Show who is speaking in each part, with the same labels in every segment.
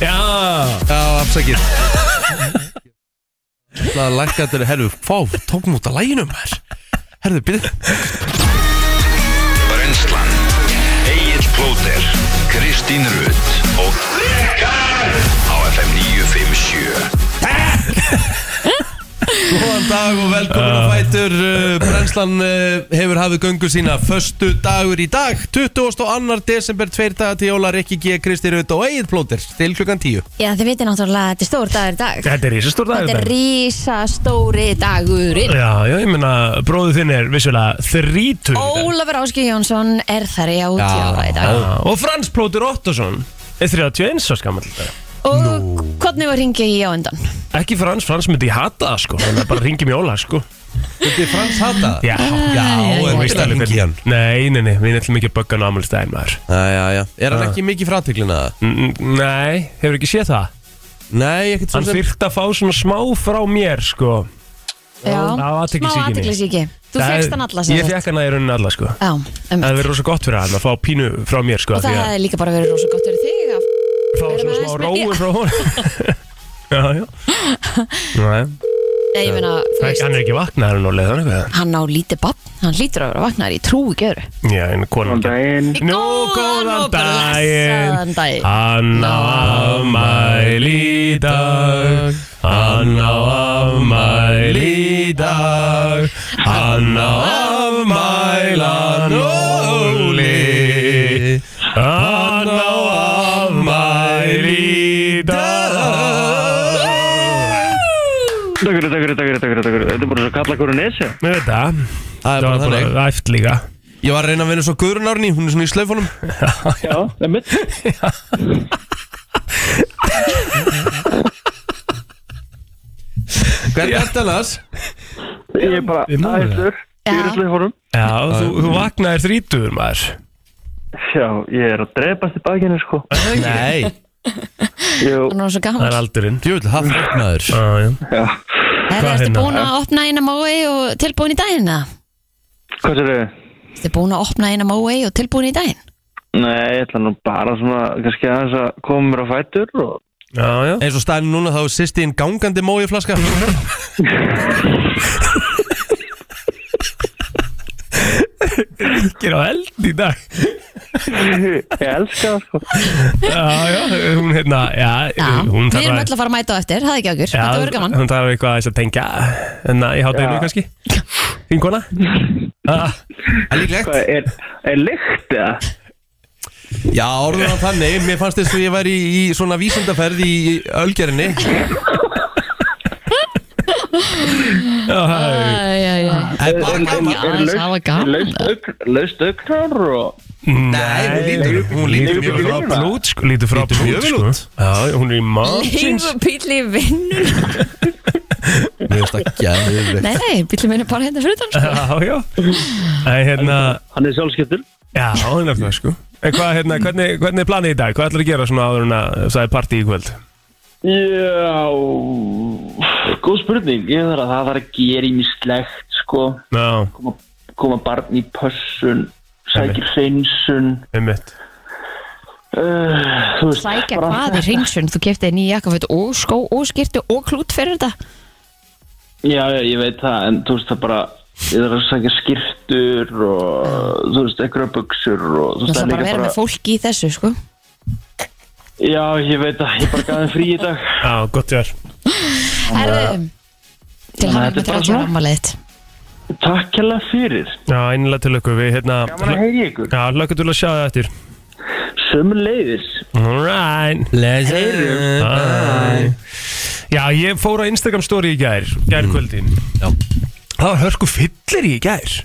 Speaker 1: Já
Speaker 2: Já, afsakið Það er lækka þetta er, herru, fá, tókum út að læginum þær Herru, byrð
Speaker 3: Brenslan Egil Plóter Kristín Rutt og á FM 957
Speaker 2: Góðan dag og velkomin
Speaker 1: Ah.
Speaker 2: að fætur uh, Brennslan uh, hefur hafið göngu sína Föstu dagur í dag 22. desember, tveir dagar til jóla Rikki G, Kristi Rutt og Egil Plóter Til klukkan 10
Speaker 4: Já, þið veitir náttúrulega að þetta er stór dagur í dag
Speaker 1: Þetta er rísastór dagur
Speaker 4: Þetta er rísa stóri dagurinn
Speaker 1: Já, já, ég meina, bróðu þinn er vissulega þrítur
Speaker 4: Ólafur Áski Jónsson er þar í átjára í dag
Speaker 1: Og Frans Plótur Ottosson er 31 árs gamall í dag.
Speaker 4: Og hvernig var ringið ég á undan?
Speaker 1: Ekki Frans, Frans myndi ég hata það sko Þannig að bara ringi mér óla sko
Speaker 2: Þetta er Frans Hata
Speaker 1: Já,
Speaker 2: Já,
Speaker 1: þú
Speaker 2: en
Speaker 1: veist
Speaker 2: ekki
Speaker 1: alveg
Speaker 2: hengi hann
Speaker 1: hvernig Nei, nei, nei, við ætlum ekki að bögga hann ámælstæðin maður
Speaker 2: Já, já, já
Speaker 1: Ah.
Speaker 2: Er hann ekki mikið fráteglina það?
Speaker 1: N- n- Nei, hefur ekki séð það
Speaker 2: Nei, ekkert svo
Speaker 1: Hann
Speaker 2: sem
Speaker 1: þyrfti að fá svona smá frá mér sko
Speaker 4: Já,
Speaker 1: á
Speaker 4: smá
Speaker 1: athyglisíkinni.
Speaker 4: aðtiklisíki Þú
Speaker 1: Það-
Speaker 4: fegst hann alla sem
Speaker 1: Ég
Speaker 4: sagt.
Speaker 1: fekk hann að í rauninni alla sko
Speaker 4: Já, um
Speaker 1: Það verður rosa gott fyrir hann að fá pínu frá mér sko
Speaker 4: Og
Speaker 1: því
Speaker 4: það
Speaker 1: að
Speaker 4: hefði líka bara verið rosa gott fyrir þig að
Speaker 1: Fá
Speaker 4: vera
Speaker 1: svona
Speaker 4: með
Speaker 1: smá
Speaker 4: aðeins
Speaker 1: róu
Speaker 4: með-
Speaker 1: frá hún Já, já Nei,
Speaker 4: Nei, ég meina, þú
Speaker 1: það- hann
Speaker 4: veist
Speaker 1: er ekki vaknaður nú leðan eitthvað
Speaker 4: Hann á lítið bann, hann lítur að vera vaknar í trú í gjöru
Speaker 1: Já, en konan
Speaker 5: daginn
Speaker 1: Nú, góðan daginn Hann á afmæli í dag Hann á afmæli í dag Hann á afmælan óli Hann á afmæli í dag
Speaker 5: Takk fyrir, takk fyrir, takk fyrir, takk fyrir, takk fyrir Þetta er bara svo kalla hverju nesi
Speaker 1: Með þetta
Speaker 2: Það er
Speaker 1: Það
Speaker 2: bara
Speaker 1: var
Speaker 2: þannig
Speaker 1: bara æft líka
Speaker 2: Ég var að reyna að vinna svo Guðrun Árný, hún er svona í slaufunum
Speaker 5: Já, það er mitt
Speaker 2: Hvernig ert annars?
Speaker 5: Ég er bara
Speaker 1: Við náðum
Speaker 5: æstur Ég er í sliðfórum
Speaker 1: Já, þú, þú vaknaðir þrítugur maður
Speaker 5: Já, ég er að drepast í bakinu sko
Speaker 2: Nei,
Speaker 5: Jú,
Speaker 4: Hann var svo
Speaker 1: Það
Speaker 4: gaman
Speaker 1: er aldurinn
Speaker 2: djúvill, það freknaður
Speaker 1: Já, já
Speaker 5: já
Speaker 4: Það
Speaker 1: hvað
Speaker 4: ertu
Speaker 1: hérna?
Speaker 4: búin að opna eina mói og tilbúin í daginn það?
Speaker 5: Hvað sér þau?
Speaker 4: Ertu búin að opna eina mói og tilbúin í daginn?
Speaker 5: Nei, ég ætla nú bara svona kannski aðeins að koma mér á fætur og
Speaker 1: Já, já
Speaker 2: Eins og staðin núna þá er sýsti inn gangandi mói flaska
Speaker 1: Ekki er á eld í dag
Speaker 5: ég elska það sko
Speaker 1: Já, já, hún hérna, já,
Speaker 4: Já,
Speaker 1: hún
Speaker 4: við erum öll
Speaker 1: þarf
Speaker 4: að fara að mæta á eftir, það er ekki okkur, þetta verður gaman
Speaker 1: hún þarf eitthvað aðeins að tengja hérna í hátæðinu
Speaker 5: Já.
Speaker 1: kannski Þín kona? Ah,
Speaker 2: Það er líklegt
Speaker 5: Hvað, er, er lykt eða?
Speaker 2: Já, orðum það þannig, mér fannst þess að ég væri í, í svona vísindaferð í ölgerinni
Speaker 1: já, hæ.
Speaker 4: Æ, æ, æ, æ.
Speaker 2: Það er bara gaman
Speaker 4: Já, það var gaman
Speaker 5: Laust augn- Laust augnar og
Speaker 2: Nei, hún lítur, hún lítur mjög
Speaker 1: frá
Speaker 2: vel út.
Speaker 1: blút sko, lítur frá
Speaker 2: Lítur mjög
Speaker 1: blút
Speaker 2: vel
Speaker 1: sko
Speaker 2: út.
Speaker 1: Já, hún er í mannsins
Speaker 4: Lífu bíli vinnur
Speaker 2: Mér finnst það gæðið
Speaker 4: Nei, nei, bíli vinnur bara hérna fyrir þann sko.
Speaker 1: Já, já En hérna,
Speaker 5: hann er sjálfskeptur
Speaker 1: já, hún er það sko En hvað, hérna, hvernig, hvernig er planið í dag? Hvað ætlar að gera svona áður en að það er partí í kvöld?
Speaker 5: Já, góð spurning Ég þarf að það þarf að gera í slegt sko
Speaker 1: Já,
Speaker 5: koma, koma barn í pössun sækir hreinsun
Speaker 1: einmitt
Speaker 5: uh, þú veist,
Speaker 4: Sækja
Speaker 5: bara-
Speaker 4: hvað er hreinsun, þú kefti nýja jakkaföt og skó og skirtu og klút fyrir þetta
Speaker 5: já, já, ég veit það, en þú veist það bara ég þarf að sækja skirtur og þú veist, einhverja buksur og þú
Speaker 4: Það
Speaker 5: veist,
Speaker 4: er bara að vera með
Speaker 5: bara
Speaker 4: fólki í þessu sko
Speaker 5: já, ég veit það, ég bara gaf þeim frí í dag
Speaker 1: Já, gott ég
Speaker 4: Herðu, til
Speaker 5: Þannig að
Speaker 4: hann með
Speaker 5: þetta er bara
Speaker 4: 30
Speaker 5: svona.
Speaker 4: ámaliðt
Speaker 5: takk hella fyrir,
Speaker 1: Já, einlega til okkur, við hérna
Speaker 5: gaman að heyri ykkur
Speaker 1: Já, hlökkum til að sjá það eftir
Speaker 5: sömu leiðis
Speaker 1: Alright
Speaker 2: Leisir
Speaker 1: Bye. Já, ég fór á Instagram story í gær Gær kvöldin
Speaker 2: Já.
Speaker 1: Það var hörku fyllir í gær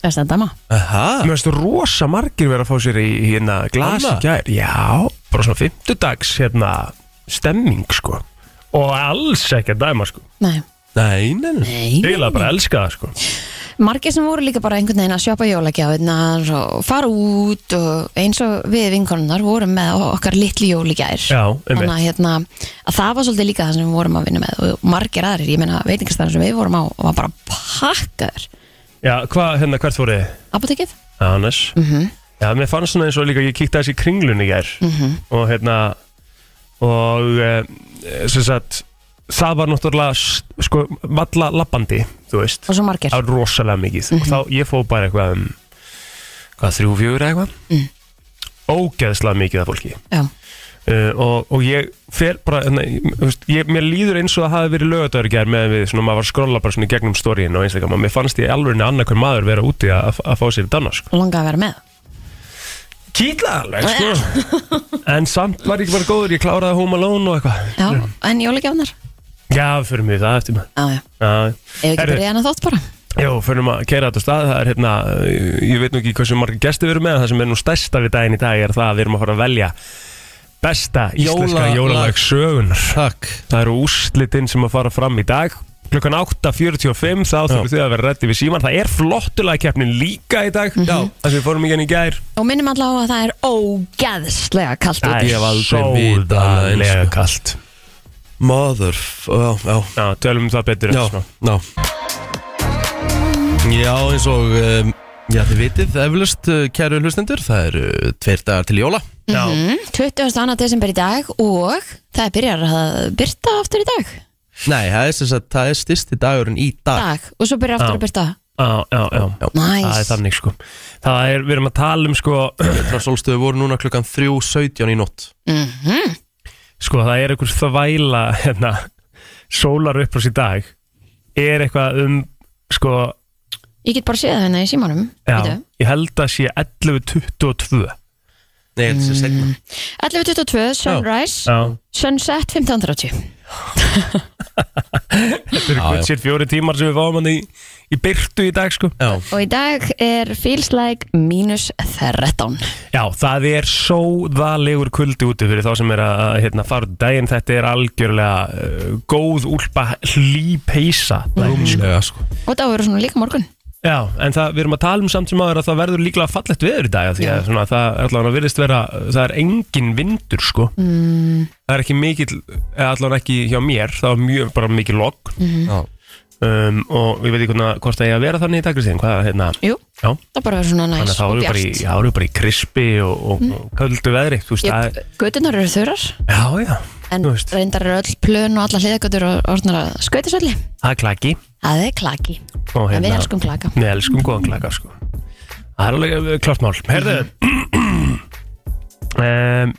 Speaker 4: Það er stendama
Speaker 2: Aha,
Speaker 1: Mér finnst rosa margir verið að fá sér í hérna glas í
Speaker 2: Annað?
Speaker 1: gær Já, bara svona fimmtudags hérna stemming sko Og alls ekki að dæma sko
Speaker 4: Nei,
Speaker 2: nei, nei, nei
Speaker 4: nei
Speaker 1: Eila bara elska það sko
Speaker 4: margir sem voru líka bara einhvern veginn að sjöpa jólagjáðunar og fara út og eins og við vinkonunnar vorum með okkar litli jóligjær
Speaker 1: Já, einmitt.
Speaker 4: að, hérna, að það var svolítið líka það sem við vorum að vinna með og margir aðrir, ég meina veitingastæðar sem við vorum á og var bara pakkaður
Speaker 1: Já, hvað, hérna, hvert fóruð þið?
Speaker 4: apotekið,
Speaker 1: Já, Hannes
Speaker 4: Mhm. Mhm.
Speaker 1: Já, mér fannst svona eins og líka ég kíkti aðeins í kringlun í gær Og hérna og eh, sem sagt það var náttúrulega s- sko, valla lappandi, þú veist
Speaker 4: og svo Mhm. margir
Speaker 1: það var rosalega mikið og þá ég fóð bara eitthvað um, hvað, þrjú, fjögur eða eitthvað
Speaker 4: Mm.
Speaker 1: ógeðslega mikið af fólki
Speaker 4: Já.
Speaker 1: uh, og, og ég fer bara hérna, ég- þú veist, ég, mér líður eins og það hafi verið lögadagur í gær með við, svona maður var að skrolla bara svona í gegnum storíin og einstaklega, mér fannst ég alveg annað hver maður vera úti að, að fá sér danna sko.
Speaker 4: langaði að vera með
Speaker 1: kýtla alveg sko. en samt var ég ekki bara góður, ég kláraði Home Alone og eitthvað
Speaker 4: Já, en jólagjáfnar
Speaker 1: já, fyrir mig það eftir maður
Speaker 4: Já, já,
Speaker 1: Já.
Speaker 4: ef við
Speaker 1: Herru.
Speaker 4: getum reyðan að þátt bara
Speaker 1: Jó, fyrir maður að keira þetta á stað það er hérna, ég, ég veit nú ekki hversu margir gesti við erum með, en það sem er nú stærsta við daginn í dag er það að við erum að fara að velja besta íslenska
Speaker 2: Jólalag.
Speaker 1: jólalag sögunar
Speaker 2: Takk
Speaker 1: Það eru úslitinn sem að fara fram í dag Klukkan 8.45 þá þurfum þið að vera reddi við síman Það er flottulega keppnin líka í dag
Speaker 2: Já.
Speaker 1: Það sem við fórum í genn í gær
Speaker 4: og minnum allavega að það er ógeðslega kalt
Speaker 1: Það
Speaker 4: út
Speaker 2: Ég hef
Speaker 1: er
Speaker 2: aldrei vitað annað eins.
Speaker 1: sóðalega kalt
Speaker 2: Mother f- Já, já,
Speaker 1: Já, tölum um það betur
Speaker 2: já,
Speaker 1: eftir smá.
Speaker 2: já Já, eins og um, Já, þið vitið, eflust, uh, kæru hlustendur Það eru uh, tveir dagar til jóla
Speaker 1: Já,
Speaker 4: 22. desember í dag og það byrjar að byrta aftur í dag
Speaker 2: Nei, það er, sem sagt, það er styrsti dagurinn í dag
Speaker 4: dag og svo byrjar aftur að byrta
Speaker 1: já, já, já. Ah. Það er
Speaker 4: Næs,
Speaker 1: þannig sko Það er, við erum að tala um sko
Speaker 2: Vetrarsólstöðu voru núna klukkan 3.17 í nótt
Speaker 1: Sko, það er einhver þvæla hérna, Sólar upprás í dag Er eitthvað um Sko,
Speaker 4: ég get bara séð það hérna í símanum
Speaker 1: já
Speaker 4: veitu.
Speaker 1: Ég held að sé 11.22
Speaker 2: Nei, þetta sé segna
Speaker 4: 11.22, sunrise,
Speaker 1: Já
Speaker 4: sunset 15.30
Speaker 1: Þetta eru
Speaker 2: Já, já.
Speaker 1: kvitsir fjóri tímar sem við fáum hann í, í byrtu í dag sko
Speaker 2: Já,
Speaker 4: og í dag er feels like mínus 13
Speaker 1: Já, það er sóðalegur kuldi úti fyrir þá sem er að að, hérna, fara út í daginn Þetta er algjörlega uh, góð úlpa hlýpeisa mm.
Speaker 2: rúmlega sko
Speaker 4: og það verður svona líka morgun
Speaker 1: Já, en það, við erum að tala um samt sem áður að það verður líklega fallegt veður í dag af Því að svona, það er allavega virðist vera, það er engin vindur sko mm. Það er ekki mikill, eða allavega ekki hjá mér, það var mjög bara mikið logg
Speaker 2: Já,
Speaker 1: um, Og ég veit ekki hvernig, hvort það ég að vera þannig í dag Kristín, hvað, hérna,
Speaker 4: Jú,
Speaker 1: já
Speaker 4: það bara verður svona
Speaker 1: Þannig
Speaker 4: næs
Speaker 1: að þá
Speaker 4: og
Speaker 1: eru bara, í-
Speaker 4: bjart Mm.
Speaker 1: já, þá eru bara í krispi og, og, og köldu veðri, þú veist, það er,
Speaker 4: Ég- Göturnar eru þurrar
Speaker 1: já, já,
Speaker 4: en
Speaker 1: þú veist,
Speaker 4: reyndar eru öll plön og alla hliðgötur og orðnar að skautisölli
Speaker 1: það er klaki
Speaker 4: Það er klaki,
Speaker 1: og hérna- Mm.
Speaker 4: en við elskum klaka
Speaker 1: Við elskum góðan klaka, sko. Það er alveg eh, klárt mál. Herðu, um,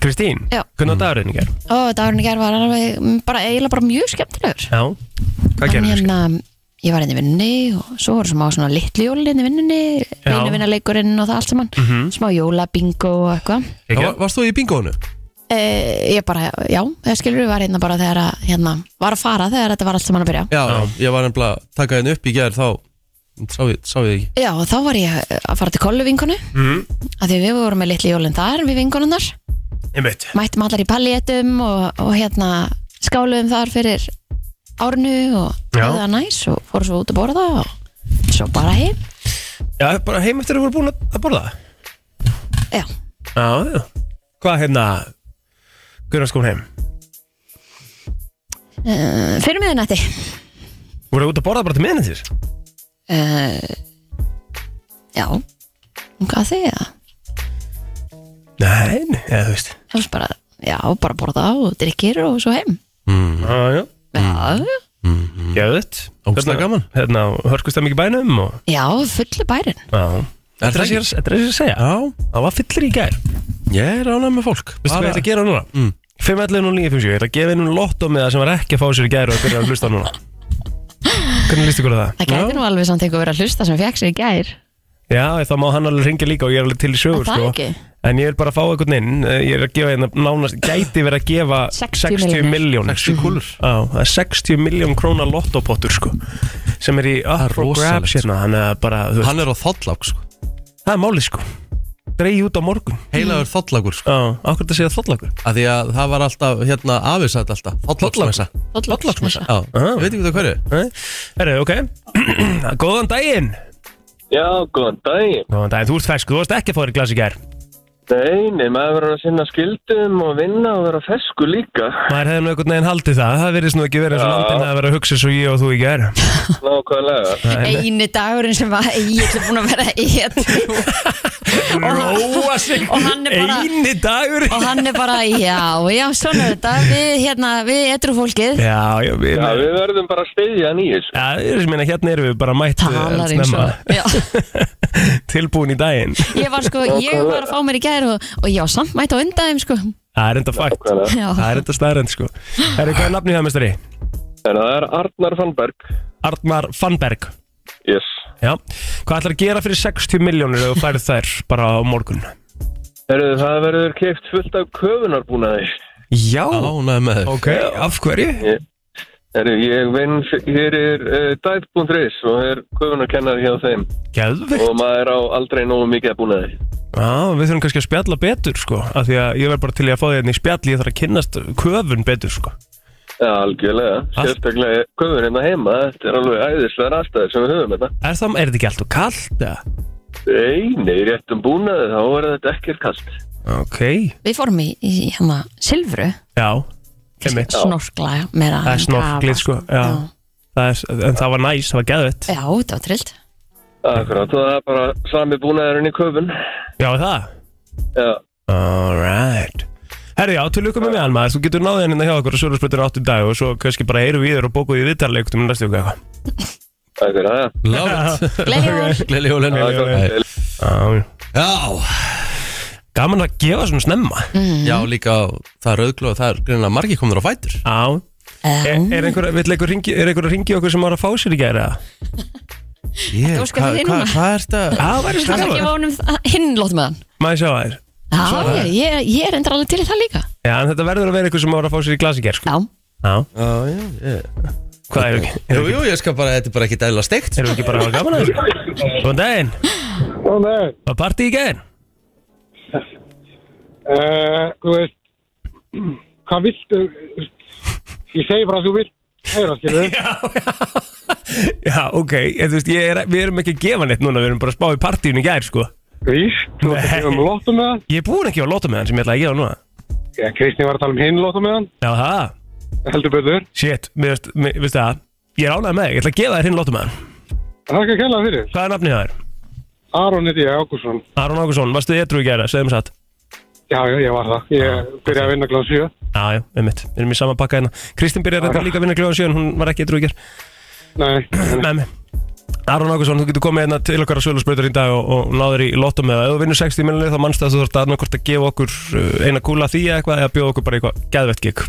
Speaker 1: Kristín,
Speaker 4: Mhm. Já.
Speaker 1: hvernig var dagurinn í gerð?
Speaker 4: Ó, dagurinn í gerð var alveg, m, bara eiginlega bara mjög skemmtilegur
Speaker 1: Já, hvað
Speaker 4: En
Speaker 1: gerður?
Speaker 4: hérna, ég var inn í vinnunni og svo voru smá svona litli jóli inn í vinnunni
Speaker 1: Já. Mhm.
Speaker 4: vinnuvinnaleikurinn og það allt saman smá jólabingo og eitthvað
Speaker 2: Já,
Speaker 1: Ekki?
Speaker 2: var- Varst þú í bingoðinu?
Speaker 4: Eh, ég bara, já, það skilur við var hérna bara þegar að, hérna, var að fara þegar þetta var allt saman að byrja.
Speaker 2: Já, ég var nefnilega að taka henni upp í gerð þá sá ég, sá ég ekki
Speaker 4: Já, og þá var ég eh, að fara til kollu vinkonu, af því við vorum með litli jólinn þar, við vinkonunnar,
Speaker 1: Ég veit.
Speaker 4: mættum allar í pallétum og, og hérna, skáluðum þar fyrir árnu og
Speaker 1: Já.
Speaker 4: það næs og fórum svo út að borða og svo bara heim.
Speaker 1: Já, bara heim eftir að voru búin að borða.
Speaker 4: Já,
Speaker 1: Já, já. Hvað hérna, hvernig skoðum heim?
Speaker 4: uh, fyrir miðunætti.
Speaker 1: Voru út að borða bara til miðinni þér?
Speaker 4: Uh, já, hvað þið það?
Speaker 1: Nei, nei, já, þú veist.
Speaker 4: Það var bara, já, bara borða og drikkir og svo heim.
Speaker 1: Já, já.
Speaker 4: Já, já.
Speaker 1: Gjöðut.
Speaker 2: Ógeðslega gaman.
Speaker 1: Hérna, hörkustem ekki bænum og...
Speaker 4: Já, fullu bærin
Speaker 1: Já.
Speaker 2: Er
Speaker 1: Þetta er
Speaker 2: það
Speaker 1: það sem ég er að segja
Speaker 2: Já,
Speaker 1: Það var fyllir í gær
Speaker 2: ég er ánægð með fólk
Speaker 1: Vistu hvað ég ætla að gera núna? Mm. 511 og 957 Ég ætla að gefa hennu lotto með það sem var ekki að fá sér í gær og að byrja að hlusta núna Hvernig líst ykkur á það?
Speaker 4: Það gæti nú alveg samt einhver verið að hlusta sem fekk sér í gær
Speaker 1: Já, þá má hann alveg ringja líka og ég er alveg til í sögur
Speaker 4: Er það
Speaker 1: sko.
Speaker 4: ekki?
Speaker 1: En ég vil bara fá einhvern inn Eh, Ég er að gefa hérna nánast Gæti verið að gefa
Speaker 4: 60
Speaker 1: miljón 60 kúlur Já, það er 60 miljón króna lottopottur sko Sem er í Afro
Speaker 2: rosalegt,
Speaker 1: Grabs hérna Þannig að bara, þú veist
Speaker 2: Hann er á þollák sko
Speaker 1: Það er málið sko Dreigi út á morgun
Speaker 2: Heilagur þollakur sko
Speaker 1: Já, okkur þetta segja þóllagur
Speaker 2: að Því að það var alltaf, hérna, afisat alltaf Þollaksmessa
Speaker 4: Lollaksmessa.
Speaker 2: Já,
Speaker 1: Ah.
Speaker 2: veit ekki hvað hverju
Speaker 1: Herru, ok Góðan daginn
Speaker 5: Já, góðan dag
Speaker 1: Góðan daginn, þú ert fersk, þú varst ekki að fá þér í glas í gær
Speaker 5: Nei, nei, maður verður að sinna skildum og vinna og vera fesku líka.
Speaker 1: Maður hefði nú einhvern veginn haldið það Það verðist nú ekki verið eins og
Speaker 5: Já.
Speaker 1: landin að vera að hugsa svo ég og þú í gær
Speaker 5: Nákvæmlega.
Speaker 4: eini dagurinn sem var Egil búin að vera eitt
Speaker 1: Róa sig
Speaker 4: og hann er bara-
Speaker 1: Eini dagur
Speaker 4: og hann er bara, já, já, svona er þetta við, hérna, við etru fólkið
Speaker 1: Já, já, við
Speaker 5: Já, við verðum bara að styðja hann í þessu.
Speaker 1: Já, ég er sem meina, hérna erum við bara mætt eh,
Speaker 4: talar eins
Speaker 1: snemma.
Speaker 4: og já.
Speaker 1: Tilbúin í daginn
Speaker 4: ég var sko, ég var að fá mér í gær og, og já, samt mætti á undaðum sko
Speaker 1: Það er enda fakt
Speaker 5: Nákvæmlega.
Speaker 4: já,
Speaker 1: Það er enda staðrænt sko Herri, hvað er nafnið það, mestari?
Speaker 5: En það er Arnar Fannberg.
Speaker 1: Arnar Fannberg
Speaker 5: Yes.
Speaker 1: Já Hvað ætlar að gera fyrir 60 miljónir ef þú færð þær bara á morgun?
Speaker 5: Herruðu, það verður keift fullt af köfunarbúnaði.
Speaker 1: Já
Speaker 2: Ánæg með þér
Speaker 1: Ok, af hverju?
Speaker 5: Herruðu, ég vinn fyrir uh, dætt.is og er köfunarkennar hjá þeim
Speaker 1: Gæðvikt
Speaker 5: og maður á aldrei nógu mikið að búnaði.
Speaker 1: Já, við þurfum kannski að spjalla betur sko af Því að ég verð bara til í að fá því einnig spjall Ég þarf að kynnast köfun betur sko
Speaker 5: Já, algjörlega.
Speaker 1: Allt.
Speaker 5: Sérstaklega köfun hérna heima, þetta er alveg æðislegar aðstæður sem við höfum hérna.
Speaker 1: Er það, er þetta ekki alltaf kallt? eða?
Speaker 5: Nei, nei, réttum búnaði, þá verður þetta ekkert kast.
Speaker 1: Ok
Speaker 4: við fórum í, í hérna, silfru
Speaker 1: Já Einmitt.
Speaker 4: snorkla meira
Speaker 1: Það er
Speaker 4: en
Speaker 1: snorklið
Speaker 4: grafa.
Speaker 1: sko Já, Það er, En það var næs, það var gæðvikt
Speaker 4: já, þetta var trillt
Speaker 5: Akkurát, og það er bara sami búnaðurinn í köfun.
Speaker 1: Já, er það
Speaker 5: Já,
Speaker 1: Alright Herri, já, til lukkum með mér, Alma Þú getur náðið hérna hjá okkur og svo eru spytur áttu dag og svo kannski bara heyrum við þér og bókuðu í viðtalleiktum í næstu viku eitthvað
Speaker 5: akkurát.
Speaker 2: Látt
Speaker 4: Gleðjól.
Speaker 2: Gleðileg jól Gleðileg
Speaker 1: Gleðileg jól.
Speaker 2: jól
Speaker 1: Já,
Speaker 2: Já,
Speaker 1: Gaman að gefa svona snemma
Speaker 2: já líka á- það er auðglu og það er greinlega margir komnir á fætur
Speaker 1: Já Er, er einhver, vill einhver ringi, er einhver að ringi okkur sem var að fá sér í gæri eða?
Speaker 2: Ég,
Speaker 4: óskar
Speaker 2: hvað
Speaker 4: þér
Speaker 2: hva,
Speaker 4: núna?
Speaker 2: hva er þetta?
Speaker 1: Já, það væri
Speaker 4: hann
Speaker 1: svona
Speaker 4: er ekki
Speaker 1: gaman
Speaker 4: vonum hinn lót með hann
Speaker 1: Maður sjá þær
Speaker 4: já, já, ég, ég er endur alveg til í það líka
Speaker 1: Já, en þetta verður að vera einhver sem var að fá sér í glasi gær sko.
Speaker 4: já,
Speaker 1: Já,
Speaker 2: Já, já, já
Speaker 1: hvað er ekki?
Speaker 2: Jú, jú, ég skal bara, þetta er bara ekki dæla steikt
Speaker 1: Erum við ekki bara að hafa gaman að þessu? Góðan daginn,
Speaker 6: Góðan daginn.
Speaker 1: var partí í gæri?
Speaker 6: Uh, þú veist, hvað viltu, ég segi bara að þú vilt heyra, skilur.
Speaker 1: Já, já Já, ok, en, þú veist, ég er, við erum ekki að gefa neitt núna, við erum bara að spá í partíinu í gæri sko.
Speaker 6: Vís, þú
Speaker 1: Nei.
Speaker 6: veist að gefa um lottu með hann.
Speaker 1: Ég er búinn að gefa lóta með hann sem ég ætlaði að gefa núna
Speaker 6: Já, Kristni var að tala um hinn lottu með hann,
Speaker 1: Já, það,
Speaker 6: heldur betur.
Speaker 1: shit, mér veist, mér veist það Ég er ánægð með þig, ég ætla að gefa þér hinn lóta með hann
Speaker 6: Það er ekki að kella fyrir.
Speaker 1: Hvað er nafnið það er?
Speaker 6: Aron heiti ég, Ágússon.
Speaker 1: Aron Ákusson, varstu þið etru í gæra, segðum satt
Speaker 6: Já, já, ég var það. Ég byrjaði að vinna gláð 7.
Speaker 1: Já, já, einmitt, við erum í sama pakka hérna Kristín byrjar þetta líka að vinna kljóðan sjön, hún var ekki etru í gær
Speaker 6: Nei, en-
Speaker 1: Með mig Aron Ákusson, þú getur komið hérna til okkar að sölusbreytur í dag og, og náður í lottum eða ef þú vinnur 60 miljonir þá mannstu að þú þarft annarkort að gefa okkur uh, eina kúla af því eða eitthvað eða bjóða okkur bara í eitthvað geðvett gig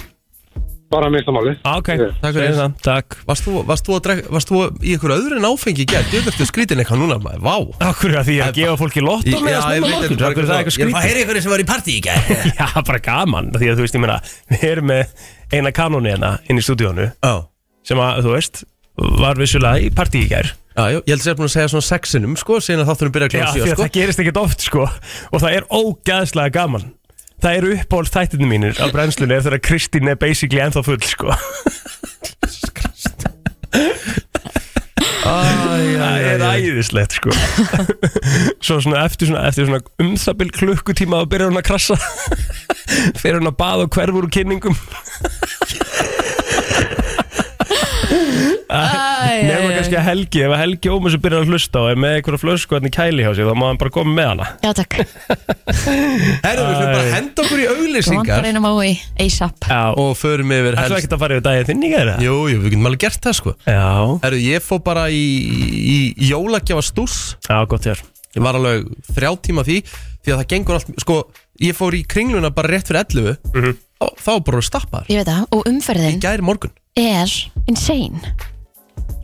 Speaker 6: bara að mista málið.
Speaker 1: ah, Ok,
Speaker 6: Yes.
Speaker 2: Takk fyrir.
Speaker 1: Segjum það, Takk
Speaker 2: Varst þú, varst þú, að drekka, varst þú í einhverju öðru en áfengi í gær? Þú ertu skrítin eitthvað núna, maður, vá
Speaker 1: Akkur að því að gefa fólki lottum eða snemma
Speaker 2: þetta,
Speaker 1: morgun,
Speaker 2: bara
Speaker 1: akkur er það eitthvað
Speaker 2: Ég er að fá að
Speaker 1: skrítið
Speaker 2: heyra einhverju sem var í partí í gær
Speaker 1: Já, bara gaman, því að þú veist, ég meina Við erum með eina kanóni hérna inn í stúdíónu
Speaker 2: Já,
Speaker 1: sem að, þú veist, var vissulega í partí í gær
Speaker 2: já, já, ég held sér búin að segja svona sexinum, sko, síðan að þáttunum byrja að
Speaker 1: Já,
Speaker 2: kláða
Speaker 1: því að
Speaker 2: síðan, sko
Speaker 1: það gerist ekkert oft, sko og það er ógæðslega gaman Það eru uppáhald þættinu mínir á brennslunni eftir að Kristín er basically ennþá full, sko Það er æðislegt, sko Svo svona eftir svona, eftir svona umþabil klukkutíma þá byrjar hún að krassa fyrir hún að baða og hverfur úr kynningum Nefna kannski að Helgi, ef að Helgi Ómasu byrjar að hlusta og er með einhverja flösku hérna í kæli hjá sig þá má hann bara koma með hana
Speaker 4: já, takk
Speaker 2: Herru, við fyrir bara að henda okkur í
Speaker 4: þú vantar
Speaker 2: auglýsingar
Speaker 4: einum um á í ASAP
Speaker 1: Já,
Speaker 2: Og förum yfir
Speaker 1: ætlum
Speaker 2: helst
Speaker 1: ekkert að fara yfir dagið þinn í gæra?
Speaker 2: Jú, jú, við getum alveg gert það, sko
Speaker 1: Já,
Speaker 2: Herru, ég fó bara í, í, í jólagjafa
Speaker 1: já, gott þér
Speaker 2: Ég var alveg þrjá tíma því Því að það gengur allt, sko Ég fór í kringluna bara rétt fyrir 11
Speaker 1: Mhm.
Speaker 2: Þá þá var bara að stappa þar
Speaker 4: ég veit það, og umferðin
Speaker 2: Gæri morgun
Speaker 4: er insane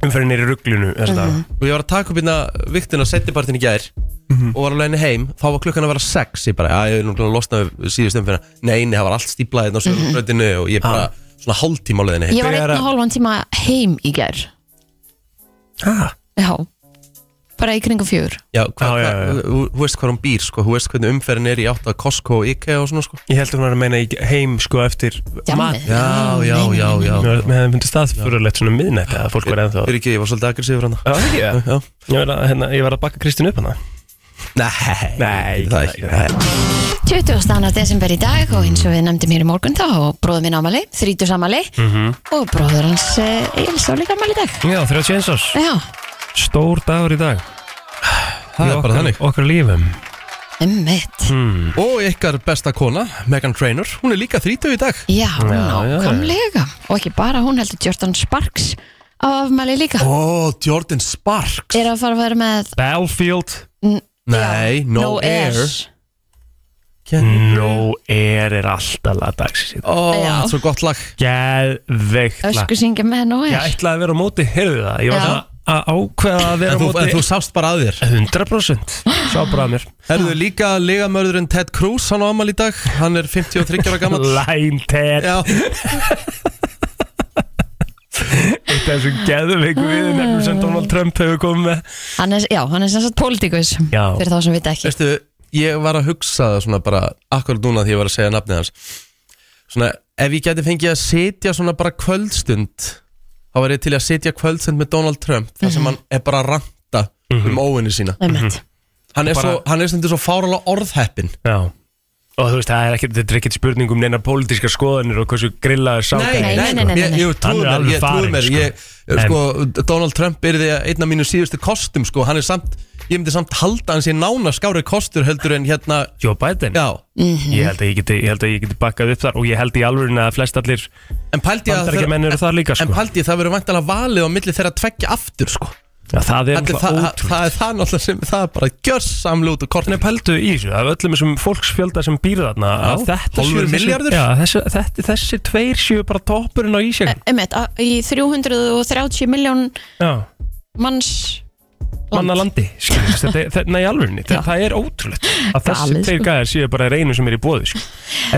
Speaker 1: Umferðin er í rugglinu þess að
Speaker 2: Og ég var að taka upp hérna viktina setjapartin í gær
Speaker 1: Mhm.
Speaker 2: Og var alveg henni heim Þá var klukkan að vera 6 Ég bara, já, ég er núna losna við síðust umfyrir Nei, nei, það var allt stíplað
Speaker 1: Mhm.
Speaker 2: hérna á sörlutinu Og ég bara, svona hálftíma á leiðinni heim
Speaker 4: ég var einn og hálfan tíma heim í gær
Speaker 1: dag
Speaker 4: já, bara í kringum fjör
Speaker 2: Já, hva,
Speaker 1: Já, já, já.
Speaker 2: hva, þú- Þú veist hvað hún býr, sko Þú veist hvernig umferðin er í átt að Costco og Ikea og svona, sko
Speaker 1: Ég held að hún var að meina í heim sko eftir mat
Speaker 4: Djammið.
Speaker 2: Já, já, já, já
Speaker 1: Mér mér hefði myndið staðfurulegt svona miðnætti að fólk var ennþá
Speaker 2: hérna. Fyrir ekki, ég var svolítið aggressífur hann
Speaker 1: Já, ekki
Speaker 2: Já.
Speaker 1: Ég var að, hérna, ég var að bakka Kristín upp hana
Speaker 2: Nei,
Speaker 1: Nei,
Speaker 2: getur það ekki Nei.
Speaker 4: 20. annar desember í dag og eins og við nefndum hér í morgun þá og bróður minn ámali, 30 samali og bróður hans eh, Egils á líka ámali í dag
Speaker 1: Já, 31 árs
Speaker 4: Já,
Speaker 1: Stór dagur í dag Í
Speaker 2: Það er bara
Speaker 1: okkar-
Speaker 2: þannig
Speaker 1: Okkar lífum
Speaker 4: emmitt
Speaker 2: Og ykkar besta kona, Megan Trainor Hún er líka 30 í dag
Speaker 4: Já,
Speaker 1: já, já.
Speaker 4: nákvæmlega og ekki bara hún heldur Jordan Sparks á afmæli líka
Speaker 2: Ó, Jordan Sparks
Speaker 4: er að fara að vera með
Speaker 1: Battlefield
Speaker 2: Nei, No, Air Can-
Speaker 1: No Air er alltaf lag dagsins í dag.
Speaker 2: Ó,
Speaker 4: Já.
Speaker 2: það er svo gott lag
Speaker 1: Geðveikt lag
Speaker 4: ösku syngja með No
Speaker 1: Ég
Speaker 4: Air
Speaker 1: ætlaði að vera á móti, heyrðu það Ég var
Speaker 4: Já.
Speaker 1: svona að ákveða að vera
Speaker 2: En
Speaker 1: á
Speaker 2: þú, en þú
Speaker 1: móti
Speaker 2: sást bara að þér
Speaker 1: 100% Sá bara að mér
Speaker 2: Herðu líka ligamörðurinn Ted Cruz Hann á amal í dag, hann er 53 ára gammal
Speaker 1: Line Ted
Speaker 2: Já,
Speaker 1: Eitt af þessum geðveiku við nefnum sem Donald Trump hefur komið með
Speaker 4: hann er, Já, hann er sem sagt pólitíkus
Speaker 1: Já.
Speaker 4: fyrir þá sem vita ekki
Speaker 2: veistu, ég var að hugsa það svona bara Akkurat núna því ég var að segja nafnið hans Svona, ef ég gæti fengið að sitja svona bara kvöldstund Þá var ég til að sitja kvöldstund með Donald Trump Þar sem hann er bara að ranta um óvinni sína
Speaker 4: Einmitt.
Speaker 2: Hann er,
Speaker 1: Bara-
Speaker 2: svo, hann er stundir svo fáralega orðheppin
Speaker 1: Já Og þú veist, það er ekkert, þetta er ekkert spurning um neina pólitíska skoðanir og hversu grillaður sákar
Speaker 4: Nei, nei, nei, nei, nei.
Speaker 2: Ég,
Speaker 1: Hann
Speaker 2: ég
Speaker 1: er
Speaker 2: trúi mér,
Speaker 1: alveg
Speaker 2: ég trúi
Speaker 1: farinn,
Speaker 2: mér
Speaker 1: sko.
Speaker 2: ég, sko, Donald Trump er því að einn af mínu síðustu kostum sko, hann er samt, ég myndi samt halda hans í nána skári kostur heldur en hérna
Speaker 1: Joe Biden
Speaker 2: já,
Speaker 1: Ég held að ég geti, ég held að ég geti bakkað upp þar og ég held í alvörin að flest allir
Speaker 2: en pældi ég að
Speaker 1: bandarækja menn eru þar líka
Speaker 2: en
Speaker 1: sko.
Speaker 2: pældi ég það verður vantalega valið á milli þeirra tveggja aftur sko
Speaker 1: Já, það er
Speaker 2: Allir, það,
Speaker 1: náttúrulega
Speaker 2: það, það er það náttúrulega sem það er bara gjörsamlu út og kortinu
Speaker 1: Þannig pældu í þessu, af öllum þessum fólksfjölda sem býr þarna að þetta
Speaker 2: hálfur
Speaker 1: séu þessi-
Speaker 2: milljarður?
Speaker 1: Já, þessi, þessi, þessi tveir séu bara toppurinn á
Speaker 2: Eh.
Speaker 1: ísjöng
Speaker 4: Einmitt, á- í 330 miljón
Speaker 1: Já,
Speaker 4: manns
Speaker 1: manna landi skilurðu, þetta, er- þetta, Nei, alveg,
Speaker 4: Já.
Speaker 1: það, það er ótrúlegt að þessi
Speaker 4: Galið,
Speaker 1: tveir
Speaker 4: sko.
Speaker 1: gæðar séu bara reynum sem er í bóði sko.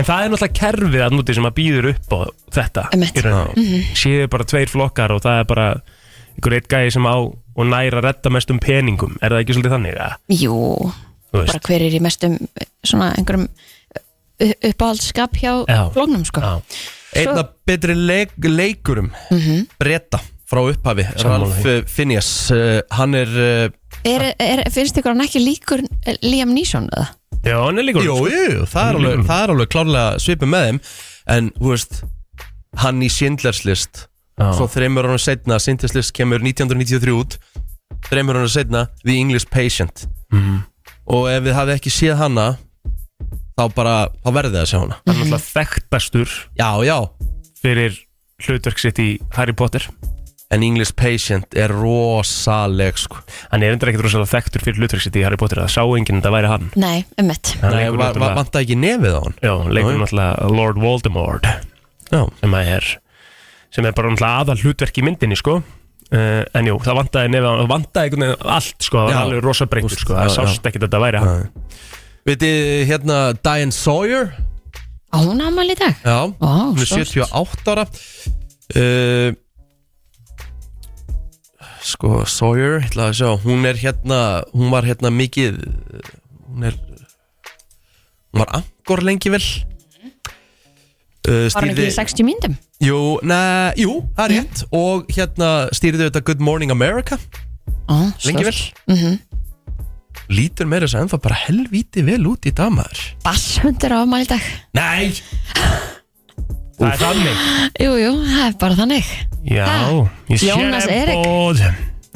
Speaker 1: En það er náttúrulega kerfið að núti sem að býður upp á þetta
Speaker 4: Einmitt. Mhm.
Speaker 1: í rauninni. Séu bara tveir flokkar og það er bara einhver eitt gæði sem á og næra að redda mest um peningum Er það ekki svolítið þannig? Ja,
Speaker 4: Jú,
Speaker 1: Þú veist.
Speaker 4: bara hver er í mestum eh, svona einhverjum eh, uppáhaldsskap hjá
Speaker 1: Já.
Speaker 4: flóknum sko
Speaker 1: Já.
Speaker 2: einn af betri leik, leikurum mm -hmm. breyta frá upphafi
Speaker 1: Sammála
Speaker 2: Ralf
Speaker 1: því.
Speaker 2: eh, Phineas, uh, hann er uh,
Speaker 4: er, er, Finnst ykkur hann ekki líkur eh, Liam Neeson eða?
Speaker 1: Já, hann er líka sko.
Speaker 2: Jú, jú, jú, það er alveg, það er alveg klárlega svipið með þeim En, þú veist, hann í Schindlers list
Speaker 1: Já.
Speaker 2: Svo þreymur hann setna, Schindlers list kemur 1993 út Þreymur hann setna, The English Patient
Speaker 1: Mhm.
Speaker 2: Og ef við hafið ekki séð hana Þá bara, þá verðið að sjá hana
Speaker 1: Hann er náttúrulega þekktastur
Speaker 2: Já, já,
Speaker 1: fyrir hlutverk sitt í Harry Potter
Speaker 2: en English Patient er rosaleg, sko
Speaker 1: hann er endur ekkert rosalega þekktur fyrir hlutverk sitt í Harry Potter það sá enginn að það væri hann
Speaker 4: Nei, ummitt
Speaker 1: hann
Speaker 2: Nei,
Speaker 1: leikur
Speaker 2: va- va-
Speaker 1: náttúrulega,
Speaker 2: vantaði ekki nefið á hann
Speaker 1: já, hann leikur
Speaker 2: Já, já.
Speaker 1: náttúrulega Lord Voldemort
Speaker 2: Já,
Speaker 1: sem að er sem er bara náttúrulega aðal hlutverk í myndinni sko Uh, en jú, það vantaði nefn það vantaði einhvern veginn allt sko, það var
Speaker 2: Já.
Speaker 1: alveg rosa breytur sko, það
Speaker 2: Já, já.
Speaker 1: sást ekkert að þetta væri hann
Speaker 2: Vitið, hérna, Diane Sawyer
Speaker 4: Á hún ámæli í dag?
Speaker 2: Já,
Speaker 4: Vá,
Speaker 2: hún er
Speaker 4: stórt.
Speaker 2: 78 ára uh, Sko, Sawyer, ég ætla að sjá Hún er hérna, hún var hérna mikið uh, Hún er Hún var angor lengi vel uh,
Speaker 4: Var hann ekki í 60 myndum?
Speaker 2: Jú, ne, jú, það er rétt Og hérna stýrði þetta Good Morning America
Speaker 4: Ó,
Speaker 2: Lengi vel Lítur meira þess að ennþá bara helvíti vel út í damaður
Speaker 4: Basshundur á afmæli í dag
Speaker 2: Nei
Speaker 1: það er þannig
Speaker 4: Jú, jú, það er bara þannig
Speaker 1: já, ég sé
Speaker 4: Jónas Erik.
Speaker 1: bóð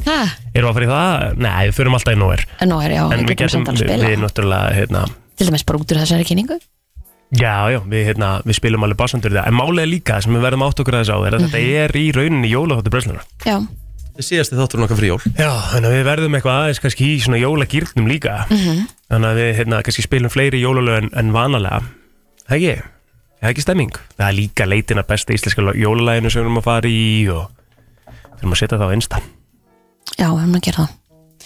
Speaker 4: Ha,
Speaker 1: erum við að fara í það? Nei, við förum alltaf í nóver
Speaker 4: en nú er já,
Speaker 1: en
Speaker 4: við
Speaker 1: við
Speaker 4: getum
Speaker 1: getum,
Speaker 4: samt alveg
Speaker 1: við,
Speaker 4: spila
Speaker 1: við náttúrulega hérna,
Speaker 4: Til dæmis bara út úr þessari kynningu
Speaker 1: Já, já, við, hérna, við spilum alveg bassandur í það En málið er líka, sem við verðum átt okkur að þessu á er að
Speaker 4: Mhm.
Speaker 1: þetta er í rauninni jólaþáttur brenslunar
Speaker 4: Já,
Speaker 2: Þetta er síðasti þátturinn okkar fyrir jól
Speaker 1: Já, þannig að við verðum eitthvað aðeins kannski í svona jólagýrnum líka Þannig að við hérna, kannski spilum fleiri jólalög en, en vanalega Það ekki, það er ekki stemming Það er líka leitin að besta íslenska lo- jólalæginu sem við erum að fara í og þurfum að setja það á insta
Speaker 4: já, við erum að gera það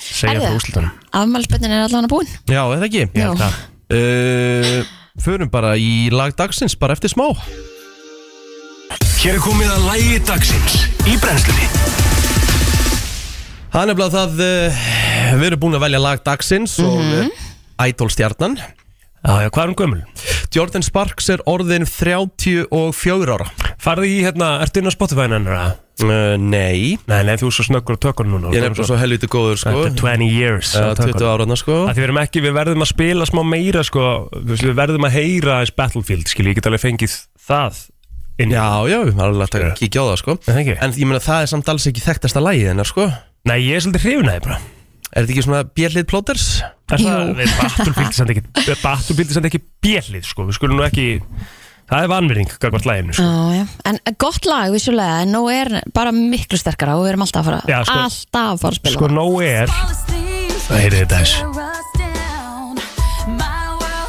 Speaker 1: segja
Speaker 4: Herðu.
Speaker 1: frá úslitunum
Speaker 4: Afmælspennin er allan að búin
Speaker 2: Já, er það ekki?
Speaker 4: Já.
Speaker 1: Það,
Speaker 2: uh, Förum bara í lag dagsins bara eftir smá
Speaker 3: Hér er komið að lægi dagsins í brennslunni
Speaker 2: Það er nefnilega það uh, Við erum búin að velja lag dagsins mm -hmm. og Idol stjarnan
Speaker 1: já, já, hvað er um gömul?
Speaker 2: Jordan Sparks er orðin 34 ára
Speaker 1: Farði í, hérna, ertu inn á Spotify hennar? eða?
Speaker 2: Uh, nei,
Speaker 1: Nei, nei, þú er svo snöggur á tökunum núna
Speaker 2: ég er nefnilega svo helviti góður sko
Speaker 1: Þetta er 20 years á
Speaker 2: uh, 20
Speaker 1: tökunum.
Speaker 2: áraðna sko
Speaker 1: Af því Við, erum ekki, við verðum að spila smá meira sko, þú veist, Við verðum að heyra aðeins Battlefield skil, Ég get alveg fengið það inn
Speaker 2: Já, já, við erum alveg að
Speaker 1: Skilurðu?
Speaker 2: kíkja á það sko
Speaker 1: Er það ekki?
Speaker 2: En ég meina það er samt alls ekki þekktasta lagið hennar sko Er
Speaker 1: Nei, ég er svolítið hrifin að þið bara
Speaker 2: þetta ekki svona björlið plóters?
Speaker 1: Það er
Speaker 4: Jú.
Speaker 1: það- við- Battlefield er samt ekki- Battlefield er samt ekki bjellið sko. Við skulum nú ekki Það er vanverðing gagvart læginu sko.
Speaker 4: Já, já. En gott lag, vissulega, en nú er bara miklu sterkara og við erum alltaf að fara,
Speaker 1: Já, sko-
Speaker 4: alltaf að fara að spila
Speaker 1: sko,
Speaker 4: það.
Speaker 1: nóg er
Speaker 7: Það
Speaker 1: heyrið þetta aðeins.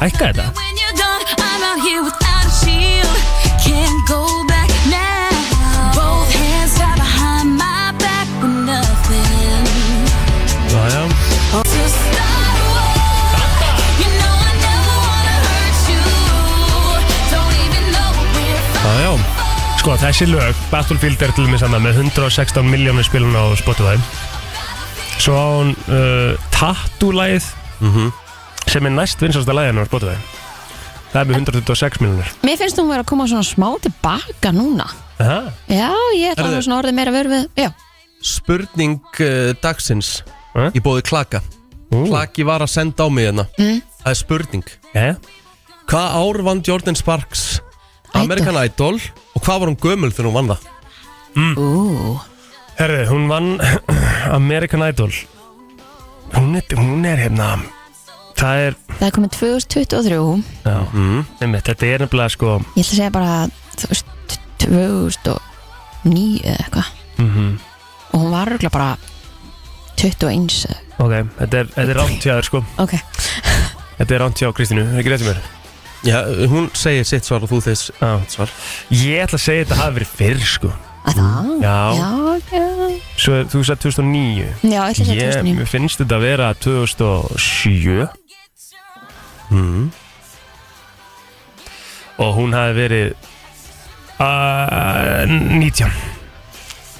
Speaker 1: Hækkaði
Speaker 7: Hækka
Speaker 1: þetta?
Speaker 7: þetta
Speaker 2: Já, já Já, já
Speaker 1: Sko þessi lög, Battlefield er til mig saman með 116 miljónir spilun á Spotify Svo á hún uh, Tattoo-læð sem er næst vinsasta læðinu á Spotify Það er með 126 miljónir
Speaker 4: Mér finnst hún vera að koma svona smá tilbaka núna. Já, ég ætla
Speaker 2: Herðu.
Speaker 4: að svona orðið meira verið við, já.
Speaker 2: Spurning uh, dagsins
Speaker 1: Eh?
Speaker 2: Ég bóði klaka Klaki var að senda á mig hérna Það er spurning
Speaker 1: Jæja.
Speaker 2: Hvað ár vann Jordan Sparks American Idol Og hvað var hún gömul þegar hún vann það?
Speaker 4: Ú,
Speaker 1: Herðu, hún vann American Idol Hún er, hún er hérna Það er,
Speaker 4: það er komið 2023,
Speaker 1: já, einmitt, þetta er nefnilega sko
Speaker 4: ég ætla að segja bara, þú veist, 2009 eða eitthvað.
Speaker 1: Mhm.
Speaker 4: Og hún var röglega bara 21, eða-
Speaker 1: Ok, þetta er, þetta er rámt hjá þér sko
Speaker 4: ok.
Speaker 1: Þetta er rámt hjá Kristínu, er ekki rétt í mér?
Speaker 2: Já, hún segir sitt svar og þú þess
Speaker 1: Já
Speaker 2: svar
Speaker 1: Ég ætla að segja að þetta hafi verið fyrr sko
Speaker 4: Að það?
Speaker 1: Já.
Speaker 4: Já, já.
Speaker 1: Svo þú sagði 2009
Speaker 4: Já, ég ætla að segja
Speaker 1: Ég,
Speaker 4: 2009.
Speaker 1: mér finnst þetta að vera 2007
Speaker 2: Mhm.
Speaker 1: og hún hafi verið uh, 19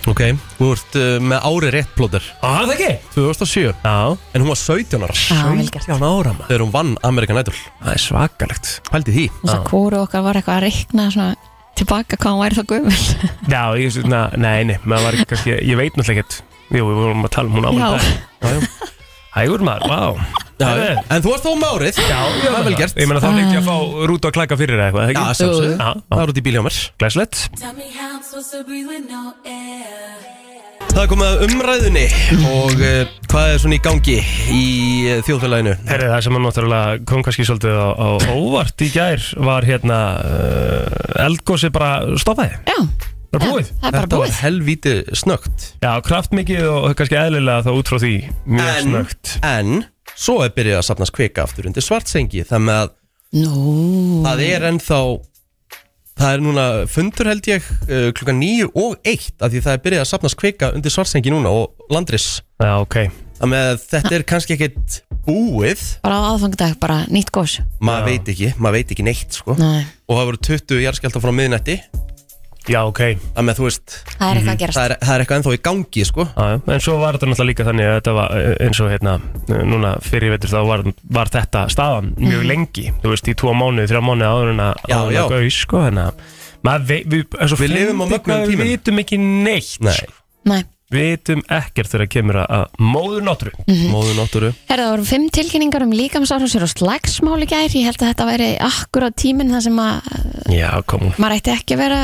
Speaker 2: Ok, þú ert uh, með ári rétt plóter
Speaker 1: Það er það ekki?
Speaker 2: 2007
Speaker 1: Já,
Speaker 2: En hún var 17 ára
Speaker 4: Já, vel gert.
Speaker 1: 17 ára maður
Speaker 2: Þegar hún vann American Idol
Speaker 1: Það er svakalegt
Speaker 2: Pældi því
Speaker 4: Þess að kóru okkar var eitthvað að reikna svona tilbaka hvað hún væri þá gömul.
Speaker 1: Já, ég, na, nei, nei, maður var ekki kannski, ég veit náttúrulega ekkert Jú, við vorum að tala um hún
Speaker 4: Já.
Speaker 1: ámæl Hægur maður, vá
Speaker 2: Já,
Speaker 1: Herðu.
Speaker 2: En þú varst þó um árið Já, það er vel gert Ah.
Speaker 1: Ég meina þá leik ég að fá rút og klaka fyrir eða eitthvað,
Speaker 2: Já,
Speaker 1: eða ekki?
Speaker 2: sjálfsögðu
Speaker 1: Já,
Speaker 2: Það er út í bíl hjá mér
Speaker 1: glæslegt
Speaker 2: Það er komið að umræðunni Og uh, hvað er svona í gangi í uh, þjóðfélaginu?
Speaker 1: Herri, það sem að náttúrulega kom kannski svolítið á, á óvart í gær var hérna uh, eldgósi bara stoppaði,
Speaker 4: Já,
Speaker 1: bara
Speaker 4: já,
Speaker 1: búið.
Speaker 4: það er bara
Speaker 2: Þetta var
Speaker 4: búið.
Speaker 2: helvíti snögt
Speaker 1: Já, kraftmikið og kannski eðlilega þá út frá því mjög
Speaker 2: En-
Speaker 1: snögt.
Speaker 2: En svo er byrjað að safnast kvika aftur undir svartsengi Þannig að
Speaker 4: Nú,
Speaker 2: það er ennþá Það er núna fundur held ég uh, klukkan 9 og 1 af því það er byrjað að safnast kvika undir svartsengi núna og landris
Speaker 1: Já, ok.
Speaker 2: Þannig að þetta er kannski ekkit búið
Speaker 4: bara á aðfangdag, bara nýtt gós.
Speaker 2: Maður veit ekki, maður veit ekki neitt sko
Speaker 4: Nei,
Speaker 2: Og það voru 20 jarðskjálta frá miðnætti
Speaker 1: Já, ok.
Speaker 2: Þannig að þú veist,
Speaker 4: það er eitthvað að gerast.
Speaker 2: það er, það er eitthvað ennþá í gangi sko
Speaker 1: Já, já. en svo var þetta náttúrulega líka þannig að þetta var eh, eins og hérna, eh, núna fyrir ég veitur þá var, var þetta staðan mjög lengi, þú veist, í tvo mánuði, þrjá mánuði áður en að
Speaker 2: Mm. Já,
Speaker 1: áður en
Speaker 2: já.
Speaker 1: að gauð, sko, þannig að maður veit, við, er svo
Speaker 2: Við lifum á
Speaker 1: fyndið
Speaker 2: mögnuðum
Speaker 1: hvað
Speaker 2: tímum.
Speaker 1: Við vitum ekki neitt,
Speaker 2: Nei.
Speaker 1: sko.
Speaker 4: Nei,
Speaker 1: vitum ekkert þegar kemur að- að móður náttúru
Speaker 4: Mhm.
Speaker 2: Móðu náttúru
Speaker 4: herra það voru fimm tilkynningar um líkamsárhúsir og slagsmál í gær. Ég held að þetta væri akkur á tíminn þar sem að uh,
Speaker 1: Já, kom hún
Speaker 4: maður ætti ekki að vera,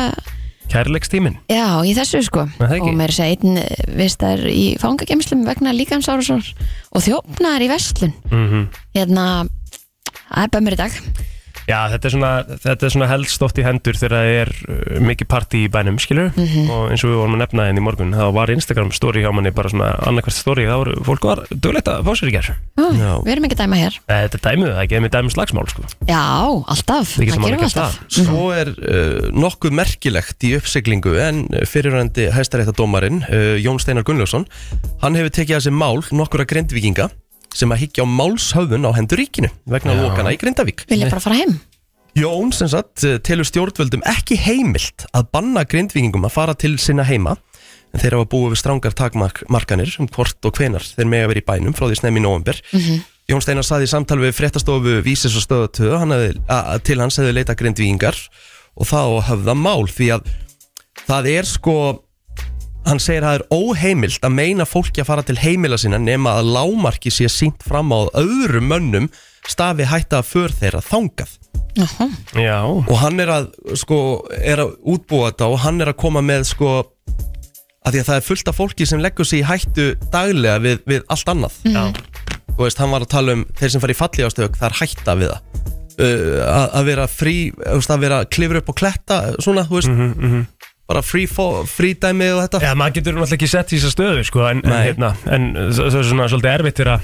Speaker 1: Kærleikstíminn
Speaker 4: já, í þessu sko.
Speaker 1: Nei, það ekki.
Speaker 4: Og mér segi einn uh, vistar í fangagemslum vegna líkamsárhúsir og þjófnaðar í verslun.
Speaker 1: Mhm.
Speaker 4: -hmm. Hérna, það er bæmur í dag.
Speaker 1: Já, þetta er svona, þetta er svona helst oft í hendur þegar það er uh, mikið partí í bænum, skilur
Speaker 4: Mhm.
Speaker 1: og eins og við vorum að nefna henni í morgun þá var Instagram story hjá manni bara svona annarkvært story, þá voru fólk var duglegt að fá sér í gerð
Speaker 4: Já,
Speaker 2: Já.
Speaker 4: Við erum ekki að dæma hér.
Speaker 1: Þetta dæmið það, ekki, við dæmið slagsmál sko.
Speaker 4: Já, alltaf.
Speaker 1: Við getum
Speaker 4: það
Speaker 1: alveg
Speaker 4: gerum við
Speaker 1: gert
Speaker 4: alltaf.
Speaker 2: Svo er uh, nokkuð merkilegt í uppsiglingu en fyrirrandi hæstaréttadómarinn uh, Jón Steinar Gunnljófsson hann hefur tekið að sér mál nokkura grindvíkinga sem að higgja á málshöfðun á hendur ríkinu vegna lókana í Grindavík
Speaker 4: Vilja bara fara heim.
Speaker 2: Jón sem sagt eh, telur stjórnvöldum ekki heimilt að banna grindvíkingum að fara til sinna heima en þeir hafa búið við strangar takmarkanir um hvort og hvenar þeir mega verið í bænum frá því snemmi í november Jón Steinar saði í samtal við fréttastofu Vísis og stöðatöðu hann hefði- a- til hans hefði leita grindvíkingar og þá höfða mál því að það er sko hann segir að það er óheimilt að meina fólki að fara til heimila sinna nema að lámarki sé sínt fram á að öðrum mönnum stafi hætta að för þeirra þangað
Speaker 1: Já,
Speaker 2: og hann er að sko, er að útbúa þetta og hann er að koma með sko að því að það er fullt af fólki sem leggur sig í hættu daglega við, við allt annað
Speaker 4: Mhm.
Speaker 1: já,
Speaker 2: þú veist, hann var að tala um þeir sem fara í falli ástök, það er hætta við það uh, að, að vera frí þú veist, að vera klifur upp og kletta svona, þú veist bara frí, fó- frí dæmi og þetta
Speaker 1: Mhm, já maður getur náttúrulega ekki sett í þessa stöðu sko, en, en,
Speaker 2: Nei.
Speaker 1: hérna, en það er svona svolítið erfitt fyrir að,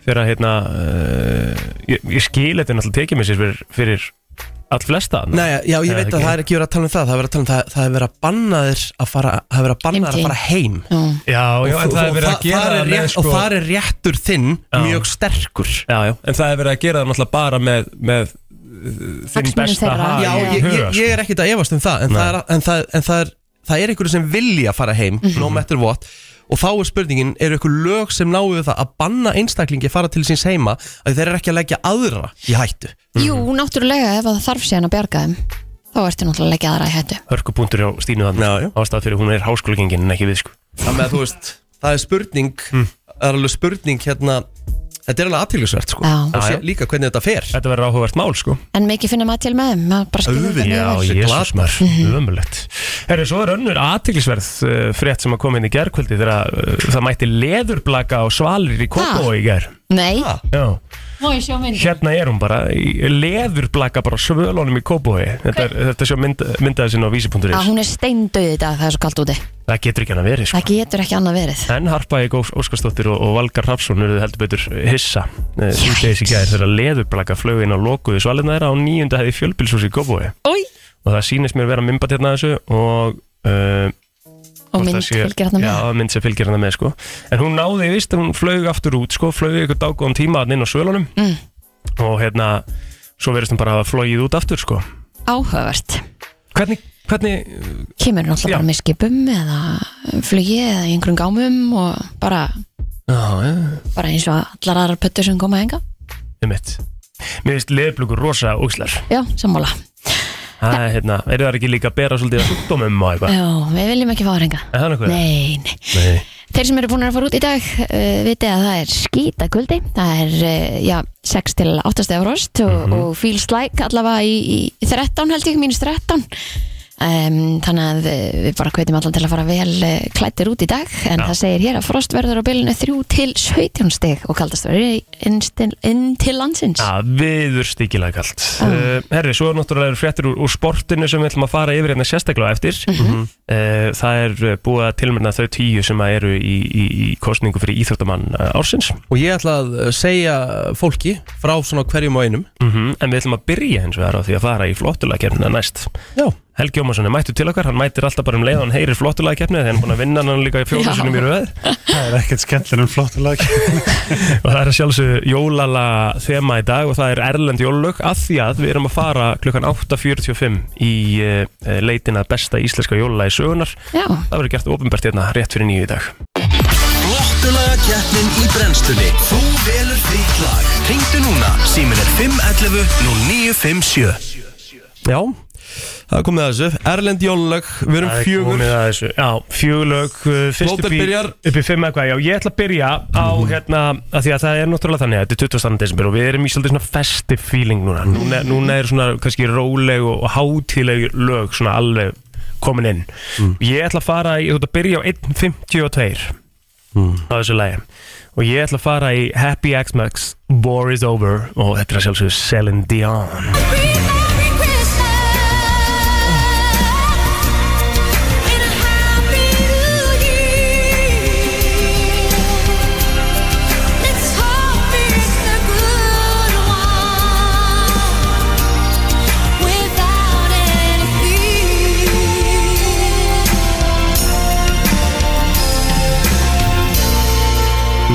Speaker 1: fyrir að hérna, uh, ég, ég skil þetta er náttúrulega tekið mér sér fyrir, fyrir all flesta þarna.
Speaker 2: Nei, já, ég
Speaker 1: Nei,
Speaker 2: veit
Speaker 1: ekki.
Speaker 2: að það er ekki verið að tala um það það er verið að tala um það, það er verið að banna þér að fara, það er verið að banna þér að
Speaker 4: Heimkynni.
Speaker 2: fara heim
Speaker 4: Já.
Speaker 1: Já, já, en
Speaker 2: Og-
Speaker 1: það
Speaker 2: og
Speaker 1: er verið að
Speaker 2: þa-
Speaker 1: gera
Speaker 2: þar er
Speaker 1: það með
Speaker 2: rétt-
Speaker 1: sko
Speaker 2: og þar er réttur þinn
Speaker 1: Já.
Speaker 2: mjög sterkur
Speaker 1: Já, já, en það er verið að gera það náttúrulega bara með, með uh, þinn
Speaker 4: Hagsmunir
Speaker 1: besta
Speaker 4: þeirra.
Speaker 1: hag
Speaker 2: Já,
Speaker 1: í
Speaker 2: ég, ég,
Speaker 1: huga, sko.
Speaker 2: ég er ekkert að efast um það en, það er, en, það, en það, er, það er einhverju sem vilja fara heim
Speaker 1: Mhm.
Speaker 2: no matter what og þá er spurningin, eru einhver lög sem náu við það að banna einstaklingi að fara til síns heima að þeir eru ekki að leggja aðra í hættu
Speaker 4: Jú, náttúrulega ef að það þarf síðan að bjarga þeim þá ertu náttúrulega að leggja aðra í hættu
Speaker 1: hörkupunktur hjá Stínu þannig
Speaker 2: Já, já.
Speaker 1: ástæð fyrir hún er háskólagengin en ekki við sko
Speaker 2: þannig að þú veist, það er spurning
Speaker 1: Mm.
Speaker 2: það er alveg spurning hérna þetta er alveg aðtilsvært sko
Speaker 4: Já.
Speaker 2: og
Speaker 1: Já,
Speaker 2: sé,
Speaker 1: já.
Speaker 2: líka hvernig þetta fer
Speaker 1: Þetta verður áhugavert mál sko
Speaker 4: En mikið finna maður til með þeim maður bara skilur
Speaker 2: Auðvitað,
Speaker 4: hvernig
Speaker 1: Já,
Speaker 4: það er.
Speaker 2: Þessi
Speaker 1: jésus
Speaker 2: glatmar.
Speaker 1: maður,
Speaker 4: Mhm.
Speaker 1: ömulegt Herru, svo er önnur aðtiklisverð uh, frétt sem að koma inn í gerkvöldi þegar uh, það mætti leðurblaka á svalir í Kópó í ger
Speaker 4: Nei,
Speaker 2: Ha?
Speaker 1: Já,
Speaker 4: má ég sjá mynd
Speaker 1: hérna er hún bara í leðurblaka bara á svölunum í Kópói Þetta, er- þetta er svo mynd, myndaði sinna á
Speaker 4: að
Speaker 1: vísi.is
Speaker 4: hún er steindauð í dag, það er svo kalt úti
Speaker 1: Það getur ekki hann að verið sko
Speaker 4: það getur ekki annað verið
Speaker 1: En Harpa Eik Ós- Óskarsdóttir og, og Valgar Hrafsson eruðu heldur betur hissa Útlegis í gæðir þegar leðurblaka flög inn á lokuðu svalina þeirra á nýjunda hefði fjölbilsús í Kópói
Speaker 4: Ói,
Speaker 1: og það sýnist mér vera mymbat hérna þessu og uh,
Speaker 4: og
Speaker 1: hvort
Speaker 4: mynd
Speaker 1: það sé-
Speaker 4: fylgir hann með
Speaker 1: Já, mynd sem fylgir hérna með sko En hún náði vist, hún flög aftur út sko flög ykkur dágóðum tíma hann inn á svölunum
Speaker 4: Mm.
Speaker 1: og hérna svo verðist hún bara að hafa flogið út aftur sko
Speaker 4: áhugavert,
Speaker 1: Hvernig, hvernig
Speaker 4: kemur
Speaker 1: Já.
Speaker 4: náttúrulega bara með skipum eða flugi eða í einhverjum gámum og bara,
Speaker 1: Já, já,
Speaker 4: bara eins og allar aðrar pöttur sem koma enga,
Speaker 1: um mitt Mér finnst leðblugur rosa úkslar
Speaker 4: já, sammála
Speaker 1: Það er hérna, eru það ekki líka að bera svolítið að sjúkdómum og eitthvað
Speaker 4: já, við viljum ekki fá það enga
Speaker 1: Er það nokkuð?
Speaker 4: nei, nei
Speaker 1: Nei
Speaker 4: Þeir sem eru búin að fara út í dag uh, viti að það er skýta kvöldi það er uh, já, 6 til 8 stegar rost og, og feels like allavega í, í 13 held ég, mínus 13 um, þannig að uh, við bara kveitum allan til að fara vel uh, klættir út í dag en það segir hér að frost verður á bylunu 3 til 17 steg og kaldast verður inn, inn, inn til landsins
Speaker 1: Já, viður stíkilega kalt
Speaker 4: Ah.
Speaker 1: uh, Herri, svo er náttúrulega fréttir úr, úr sportinu sem við ætlum að fara yfir hérna sérstaklega á eftir uh, Það er uh, búið að tilmynda þau tíu sem að eru í, í, í kostningu fyrir íþjóttamann ársins
Speaker 2: og ég ætla að uh, segja fólki frá svona hverjum og einum
Speaker 1: mm En við ætlum að byrja hins vegar á því að fara í flottulega næst
Speaker 2: já,
Speaker 1: Helgi Ómarsson er mættur til okkar, hann mætir alltaf bara um leið og hann heyrir flottulega kefni þegar hann er búin að vinna hann líka í fjóru
Speaker 4: Já.
Speaker 1: sinum í röð
Speaker 7: Það er ekkert skemmtilega um en flottur lag
Speaker 1: og það er sjálfsög jólala þema í dag og það er erlend jólög að því að við erum að fara klukkan 8.45 í uh, leitina besta íslenska jólala í sögunar
Speaker 4: Já,
Speaker 1: það verður gert ofinbært hérna rétt fyrir nýju í dag
Speaker 3: Flottulaga keppnin í brennstunni Þú velur þitt lag Ringdu núna, símin er 511 0957
Speaker 2: já það er komið að þessu, Erlend Jónlög við erum
Speaker 1: Það er
Speaker 2: fjögur
Speaker 1: komið að þessu. Já, fjögulög uh, Fyrst
Speaker 2: Blóter
Speaker 1: upp í,
Speaker 2: byrjar. Mhm.
Speaker 1: upp í fimm eitthvað Já, ég ætla að byrja á hérna að Því að það er náttúrulega þannig að Þetta er 20. desember og við erum í svolítið svona festive feeling núna
Speaker 2: Mhm.
Speaker 1: Núna, núna er svona kannski róleg og hátíleg lög Svona alveg komin inn
Speaker 2: Mhm.
Speaker 1: Ég ætla að fara í, þú ætla að byrja á 1.52
Speaker 2: Mhm.
Speaker 1: Á þessu lagi Og ég ætla að fara í Happy X-Max War is over Og þetta er að sjálfsögðu Celine Dion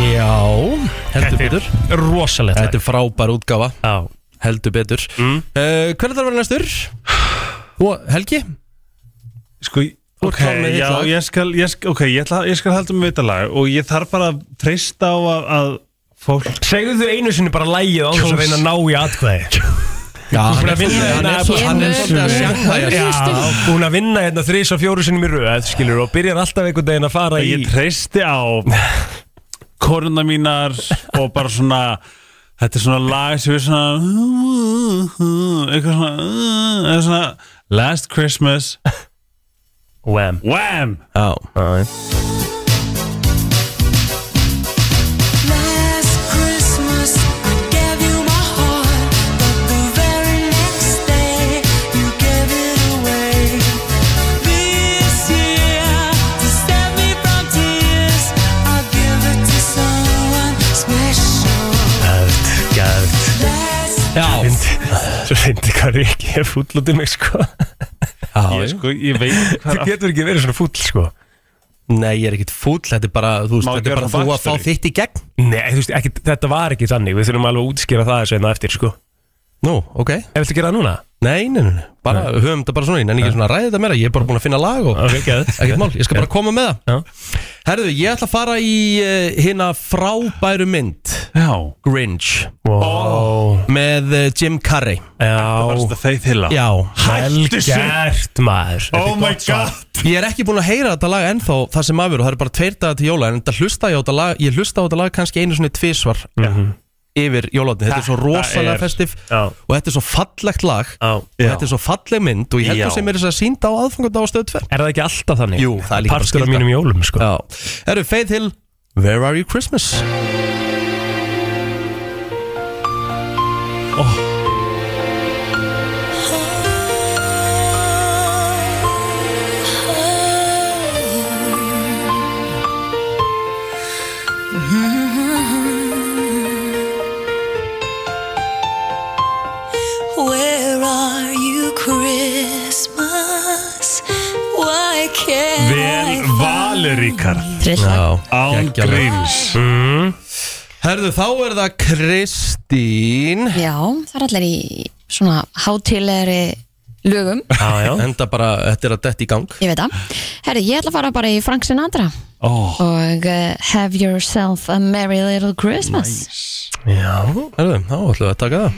Speaker 2: já, heldur
Speaker 1: Þetta
Speaker 2: betur
Speaker 1: er rosalegt
Speaker 2: þetta er frábær útgafa,
Speaker 1: Já
Speaker 2: heldur betur mm. hvernig það verður næstur? og Helgi?
Speaker 7: Sko,
Speaker 2: Þú ert
Speaker 7: ok,
Speaker 2: klár með þitt
Speaker 7: já,
Speaker 2: lag.
Speaker 7: ég skal, ég skal, ok, ég, ætla, ég skal halda með þetta lag og ég þarf bara að treysta á að, að fólk
Speaker 1: Segðu þau einu sinni bara lægið á þess að reyna að ná í atkvæði
Speaker 2: Já, hann
Speaker 1: Búin
Speaker 2: er
Speaker 1: að vinna
Speaker 2: svolítið- hann er
Speaker 1: hérna-
Speaker 2: svolítið- hann er svolítið að sjanga
Speaker 1: Já, búin að vinna hérna þrís og fjóru sinni í röð skilur og byrjar alltaf einhvern daginn að fara í
Speaker 7: Ég treysti á koruna mínar og bara svona þetta er svona lag sem er svona eitthvað svona, eitthvað svona Last Christmas
Speaker 1: Wham
Speaker 7: Wham!
Speaker 2: Já,
Speaker 8: Last Christmas I gave you my heart, but the very next day you gave it away. This year to save me from tears, I'll give it to someone special.
Speaker 1: Gæðt, gæðt
Speaker 8: Last
Speaker 2: já,
Speaker 1: Svo reyndi hvað Rikki er fúll út í mig sko
Speaker 2: já
Speaker 7: Ég, sko, ég veit ekki hvað
Speaker 1: Þú getur ekki verið svona fúll sko
Speaker 2: Nei, ég er ekkit fúll, þetta er bara, þú veist,
Speaker 7: Má
Speaker 2: þetta er
Speaker 7: gera
Speaker 2: bara
Speaker 7: það
Speaker 2: þú að fá
Speaker 7: backstory.
Speaker 2: þitt í gegn
Speaker 1: Nei, þú veist, ekki, þetta var ekki þannig Við þurfum alveg að útskýra það þessu enn eftir sko
Speaker 2: Nú, ok
Speaker 1: Ef viltu gera það núna?
Speaker 2: Nei, nei, nei, nei, bara höfum þetta bara svona í En ekki svona að ræða þetta meira, ég er bara búin að finna lag og
Speaker 1: Ok, gæðt
Speaker 2: Ekkert mál, ég skal bara koma með það
Speaker 1: Já.
Speaker 2: Herðu, ég ætla að fara í uh, hérna frábæru mynd
Speaker 7: Já,
Speaker 2: Grinch
Speaker 1: Wow
Speaker 2: með uh, Jim Carrey
Speaker 7: það er
Speaker 1: Já
Speaker 7: þetta þeir þilla
Speaker 2: Já,
Speaker 1: Hættu Gert maður Þetta er
Speaker 7: Oh my
Speaker 1: gott svar.
Speaker 7: god
Speaker 2: ég er ekki búin að heyra þetta lag ennþá það sem afur og það er bara tveir dagar til jóla en þetta hlusta ég á þetta lag, ég hlusta á þetta lag kannski einu svona tvísvar yfir jólatni, þetta er svo rosalega
Speaker 7: er-
Speaker 2: festiv
Speaker 1: Mhm. Já.
Speaker 2: og þetta er svo fallegt lag
Speaker 1: Já.
Speaker 2: og þetta er svo falleg mynd og ég held
Speaker 7: Já.
Speaker 2: þú sem er þess að sínda á aðfangandag á stöð 2
Speaker 1: Er það ekki alltaf þannig?
Speaker 2: Jú, það er líka bara
Speaker 1: Partur af
Speaker 2: skylda.
Speaker 1: mínum jólum sko
Speaker 2: Já, eru Faith Hill Where Are You Christmas
Speaker 8: Where are you, Christmas? Why can't I
Speaker 7: Vel
Speaker 8: find
Speaker 7: valur ykkar
Speaker 4: Trilla
Speaker 7: Án
Speaker 2: Geggjað lag.
Speaker 7: gríns
Speaker 1: Mhm.
Speaker 2: Herðu, þá er það Kristín
Speaker 4: Já, það er allir í svona hátilegri lögum,
Speaker 1: Já, já
Speaker 2: Enda bara, þetta er að detta í gang
Speaker 4: ég veit það Herri, ég ætla að fara bara í Frank Sinatra
Speaker 7: Ó,
Speaker 4: og uh, Have Yourself a Merry Little Christmas
Speaker 1: Já
Speaker 2: Herðu, þá ætlum við að taka það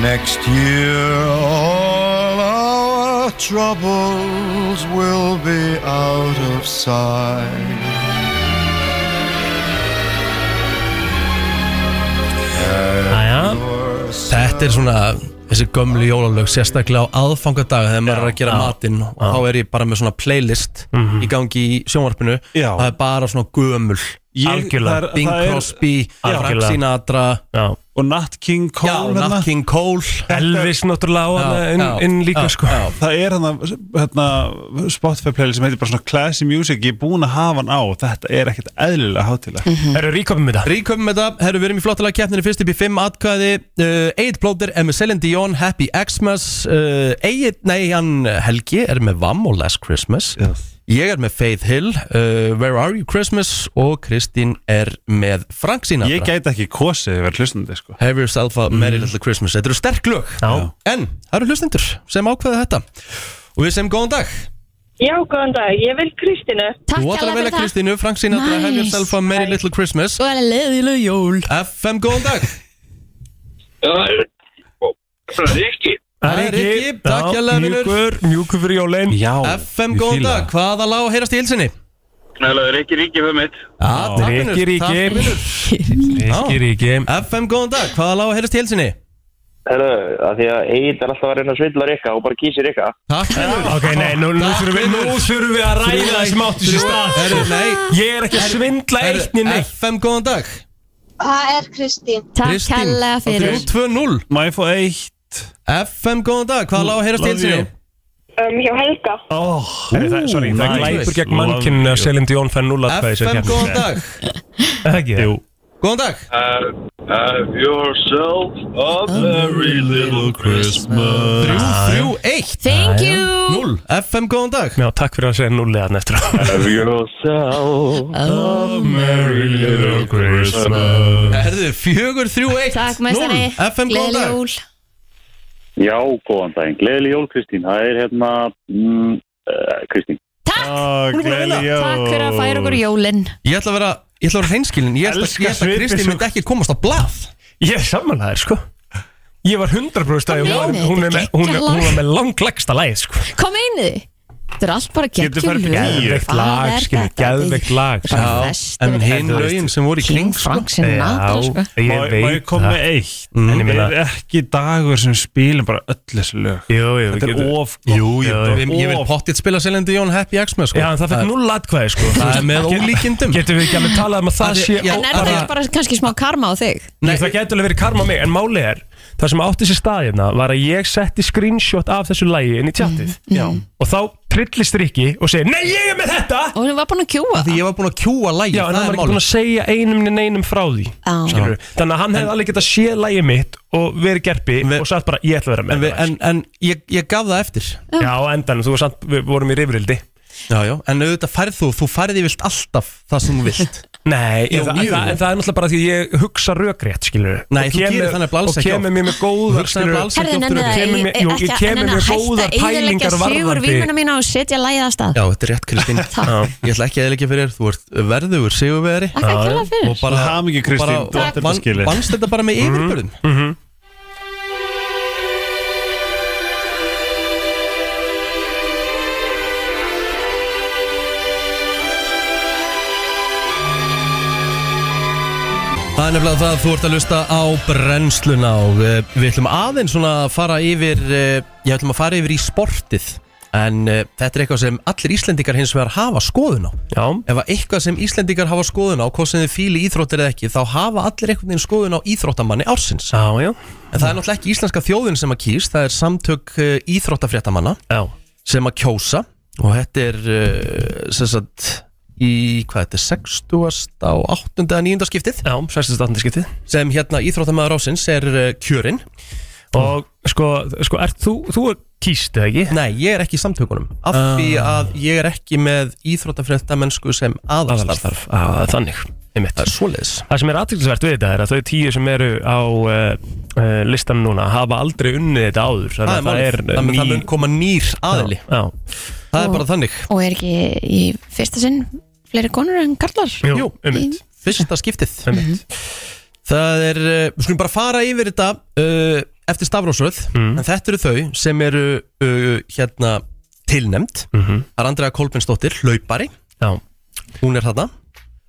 Speaker 9: Next year, all our troubles will be out of sight.
Speaker 1: Já,
Speaker 2: Þetta er svona þessi gömlu jólalög sérstaklega á aðfangadag þegar maður er að gera
Speaker 1: já,
Speaker 2: matinn og þá er ég bara með svona playlist í gangi í sjónvarpinu
Speaker 7: Mhm. Já.
Speaker 2: það er bara svona gömul
Speaker 7: ég,
Speaker 1: Algjörlega.
Speaker 7: það er-
Speaker 2: Bing
Speaker 7: það er-
Speaker 2: Crosby, Frank
Speaker 1: Algjörlega.
Speaker 2: Sinatra
Speaker 1: já
Speaker 7: Og Nat King Cole
Speaker 2: Já,
Speaker 7: hérna.
Speaker 2: Nat King Cole
Speaker 1: Elvis náttúrulega á hana
Speaker 2: Já,
Speaker 1: inn,
Speaker 2: já,
Speaker 1: inn líka
Speaker 2: já,
Speaker 1: sko
Speaker 2: já.
Speaker 7: Það er hann hérna, Spotify playlist sem heitir bara svona Classy Music, ég er búin að hafa hann á þetta er ekkert eðlilega hátilega
Speaker 1: Eru ríkopið með það?
Speaker 2: Ríköfum með það, herru, við erum í flottilega keppninu fyrst upp í 5 atkvæði uh, Egil Plóter er með Celine Dion, Happy Xmas uh, Egil, nei, hann Helgi er með Vam og Last Christmas Ég er með Faith Hill, uh, Where Are You Christmas og Kristín er með Frank Sinatra
Speaker 7: Ég gæti ekki kosið verið hlustandi sko.
Speaker 2: Have yourself a merry
Speaker 7: Mhm.
Speaker 2: little Christmas Þetta eru sterk lög
Speaker 1: Já.
Speaker 2: En það eru hlustendur sem ákveða þetta Og við segjum góðan dag
Speaker 10: Já, góðan dag, ég vil Kristínu.
Speaker 4: Takk
Speaker 2: Þú ætlar
Speaker 4: alveg
Speaker 2: að velja
Speaker 4: fyrir það
Speaker 2: Kristínu, Frank Sinatra
Speaker 4: Nice.
Speaker 2: Have yourself a merry little Christmas
Speaker 4: Svo er leiðileg jól
Speaker 2: FM, góðan dag Það er Rikki, takk
Speaker 1: Já,
Speaker 2: hérlega, vinur.
Speaker 1: Mjúkur, mjúkur fyrir jólin
Speaker 7: Já,
Speaker 2: FM,
Speaker 7: ég
Speaker 2: góðan
Speaker 7: fíla
Speaker 2: dag, hvaða lág heyrast í hilsinni?
Speaker 5: Nælaður ekki ríkið fyrir mitt
Speaker 2: Já, takk, vinur,
Speaker 1: Rikki,
Speaker 2: takk,
Speaker 1: Rikki.
Speaker 2: vinur.
Speaker 1: Ríkki, ríkki
Speaker 2: FM, góðan dag, hvaða lág heyrast í hilsinni?
Speaker 5: Herru, að því að Egil er alltaf að reyna að svindla rikka og bara kísi rikka
Speaker 2: Takk, vinur
Speaker 1: Ok, nei, nú, nú,
Speaker 2: Takk,
Speaker 1: þurfum við,
Speaker 2: vinur.
Speaker 1: nú þurfum við að ræða það sem áttu sér stað
Speaker 2: Herru, nei
Speaker 1: Ég er ekki að svindla
Speaker 2: herru,
Speaker 1: eitt niður neitt
Speaker 2: FM, góðan dag
Speaker 8: Það er Kristín.
Speaker 4: Takk alveg fyrir
Speaker 2: 3-2-0
Speaker 7: Má ég fá eitt?
Speaker 2: FM, góðan dag, hvaða lág heyrast í
Speaker 7: Love you.
Speaker 2: hilsinni?
Speaker 10: Um, hjá Helga.
Speaker 7: Oh, er, það, sorry, það
Speaker 1: Það
Speaker 7: er
Speaker 2: nice.
Speaker 1: glæpur gegn
Speaker 7: Love
Speaker 1: mannkinn
Speaker 7: you.
Speaker 1: að Selin Dion fær 0 atkvæði
Speaker 2: FM, góðan dag
Speaker 1: Ekki? Jú
Speaker 2: Góðan dag
Speaker 5: Have yourself a very little Christmas
Speaker 2: 3-3-1
Speaker 4: Thank you
Speaker 2: 0 FM, góðan dag
Speaker 1: Já, takk fyrir að segja 0 eða eftir á
Speaker 5: Have yourself
Speaker 4: oh,
Speaker 1: Merry little Christmas
Speaker 2: Herðu, 4-3-1
Speaker 4: Takk meðstari
Speaker 2: 0 FM, góðan dag
Speaker 4: jól
Speaker 5: Já, góðan daginn, gleðileg jól Kristín Það er hérna mm, uh, Kristín
Speaker 7: Ó, gleðileg jól.
Speaker 4: Takk fyrir að færa okkur jólin
Speaker 2: Ég ætla að vera Ég ætla að vera hreinskilin Ég ætla
Speaker 7: Elska
Speaker 2: ég ætla að
Speaker 7: svipinn
Speaker 2: Kristi
Speaker 7: sem-
Speaker 2: myndi ekki komast á blað
Speaker 1: Ég er samanlæðir sko Ég var 100% að hún,
Speaker 4: Hvað meinið
Speaker 1: hún, er
Speaker 4: þetta?
Speaker 1: með- hún, er- hún var með langlegsta lægið sko
Speaker 4: Hvað meinið þið? Þetta er allt bara
Speaker 1: Getur farið upp í
Speaker 4: geggjum
Speaker 1: geðveikt lag, skilur, geðveikt lag,
Speaker 4: Bara
Speaker 1: já.
Speaker 4: flest
Speaker 1: En
Speaker 4: eru
Speaker 1: hin
Speaker 4: þetta,
Speaker 1: lögin
Speaker 4: veist,
Speaker 1: sem voru í kring,
Speaker 4: King
Speaker 1: sko.
Speaker 4: Frank Sinatra
Speaker 1: Já,
Speaker 4: sko.
Speaker 1: ég
Speaker 7: Má- má ég
Speaker 1: veit
Speaker 7: koma
Speaker 1: það.
Speaker 7: með eitt?
Speaker 1: Mm. En ég meina-
Speaker 7: Það er ekki dagur sem við spilum bara öll þessu lög
Speaker 1: Jú, jú,
Speaker 7: Þetta er
Speaker 1: getur-
Speaker 7: of gott.
Speaker 1: Jú, jú,
Speaker 7: Þetta er
Speaker 1: jú.
Speaker 2: Ég, ég vil
Speaker 7: of-
Speaker 2: pottið spila Selendi Jón Happy X með sko
Speaker 1: Já, en það fekk
Speaker 2: er-
Speaker 1: null atkvæði sko
Speaker 2: Það er með ólíkindum
Speaker 1: Getum við ekki alveg talað um að það
Speaker 2: Það er-
Speaker 1: sé
Speaker 2: já,
Speaker 1: ó-
Speaker 4: En er það
Speaker 1: bara-
Speaker 4: ekki bara kannski smá karma á þig?
Speaker 1: Nei, það getur alveg verið karma á mig En máli er, það sem átti sér stað hérna Var að ég setti screenshot af þessu lægi inn í tjattið Og þá trillist Rikki og segir Nei, ég er með þetta
Speaker 4: Og hún var búin að kjúa
Speaker 2: Því ég var búin að kjúa lægi
Speaker 1: Já, en hann
Speaker 2: það
Speaker 1: var
Speaker 2: er
Speaker 1: ekki búin
Speaker 2: málið
Speaker 1: að segja einum en einum frá því
Speaker 4: Já.
Speaker 1: Skilurðu? Þannig að hann hefði alveg getað séð lægið mitt Og verið gerpi
Speaker 2: við-
Speaker 1: og sagt bara Ég ætla að vera
Speaker 2: En,
Speaker 1: með
Speaker 2: við, en, en ég, ég gaf það eftir
Speaker 1: en, Já, á endanum, þú var samt, við vorum í rifrildi
Speaker 2: já, já. En auðvitað færð þú, þú færði vilt alltaf það sem þú vilt
Speaker 1: Nei,
Speaker 2: Jú,
Speaker 1: en það,
Speaker 2: jú.
Speaker 1: það, en það er náttúrulega bara því ég hugsa rökrétt, skilur
Speaker 2: Nei, þú gerir það nefnilega alls
Speaker 1: Og
Speaker 2: ekki
Speaker 1: kemur
Speaker 2: oft.
Speaker 1: mér með góðar,
Speaker 2: Hugsa nefnilega alls
Speaker 4: Herðu,
Speaker 2: ekki oft
Speaker 4: nenni
Speaker 2: um-
Speaker 4: það
Speaker 1: Kemur mér-
Speaker 4: ekki
Speaker 1: jú,
Speaker 4: að
Speaker 1: ég kemur með
Speaker 4: nenni að hætta
Speaker 1: góðar
Speaker 4: að eyðileggja
Speaker 1: pælingar
Speaker 4: sigur
Speaker 1: varðandi-
Speaker 4: vínuna mína og setja lægið að stað
Speaker 2: Já, þetta er rétt Kristín Ég ætla ekki að eðlika fyrir þér, þú ert verðugur sigurveri
Speaker 4: Þakka ekki alveg fyrir
Speaker 2: Og bara,
Speaker 7: Hamingju,
Speaker 2: og bara
Speaker 7: Kristín, þú átt þetta
Speaker 2: vann-
Speaker 7: skilið.
Speaker 2: vannst þetta Mhm. bara með yfirbörðum Það er nefnilega það að þú ert að lusta á brennsluna og eh, við ætlum aðeins svona að fara yfir, eh, ég ætlum að fara yfir í sportið en eh, þetta er eitthvað sem allir Íslendingar hins vegar hafa skoðun á.
Speaker 1: Já,
Speaker 2: Ef að eitthvað sem Íslendingar hafa skoðun á, hvort sem þið fíli íþróttir eða ekki, þá hafa allir einhvern veginn skoðun á íþróttamanni ársins.
Speaker 1: já, já,
Speaker 2: En það er náttúrulega ekki íslenska þjóðin sem að kýst, það er samtök eh, íþróttafréttamanna
Speaker 1: já.
Speaker 2: sem að kjósa og þetta er eh, sem sagt í hvað þetta er 60. og 8. eða 9. skiptið
Speaker 1: Já, sérstast áttundiskiptið
Speaker 2: sem hérna íþróttamæður ásins er uh, kjörinn
Speaker 1: Og sko, sko er, þú, þú er kýst, eða ekki?
Speaker 2: Nei, ég er ekki í samtökunum af því
Speaker 1: Ah.
Speaker 2: að ég er ekki með íþróttafréttamennsku sem aðalstarf
Speaker 1: Aðalstarf, á, það er þannig einmitt.
Speaker 2: Það er svoleiðis
Speaker 1: Það sem er aðtilsvert við þetta er að þau tíu sem eru á uh, uh, listanum núna hafa aldrei unnið þetta áður
Speaker 2: Það er
Speaker 1: Þannig að það
Speaker 2: málið.
Speaker 1: er eh,
Speaker 2: Það mun- það mun koma nýr aðili
Speaker 1: Já,
Speaker 2: Það er bara þannig
Speaker 4: Og er ekki í fyrsta sinn fleiri konur en karlar?
Speaker 1: já, jú, einmitt,
Speaker 2: Fyrsta skiptið
Speaker 1: einmitt.
Speaker 2: Það er, uh, við skulum bara fara yfir þetta uh, eftir stafrósröð
Speaker 1: Mm.
Speaker 2: en þetta eru þau sem eru uh, hérna tilnefnd Það er Andrea Kolbensdóttir, hlaupari
Speaker 1: Mhm. Já,
Speaker 2: Hún er þarna
Speaker 1: það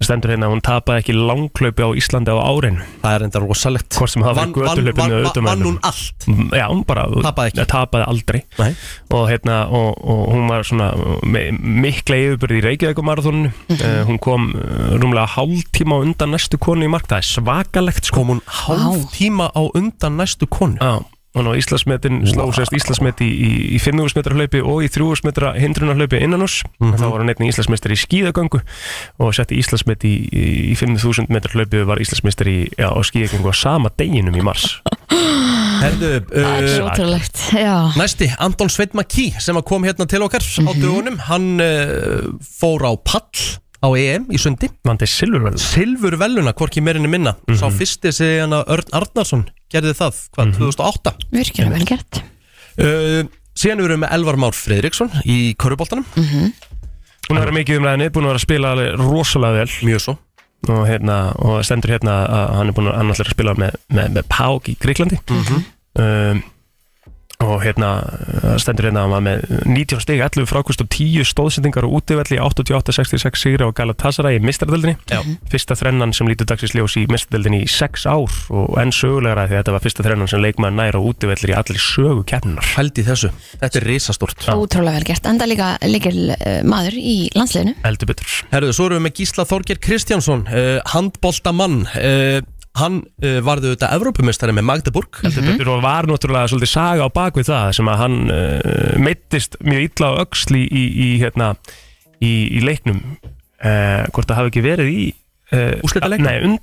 Speaker 1: stendur hérna að hún tapaði ekki langklaupi á Íslandi á árin
Speaker 2: Það er enda rosalegt
Speaker 1: Hvort sem það var
Speaker 2: Vann- vann-
Speaker 1: götuhlaupinu
Speaker 2: vann-
Speaker 1: eða utanmælum.
Speaker 2: Vann hún allt
Speaker 1: Já, hún bara
Speaker 2: Tapaði ekki.
Speaker 1: tapaði aldrei
Speaker 2: Nei.
Speaker 1: og, hérna, og, og hún var svona me- mikla yfirbyrði í Reykjavík á marathóninu
Speaker 2: Mhm.
Speaker 1: uh, hún kom uh, rúmlega hálftíma á undan næstu konu í mark það er svakalegt sko
Speaker 2: kom hún hálf tíma á undan næstu konu
Speaker 1: Já, hún á Íslandsmetin sló sérst Íslandsmet í, í, í 500 metra hlaupi og í 300 metra hindrunar hlaupi innan oss þá var hún einnig Íslandsmestari í skíðagöngu og setti Íslandsmet í, í 5000 metra hlaupi og var Íslandsmestari í- já, á skíðagöngu á sama deginum í mars Ah.
Speaker 2: Herðu,
Speaker 4: Það er
Speaker 2: uh,
Speaker 4: svo ótrúlegt, já
Speaker 2: næsti, Anton Sveit Makí sem að kom hérna til okkar á dögunum hann uh, fór á pall á EM í sundi
Speaker 1: Vandi Silvervel
Speaker 2: Silfur veluna, hvorki meirinni minna sá fyrsti segjan að Örn Arnarsson gerði það, hvað, 2008
Speaker 4: Virkilega vel gert
Speaker 2: uh, síðan við erum við með Elvar Már Friðriksson í Köruboltanum,
Speaker 1: Búin að vera mikið um ræðinni, búin að vera að spila alveg rosalega vel
Speaker 2: mjög svo
Speaker 1: og, hérna, og stendur hérna að hann er búin að hann ætlar að spila með, með, með Pák í Greiklandi um, og hérna það stendur hérna að hann var með 19 stig, 11 frákvist og 10 stóðsendingar og útivelli 88-66 sigri á Galatasaray í mistardöldinni
Speaker 2: Mhm.
Speaker 1: fyrsta þrennan sem lítur dagsins ljós í mistardöldinni í 6 ár og enn sögulegra því þetta var fyrsta þrennan sem leikmaður nær á útivelli í allir sögu keppnunar
Speaker 2: held í þessu, þetta er risastort
Speaker 4: Ótrúlega vel gert Enda líka leikil uh, maður í landsliðinu
Speaker 1: heldur betur
Speaker 2: Herðu, svo erum við með Gísla Þorger Kristjánsson uh, handboltamann uh, hann uh, varði auðvitað Evrópumestari með Magdeburg
Speaker 1: Þetta mm. var náttúrulega svolítið saga á bakvið það sem að hann uh, meittist mjög illa á öxli í, í, hérna, í, í leiknum uh, hvort það hafi ekki verið í uh,
Speaker 2: Úrslitaleiknum?
Speaker 1: Nei, undanúrslitaleiknum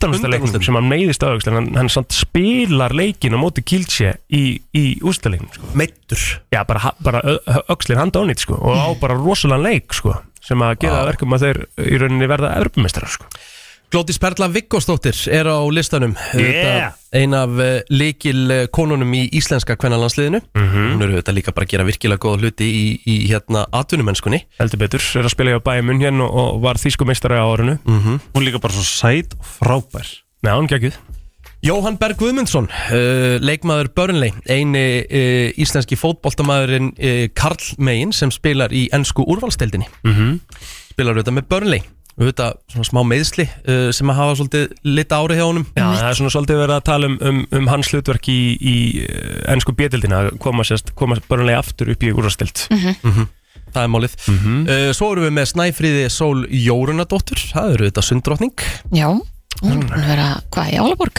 Speaker 2: Undanúrslitaleiknum.
Speaker 1: sem hann meiðist á öxli en hann, hann samt spilar leikin á móti kýldsje í, í úrslitaleiknum sko.
Speaker 2: meittur
Speaker 1: Já, bara, ha- bara ö- ö- öxlin handa ónýtt sko, og á bara rosalega leik sko, sem að gera
Speaker 2: Vá.
Speaker 1: wow. verkum að þeir í rauninni verða erfumestrar sko.
Speaker 2: Glótis Perla Viggósdóttir er á listanum
Speaker 1: Yeah.
Speaker 2: Auðvitað ein af uh, leikil uh, konunum í íslenska kvennalandsliðinu
Speaker 1: Mhm.
Speaker 2: hún er auðvitað líka bara að gera virkilega góða hluti í, í hérna atvinnumennskunni
Speaker 1: heldur betur, er að spila hjá bæjum unn hérna og,
Speaker 7: Mhm.
Speaker 1: og var þýskumeistari á árinu
Speaker 7: Hún er líka bara svo sæt og frábær
Speaker 1: Nei, hann gekkið
Speaker 2: Jóhann Berg Guðmundsson, uh, leikmaður Burnley, eini uh, íslenski fótboltamaðurinn uh, Karl Megin sem spilar í ennsku úrvalsteldinni.
Speaker 1: Mhm.
Speaker 2: Spilar auðvitað með Burnley, auðvitað svona smá meðsli uh, sem að hafa svolítið lit ári hjá honum.
Speaker 1: Já, það er svona svolítið verið að tala um, um, um hans hlutverk í, í eh, ensku bjöldildina að koma, sérst, koma börnlega aftur upp í úrvastild
Speaker 2: Mhm. Það er málið.
Speaker 1: Mhm.
Speaker 2: uh, svo erum við með Snæfríði Sól Jórunadóttur, það eru auðvitað sunddrottning.
Speaker 4: Já, hún
Speaker 1: Mm.
Speaker 4: er búin að vera, hvað, í Álaborg?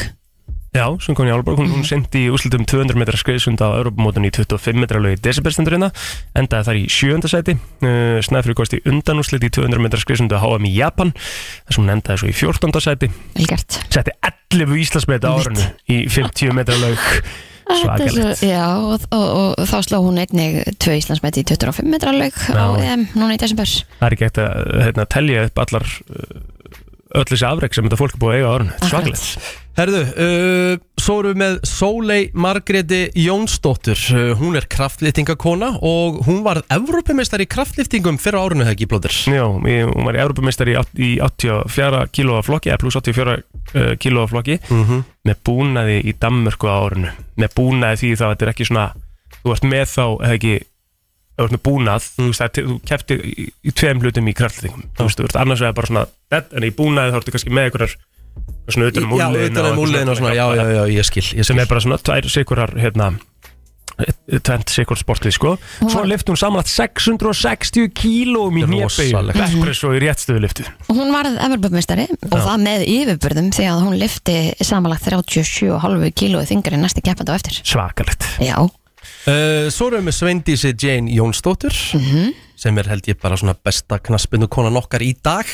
Speaker 1: Já, sem kom í Álborg, hún, hún sendi í úrslitum 200 metra skriðsund á Europamótun í 25 metra lögi desemberstendurina, endaði þar í sjöunda sæti, uh, Snæfri kosti undanúrslit í 200 metra skriðsund á HM í Japan, þess að hún endaði svo í 14. sæti.
Speaker 4: Velgert.
Speaker 1: Setti 11 íslasmet á árunni í 50 metra lög,
Speaker 4: Ah, Þetta er
Speaker 1: svakalegt.
Speaker 4: svo- Já, og, og, og, þá sló hún einnig tvö Íslandsmeti í 25 metra laug á
Speaker 1: Já.
Speaker 4: EM núna í desember.
Speaker 1: Það er ekki hægt að hérna, telja upp allar uh, öll þessi afreg sem þetta fólk er búið að eiga á árunni, Þetta er
Speaker 4: Akkurat.
Speaker 1: svakalegt.
Speaker 2: Herðu, uh, svo erum við með Sólei Margreti Jónsdóttir uh, Hún er kraftlýtingakona og hún var Evrópumeistar í kraftlýftingum fyrir árunu þegar ekki blóður
Speaker 1: Já, ég, hún var í Europameistari í átt- í 84 kílóa flokki, eða pluss 84 uh, kílóa flokki,
Speaker 2: Mhm.
Speaker 1: með búnaði í Danmörku á árinu. Með búnaði því þá, þetta er ekki svona, þú ert með þá, eða ekki, þú ert með búnað,
Speaker 2: Mm.
Speaker 1: þú veist, það, er til- þú keftir í, í tveim hlutum í kraftlýtingum. Þú veist, þú ert annars vegar bara svona, þetta, en í búnaði þá ertu kannski með einhverjar, svona utan um
Speaker 2: Já,
Speaker 1: úlliðina.
Speaker 2: utan um
Speaker 1: eitthvað
Speaker 2: úlliðina og svona, já, já, já, ég skil, ég skil.
Speaker 1: Sem er bara svona tvær sikurar, hérna, tvent sikur sportið, sko.
Speaker 4: Hún
Speaker 1: Svo
Speaker 4: var-
Speaker 1: lyfti hún samanlagt 660 kílóm í hnébegju,
Speaker 2: Rosalegt.
Speaker 1: backpress og í réttstöðuliftu.
Speaker 4: Hún varð Evrópumestari og
Speaker 1: Já.
Speaker 4: það með yfirbörðum því að hún lifti samanlagt 37,5 kílói þingri næsti keppandi á eftir.
Speaker 1: Svakalegt.
Speaker 4: Já,
Speaker 2: uh, Svo erum við með Sveindísi Jane Jónsdóttir Sem er held ég bara svona besta knaspinu konan okkar í dag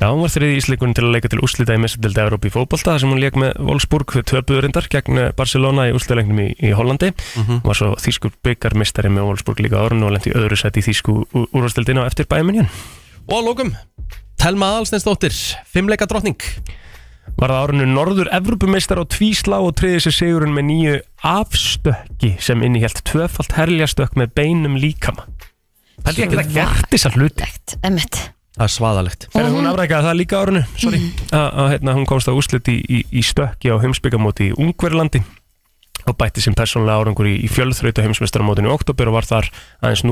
Speaker 1: Já, hún var þriði ísleikunum til að leika til úslita í mestadildi Európi í fótbolta, þar sem hún leik með Wolfsburg við töpuðurindar gegn eh, Barcelona í úslitalegnum í, í Hollandi. Hún var svo þýskur byggarmistari með Wolfsburg líka árun og lendi öðru sæti í þýsku úrvastildinu á eftir bæminjön.
Speaker 2: Og að lókum, Telma Aðalsteinsdóttir, fimmleika drottning
Speaker 1: Var það árunnu norður Evrópumeistar á tvíslá og triði sér sigurinn með nýju afstökki sem innihjælt tvöfalt herljastökk með beinum líkama. Pældi ég ekki að gert þessa hluti.
Speaker 4: emmitt.
Speaker 2: Það er svaðalegt
Speaker 1: Þegar hún afrækjaði það líka árunnu, sorry, að að, hérna, hún komst á úslit í, í, í stökki á heimsbyggamóti í Ungverlandi og bætti sem persónulega árangur í, í fjölþrautu heimsmeistaramótinu í oktober og var þar aðeins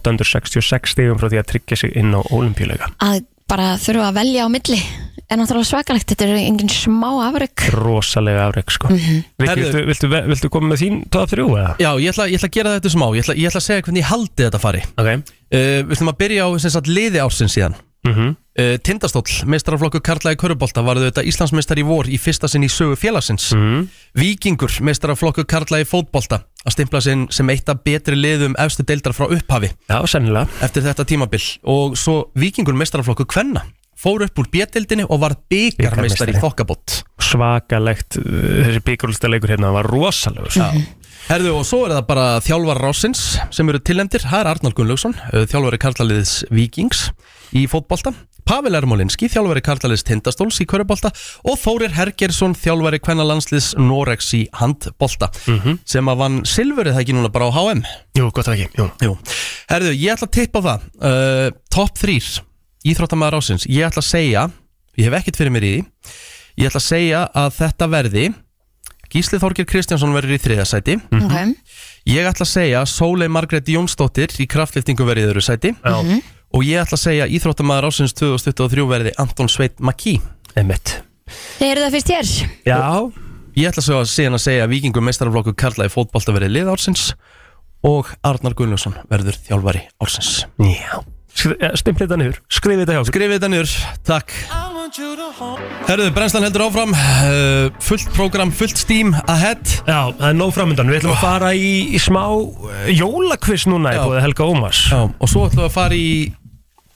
Speaker 1: 0,866 stegum frá því að tryggja sig inn á olimpíuleika.
Speaker 4: Að bara þurfa að velja á milli er náttúrulega svakalegt. Þetta eru engin smá afrygg.
Speaker 1: Rosalega afrek, sko. Rikki,
Speaker 2: Herðu.
Speaker 1: viltu, viltu, viltu koma með þín top 3 eða?
Speaker 2: Já, ég ætla, ég ætla að gera þetta smá, ég ætla, ég ætla að segja hvernig ég haldi þetta fari
Speaker 1: Okay.
Speaker 2: uh, Við ætlum að byrja á sem sagt, liði ársins síðan
Speaker 1: Mm
Speaker 2: Uh, Tindastóll, meistaraflokkur Karla í Körubolta varðu þetta Íslandsmeistar í vor í fyrsta sinn í sögu félagsins
Speaker 1: Mhm.
Speaker 2: Víkingur, meistaraflokkur Karla í fótbolta að stimpla sinn sem eitt af betri liðum efstu deildar frá upphafi
Speaker 1: Já, sennilega.
Speaker 2: eftir þetta tímabil og svo Víkingur, meistaraflokkur Kvenna fór upp úr B-deildinni og var byggarmeistar
Speaker 1: Bikarmeistari.
Speaker 2: í þokkabót
Speaker 1: svakalegt uh, þessi byggjúlsta leikur hérna var rosalegur sko.
Speaker 2: Herðu og svo er það bara þjálfar Rásins sem eru tilnefndir, það er Arnald Gunnlaugsson uh, þjálfari karlaliðis Víkings í fótbolta, Pavel Ermolinski þjálfari karlaliðis Tindastóls í körubolta og Þórir Hergersson þjálfari kvennalandsliðs Norex í handbolta sem að vann silfurið það ekki núna bara á HM
Speaker 1: Jú, gott ekki, jú
Speaker 2: Jú. Herðu, ég ætla að tippa á það uh, Top 3 Íþróttamaður Rásins, ég ætla að segja ég hef ekkert fyrir mér í því ég ætla að segja að þetta verði Gísli Þorgir Kristjánsson verður í þriðasæti
Speaker 4: Ok,
Speaker 2: Ég ætla að segja Sólei Margrét Jónsdóttir í kraftliftingu verið í öðru sæti
Speaker 1: Já. Mhm.
Speaker 2: og ég ætla að segja Íþróttamaður ásins 2023 verði Anton Sveit Makí
Speaker 1: Emmett
Speaker 4: þið eru það fyrst hér.
Speaker 1: Já,
Speaker 2: Ég ætla svo að síðan að segja Víkingum meistaraflokku Karla í fótbolta verið lið ársins og Arnar Gunnljósson verður þjálfari ársins
Speaker 1: já Stimplið eh, þetta niður, skrifið þetta hjá okkur
Speaker 2: Skrifið þetta niður, takk Herðu, brennslan heldur áfram uh, fullt program, fullt steam ahead
Speaker 1: Já, það er nóg framöndan, við ætlum að fara í, í smá uh, jólakviss núna í
Speaker 2: Já.
Speaker 1: búið Helga Ómars
Speaker 2: Já, og svo ætlum við að fara í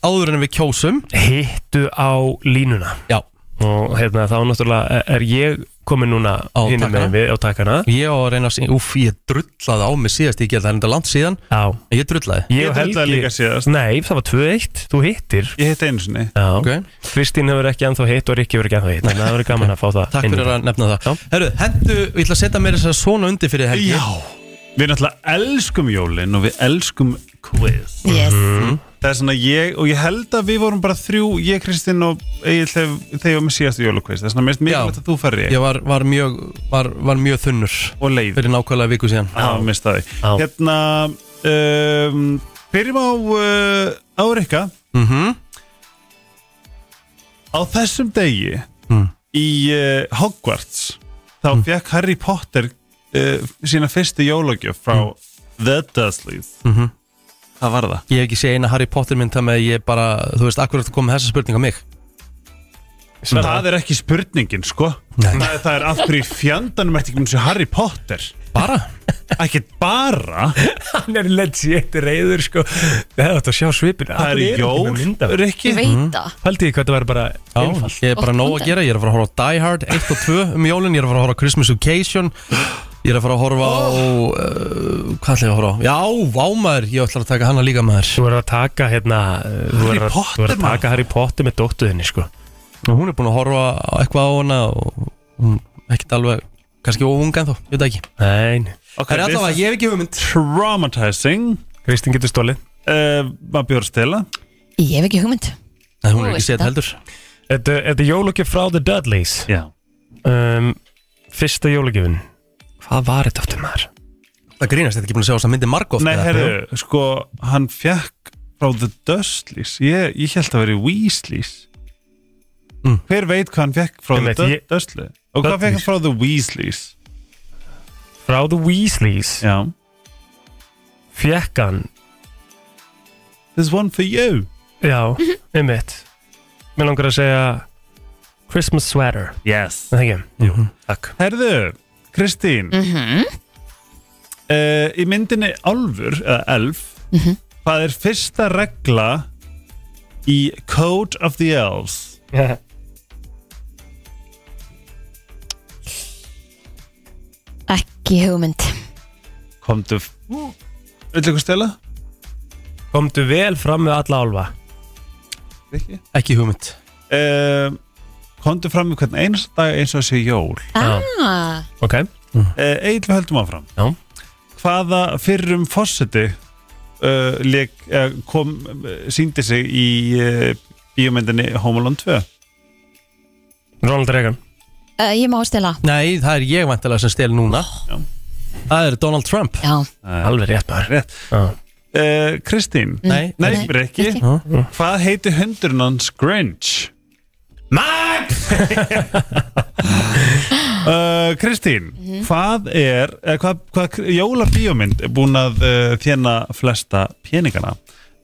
Speaker 2: áður en við kjósum
Speaker 1: Hittu á línuna
Speaker 2: Já,
Speaker 1: og hérna þá náttúrulega er ég komin núna
Speaker 2: Á
Speaker 1: hinum
Speaker 2: takkana.
Speaker 1: megin við á takkana
Speaker 2: ég á að reyna að segja, úf, ég drullaði á mig síðast, ég get það er enda langt síðan
Speaker 1: Já,
Speaker 2: Ég drullaði
Speaker 1: ég
Speaker 7: Ég
Speaker 1: og
Speaker 7: held að
Speaker 1: Helgi
Speaker 7: líka síðast
Speaker 1: Nei, það var 2-1, þú hittir
Speaker 7: Ég hitt einu sinni
Speaker 1: Já,
Speaker 2: Ok.
Speaker 1: Kristín hefur ekki anþá hitt og Rikki hefur ekki anþá hitt Þannig að það verður gaman að fá það
Speaker 2: Takk
Speaker 1: inn í
Speaker 2: fyrir að nefna það
Speaker 1: Já.
Speaker 2: Herru, hendu, ég ætla að setja mér þess að svona undir fyrir helgi
Speaker 7: Við náttúrulega elskum jólin og við elskum quiz
Speaker 4: Yes.
Speaker 7: Og Það er svona ég, og ég held að við vorum bara þrjú, ég, Kristinn og Egil þegar þegar ég var með síðastu jólukvist. Það er svona mest mikilvægt að þú ferri.
Speaker 2: Ég var, var, mjög, var, var mjög þunnur
Speaker 7: Og leið
Speaker 2: Fyrir nákvæmlega viku síðan
Speaker 7: Já, mista því Hérna, um, byrjum á uh, Árikka
Speaker 2: mm
Speaker 7: Mhm.
Speaker 2: -hmm.
Speaker 7: Á þessum degi í uh, Hogwarts þá fekk Harry Potter uh, sína fyrstu jólagjöf frá The Dursleys
Speaker 2: Mhm.
Speaker 7: Hvað var það?
Speaker 2: Ég hef ekki séð eina Harry Potter mynd þannig að ég bara, þú veist, akkur eftir að koma með þessa spurninga mig
Speaker 7: Það er ekki spurningin, sko það, er- það er af hverju í fjandanum ertu ekki með þessu Harry Potter
Speaker 2: Bara?
Speaker 7: Ekkert bara
Speaker 1: Hann er legit reyður sko Það er þetta að sjá svipin
Speaker 7: Það eru jól,
Speaker 1: Mhm.
Speaker 7: Rikki. Ég veit
Speaker 4: það.
Speaker 1: Haldi hvað þetta væri bara
Speaker 2: Já,
Speaker 1: einfalt.
Speaker 2: ég er bara
Speaker 1: Oft
Speaker 2: nóg
Speaker 1: bóndi.
Speaker 2: að gera, ég er að fara að horfa á Die Hard 1 og 2 um jólun, ég er að fara að horfa á Christmas Occasion Ég er að fara að horfa á, uh, hvað ætla ég að horfa á? Já, vámaður, ég ætla að taka hana líka maður
Speaker 1: Þú verður að taka hérna uh, Þú verður að- þú verður að taka Harry Potter með dóttuðinni sko
Speaker 2: Og hún er búin að horfa á eitthvað á hana og hún ekkert alveg, kannski óunga en þó, ég veit það ekki
Speaker 1: Nein
Speaker 7: Ok,
Speaker 2: Það er allavega, ég hef ekki hugmynd
Speaker 7: Traumatizing
Speaker 1: Kristinn getur stólið
Speaker 7: uh, Maður bjóður stela
Speaker 4: Ég hef ekki hugmynd
Speaker 2: Nei,
Speaker 4: hún er Þú ekki veist séð það.
Speaker 2: heldur
Speaker 1: Þetta þetta er jólugjöf frá The Dudleys
Speaker 7: Já
Speaker 1: um, Fyrsta jólugjöfin Hvað var þetta aftur maður?
Speaker 2: Það grínast, þetta er ekki búin að sjá þess að myndi margóft
Speaker 7: Nei, herru, sko, hann fekk frá The Dursleys Ég, ég held að veri Weasleys Hver veit hvað hann fekk frá
Speaker 1: Mm. Ég veit,
Speaker 7: The
Speaker 1: ég-
Speaker 7: Dursleys? Og hvað fekk hann frá The Weasleys?
Speaker 1: Frá The Weasleys
Speaker 7: Já
Speaker 1: Fjekk hann
Speaker 7: This one for you
Speaker 1: Já, einmitt Mér langar að segja Christmas sweater
Speaker 7: Yes
Speaker 1: Það ekki? Jú, takk
Speaker 7: Herðu, Kristín mm Í myndinni Álfur, eða Elf Hvað er fyrsta regla í Code of the Elves?
Speaker 4: Ekki hugmynd
Speaker 7: Komdu Viltu eitthvað stela?
Speaker 1: Komdu vel fram með alla álfa
Speaker 7: Rikki?
Speaker 2: Ekki hugmynd
Speaker 7: uh, Komdu fram með hvern einasta dag eins og þessi jól
Speaker 4: ah,
Speaker 1: Ok
Speaker 7: uh, Egil við höldum áfram
Speaker 1: Já.
Speaker 7: Hvaða fyrrum fórseti uh, leik, uh, kom, uh, síndi sig í uh, bíómyndinni Home Alone 2
Speaker 1: Ronald Reagan
Speaker 4: uh, Ég má stela
Speaker 2: Nei, það er ég vantilega sem stel núna
Speaker 7: Já.
Speaker 2: Það er Donald Trump
Speaker 4: Já,
Speaker 1: Alveg rétt maður
Speaker 7: Rétt
Speaker 1: Já.
Speaker 7: uh, Kristín
Speaker 2: Nei,
Speaker 7: Nei,
Speaker 4: Nei,
Speaker 7: Rikki
Speaker 4: Rikki.
Speaker 7: Hvað heiti hundurinn hans Grinch? Max! uh, Kristín, hvað er, eða hvað, hvað jólabíómynd er búin að uh, þjena flesta peningana?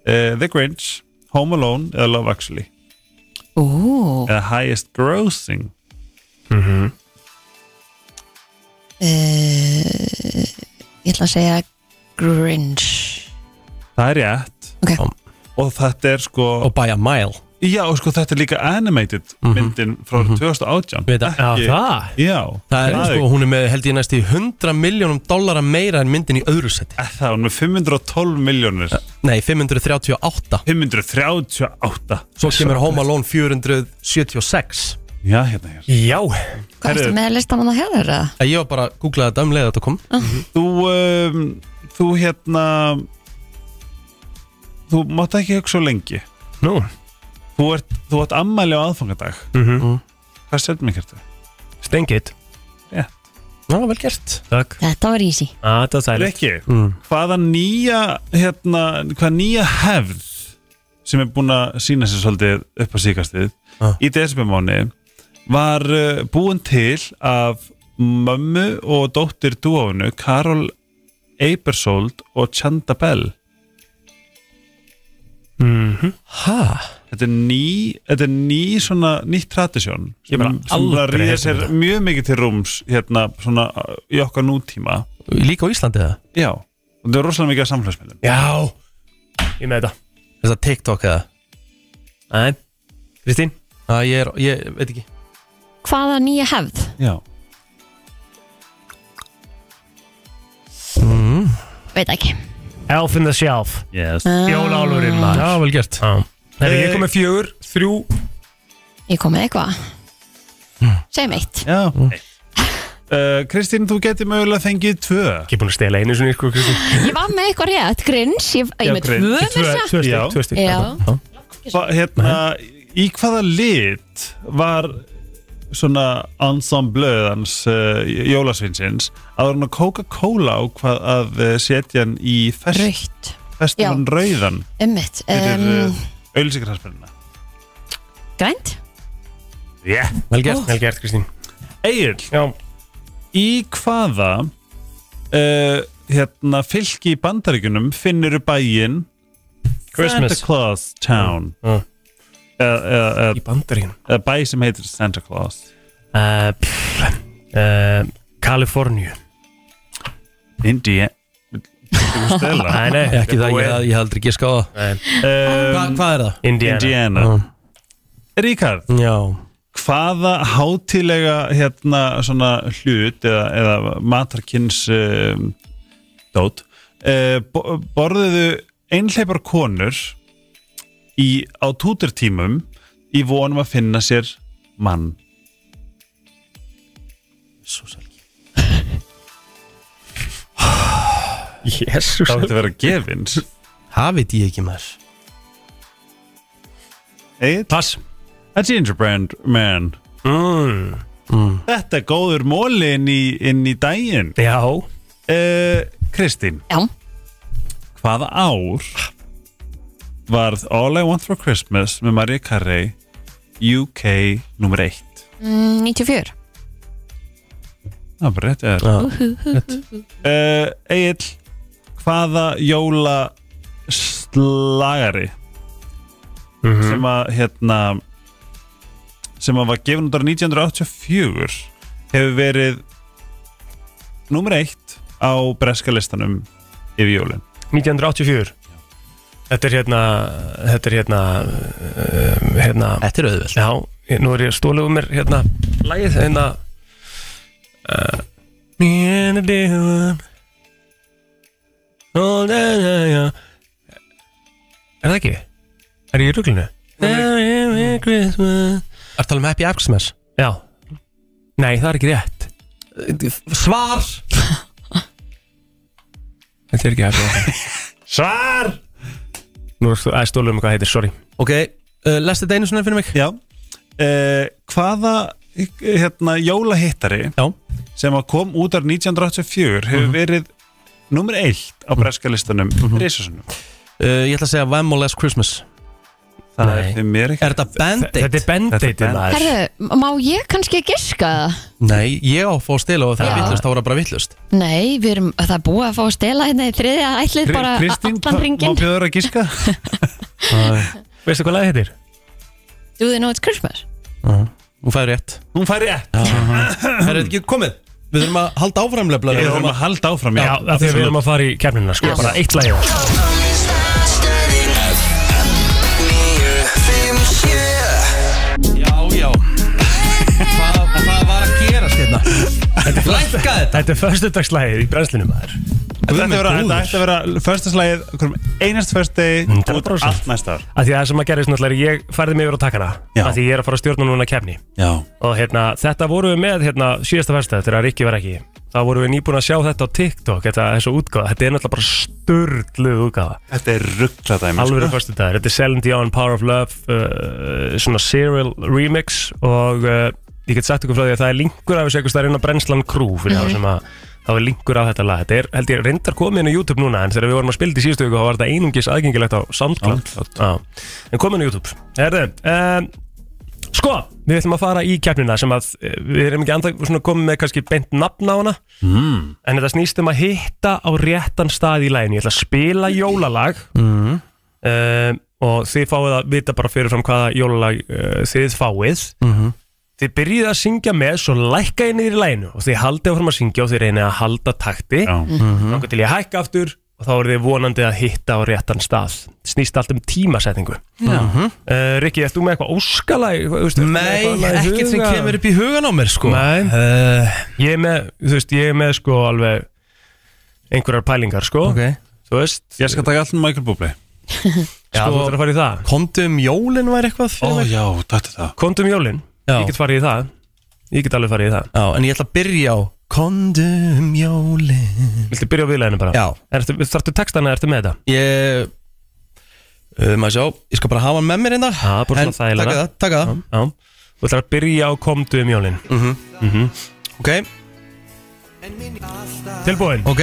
Speaker 7: Uh, The Grinch, Home Alone eða Love Actually?
Speaker 4: ú
Speaker 7: Eða Highest Grossing?
Speaker 4: uh, Ég ætla að segja Grinch
Speaker 7: Það er rétt
Speaker 4: Ok.
Speaker 7: Og þetta er sko,
Speaker 2: og by a mile
Speaker 7: já og sko þetta er líka animated
Speaker 2: Mhm.
Speaker 7: myndin frá 2018
Speaker 2: Veit það.
Speaker 1: Já,
Speaker 7: Ekki-
Speaker 1: það
Speaker 7: Já,
Speaker 2: Það er, sko, hún er með, held ég næst í 100 miljónum dollara meira en myndin í öðru seti
Speaker 7: Það er hún er með 512 miljónir
Speaker 2: Nei, 538
Speaker 7: 538
Speaker 2: Svo kemur Home Alone 476
Speaker 7: Já, hérna hér
Speaker 1: Já
Speaker 4: Hvað
Speaker 7: Herðu.
Speaker 4: ertu með listamann að hjá þeirra?
Speaker 2: Eh, Ég var bara að googlaði þetta um leið að þetta kom
Speaker 7: Þú, um, þú hérna Þú mátt ekki hugsa svo lengi
Speaker 1: Nú
Speaker 7: Þú ert, þú ert ammæli á aðfangadag
Speaker 1: mm
Speaker 2: Mhm.
Speaker 7: Hvað sér mér kertu?
Speaker 1: Stengið
Speaker 2: Já, vel gert
Speaker 1: Takk
Speaker 4: Þetta var easy
Speaker 1: ah, Það er sælir
Speaker 7: Rikki,
Speaker 2: Mm.
Speaker 7: hvaða nýja hérna, hvaða nýja hefð sem er búin að sína sér svolítið upp á síkastið
Speaker 2: Ah.
Speaker 7: í desembermáni var uh, búin til af mömmu og dóttir dúofinu Karol Eibersold og Chanda Bell
Speaker 1: Mhm.
Speaker 2: Ha?
Speaker 7: þetta er ný, þetta er ný svona nýtt tradisjón
Speaker 1: Ég
Speaker 7: sem
Speaker 1: bara
Speaker 7: sem bara
Speaker 1: aldrei
Speaker 7: ríða
Speaker 1: heyrt um
Speaker 7: sér mjög mikið til rúms hérna svona uh, í okkar nútíma
Speaker 2: Líka á Íslandi eða?
Speaker 7: já, og þetta er rosalega mikið að samfélagsmiðlum
Speaker 1: Já Ég með þetta
Speaker 2: Er það TikTok eða?
Speaker 1: Nei Kristín
Speaker 2: Já, ég er, ég veit ekki
Speaker 4: Hvaða nýja hefð?
Speaker 7: já,
Speaker 4: Veit ekki
Speaker 1: Elf in the Shelf
Speaker 7: yes
Speaker 1: Jólálurinn maður
Speaker 2: vel gert
Speaker 1: Já Þegar ég kom með fjögur, þrjú
Speaker 2: Mm.
Speaker 4: Ég kom með eitthvað Segjum eitt
Speaker 7: já, uh, Kristín, þú getur mögulega fengið tvö
Speaker 1: Ekki búin að stela einu sko, svona ykkur
Speaker 4: Ég var með eitthvað rétt, grins Ég, ég með tvö með þess
Speaker 1: tvö stík, tvö stík
Speaker 4: Já.
Speaker 7: Hva, hérna, í hvaða lit var svona ensemblöðans uh, jólasvinsins að var hann að Coca-Cola á hvað að uh, setja hann í fest,
Speaker 4: Rautt Já.
Speaker 7: festum hann rauðan
Speaker 4: Ummitt
Speaker 7: fyrir
Speaker 4: um,
Speaker 7: um, auðlýsingarhansbyrna
Speaker 4: Grænt
Speaker 7: yeah.
Speaker 1: Vel gert, vel gert Kristín
Speaker 7: Egil,
Speaker 1: Já,
Speaker 7: í hvaða uh, hérna, fylki í bandaríkunum finnur bæinn
Speaker 1: Christmas.
Speaker 7: Santa Claus Town
Speaker 1: Mm.
Speaker 7: eða eða- eða-
Speaker 1: í bandaríkinu
Speaker 7: eða bæ sem heitir Santa Claus
Speaker 1: uh, pff, uh, Kaliforníu
Speaker 7: India Þú stela
Speaker 1: Nei, nei,
Speaker 2: Ekki það, ég, ég hef aldrei giska á það
Speaker 7: um,
Speaker 2: Hva, Hvað er það?
Speaker 1: Indiana,
Speaker 7: Indiana Ríkard,
Speaker 2: Já
Speaker 7: hvaða hátilega hérna svona hlut eða, eða matarkins um, dót uh, bo borðuðu einhleipar konur í, á túturtímum í vonum að finna sér mann
Speaker 1: Jésús
Speaker 7: Það viltu vera gefins
Speaker 2: Það veit ég ekki maður
Speaker 7: Egil,
Speaker 1: Pass
Speaker 7: a gingerbread man
Speaker 1: mm.
Speaker 7: Þetta er góður móli inn í, inn í daginn
Speaker 1: Já
Speaker 7: uh, Kristín
Speaker 4: Já,
Speaker 7: hvaða ár varð All I Want For Christmas með Mariah Carey UK nummer 1
Speaker 4: mm, 94
Speaker 7: það er bara rétt eða uh, Egil hvaða jóla slagari sem að hérna sem að var gefin út ára 1984 hefur verið nummer 1 á breska listanum yfir jólin
Speaker 1: 1984 Þetta er hérna Þetta er hérna uh, Hérna
Speaker 2: Þetta er auðvöld
Speaker 1: Já, ég- nú er ég að stóla um mér hérna Lægið hérna Eh, uh, All that I am. Er það ekki? Er ég í ruglunu? Merry Christmas
Speaker 2: Það er talað um Happy Xmas
Speaker 1: Já Nei, það er ekki rétt
Speaker 2: Svar
Speaker 1: Þetta er ekki hægt Svar Nú er stó- að stóla um hvað heitir, sorry
Speaker 2: Ok, uh, lestu þetta einu svona fyrir mig
Speaker 7: Já uh, Hvaða hérna, jólahittari
Speaker 2: Já.
Speaker 7: sem að kom út af 1984 hefur verið nummer eitt á breska listanum mm -hmm.
Speaker 2: uh, Ég ætla að segja One More Last Christmas
Speaker 7: Það
Speaker 1: Nei.
Speaker 7: er því mér ekki
Speaker 2: Er þetta Band-Aid?
Speaker 1: Þetta er bendeit
Speaker 7: Þetta er
Speaker 4: Herðu, má ég kannski giska það?
Speaker 2: Nei, ég á að fá að stila og það er
Speaker 4: Já.
Speaker 2: vittlust, þá var það bara vittlust
Speaker 4: Nei, við erum, það er búið að fá að stela hérna í þriðja ætlið bara a-
Speaker 7: Kristín,
Speaker 4: allan
Speaker 7: má
Speaker 4: ringin
Speaker 7: bjóður að gíska?
Speaker 1: Veistu hvað lagið heitir?
Speaker 4: Do they know it's Christmas?
Speaker 2: Hún fæði rétt
Speaker 7: Hún fær rétt
Speaker 2: Það er þetta ekki komið Við þurfum að halda áframlega
Speaker 7: Við höfum að halda áfram
Speaker 1: Já, af því að við erum að fara í kefnina, sko,
Speaker 4: Já.
Speaker 1: bara eitt lagið
Speaker 2: Já, já Hvað hvað var að gerast hérna? Lækka þetta
Speaker 1: Þetta er föstudagslagið í brennslinu maður
Speaker 7: Þetta ætti að vera-
Speaker 1: góður.
Speaker 7: þetta ætti að vera förstaslægið einast förstegi út
Speaker 1: 100%.
Speaker 7: allt næsta ár
Speaker 1: Af því að það sem að gerist náttúrulega, er ég færði mig yfir á takkana
Speaker 7: Já.
Speaker 1: Af því ég er að fara að stjórna núna kefni
Speaker 7: Já
Speaker 1: Og hérna, þetta vorum við með hérna síðasta verstað Þegar Rikki var ekki Þá vorum við nýbúin að sjá þetta á TikTok Þetta er svo útgáða, þetta er náttúrulega bara störluð útgáða
Speaker 7: Þetta er ruggla dæmi
Speaker 1: Alvöru
Speaker 7: sko.
Speaker 1: fyrstu dagur, þetta er Celine Dion, Power of Love uh, svona serial remix og uh, ég get sagt ykkur frá því að það er linkur af þessu eitthvað stær inn á Brennslan Crew fyrir þá sem að það var linkur af þetta lag þetta er, held ég, reyndar komið inn á YouTube núna en þegar við vorum að spila þetta í síðustu ykkur þá var þetta einungis aðgengilegt á SoundCloud Já. en komið inn á YouTube Herðu, um, Sko, við ætlum að fara í keppnina sem að eh, við erum ekki andan svona komið með kannski beint nafn á hana mm. en þetta snýst um að hitta á réttan stað í læginu. Ég ætla að spila jólalag mm. og þið fáið að vita bara fyrirfram hvaða jólalag uh, þið fáið Þið byrjið að syngja með svo lækka inn í læginu og þið haldið áfram að syngja og þið reynið að halda takti
Speaker 7: Já.
Speaker 1: þangar til ég hækka aftur og þá eru þið vonandi að hitta á réttan stað snýst allt um tímasetningu uh, Rikki, ert þú með eitthvað óskalag? Þú veist, ertu með
Speaker 2: Nei,
Speaker 1: eitthvað lag í
Speaker 2: ekkert sem
Speaker 1: huga?
Speaker 2: kemur upp í hugan á mér sko
Speaker 1: Nei.
Speaker 2: uh,
Speaker 1: Ég er með, þú veist, ég er með sko alveg einhverjar pælingar sko
Speaker 2: Ok
Speaker 1: þú veist,
Speaker 7: Ég skal taka allir Michael Bublé
Speaker 1: sko, þú ætlar að fara í það
Speaker 2: Komdu um jólin var eitthvað fyrir
Speaker 7: Ó
Speaker 2: mig
Speaker 7: já, þetta er það
Speaker 1: Komdu um jólin,
Speaker 2: Já.
Speaker 1: ég get farið í það ég get alveg farið í það
Speaker 2: Já, en ég ætla að byrja á um
Speaker 11: Kondum jólin
Speaker 1: Viltu byrja á viðleginu bara?
Speaker 11: Já.
Speaker 1: Ertu, þarftu textana eða ertu með þetta?
Speaker 11: Ég uh, Maður sjá, ég skal bara hafa hann með mér hérna
Speaker 1: Já, bara
Speaker 11: En
Speaker 1: svona þægilega
Speaker 11: taka það, taka það.
Speaker 1: Já, já. Þú ætlar að byrja á komdu um jólin mm -hmm.
Speaker 11: Ok,
Speaker 1: Tilbúin
Speaker 11: ok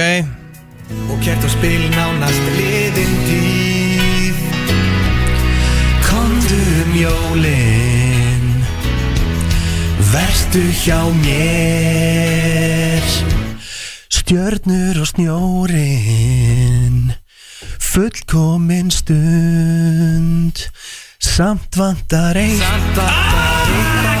Speaker 2: Og kert á spil nánast liðin tíð Komdu um jólin Verstu hjá mér Stjörnur og snjórin Fullkomin stund Samt vantar einn Ah!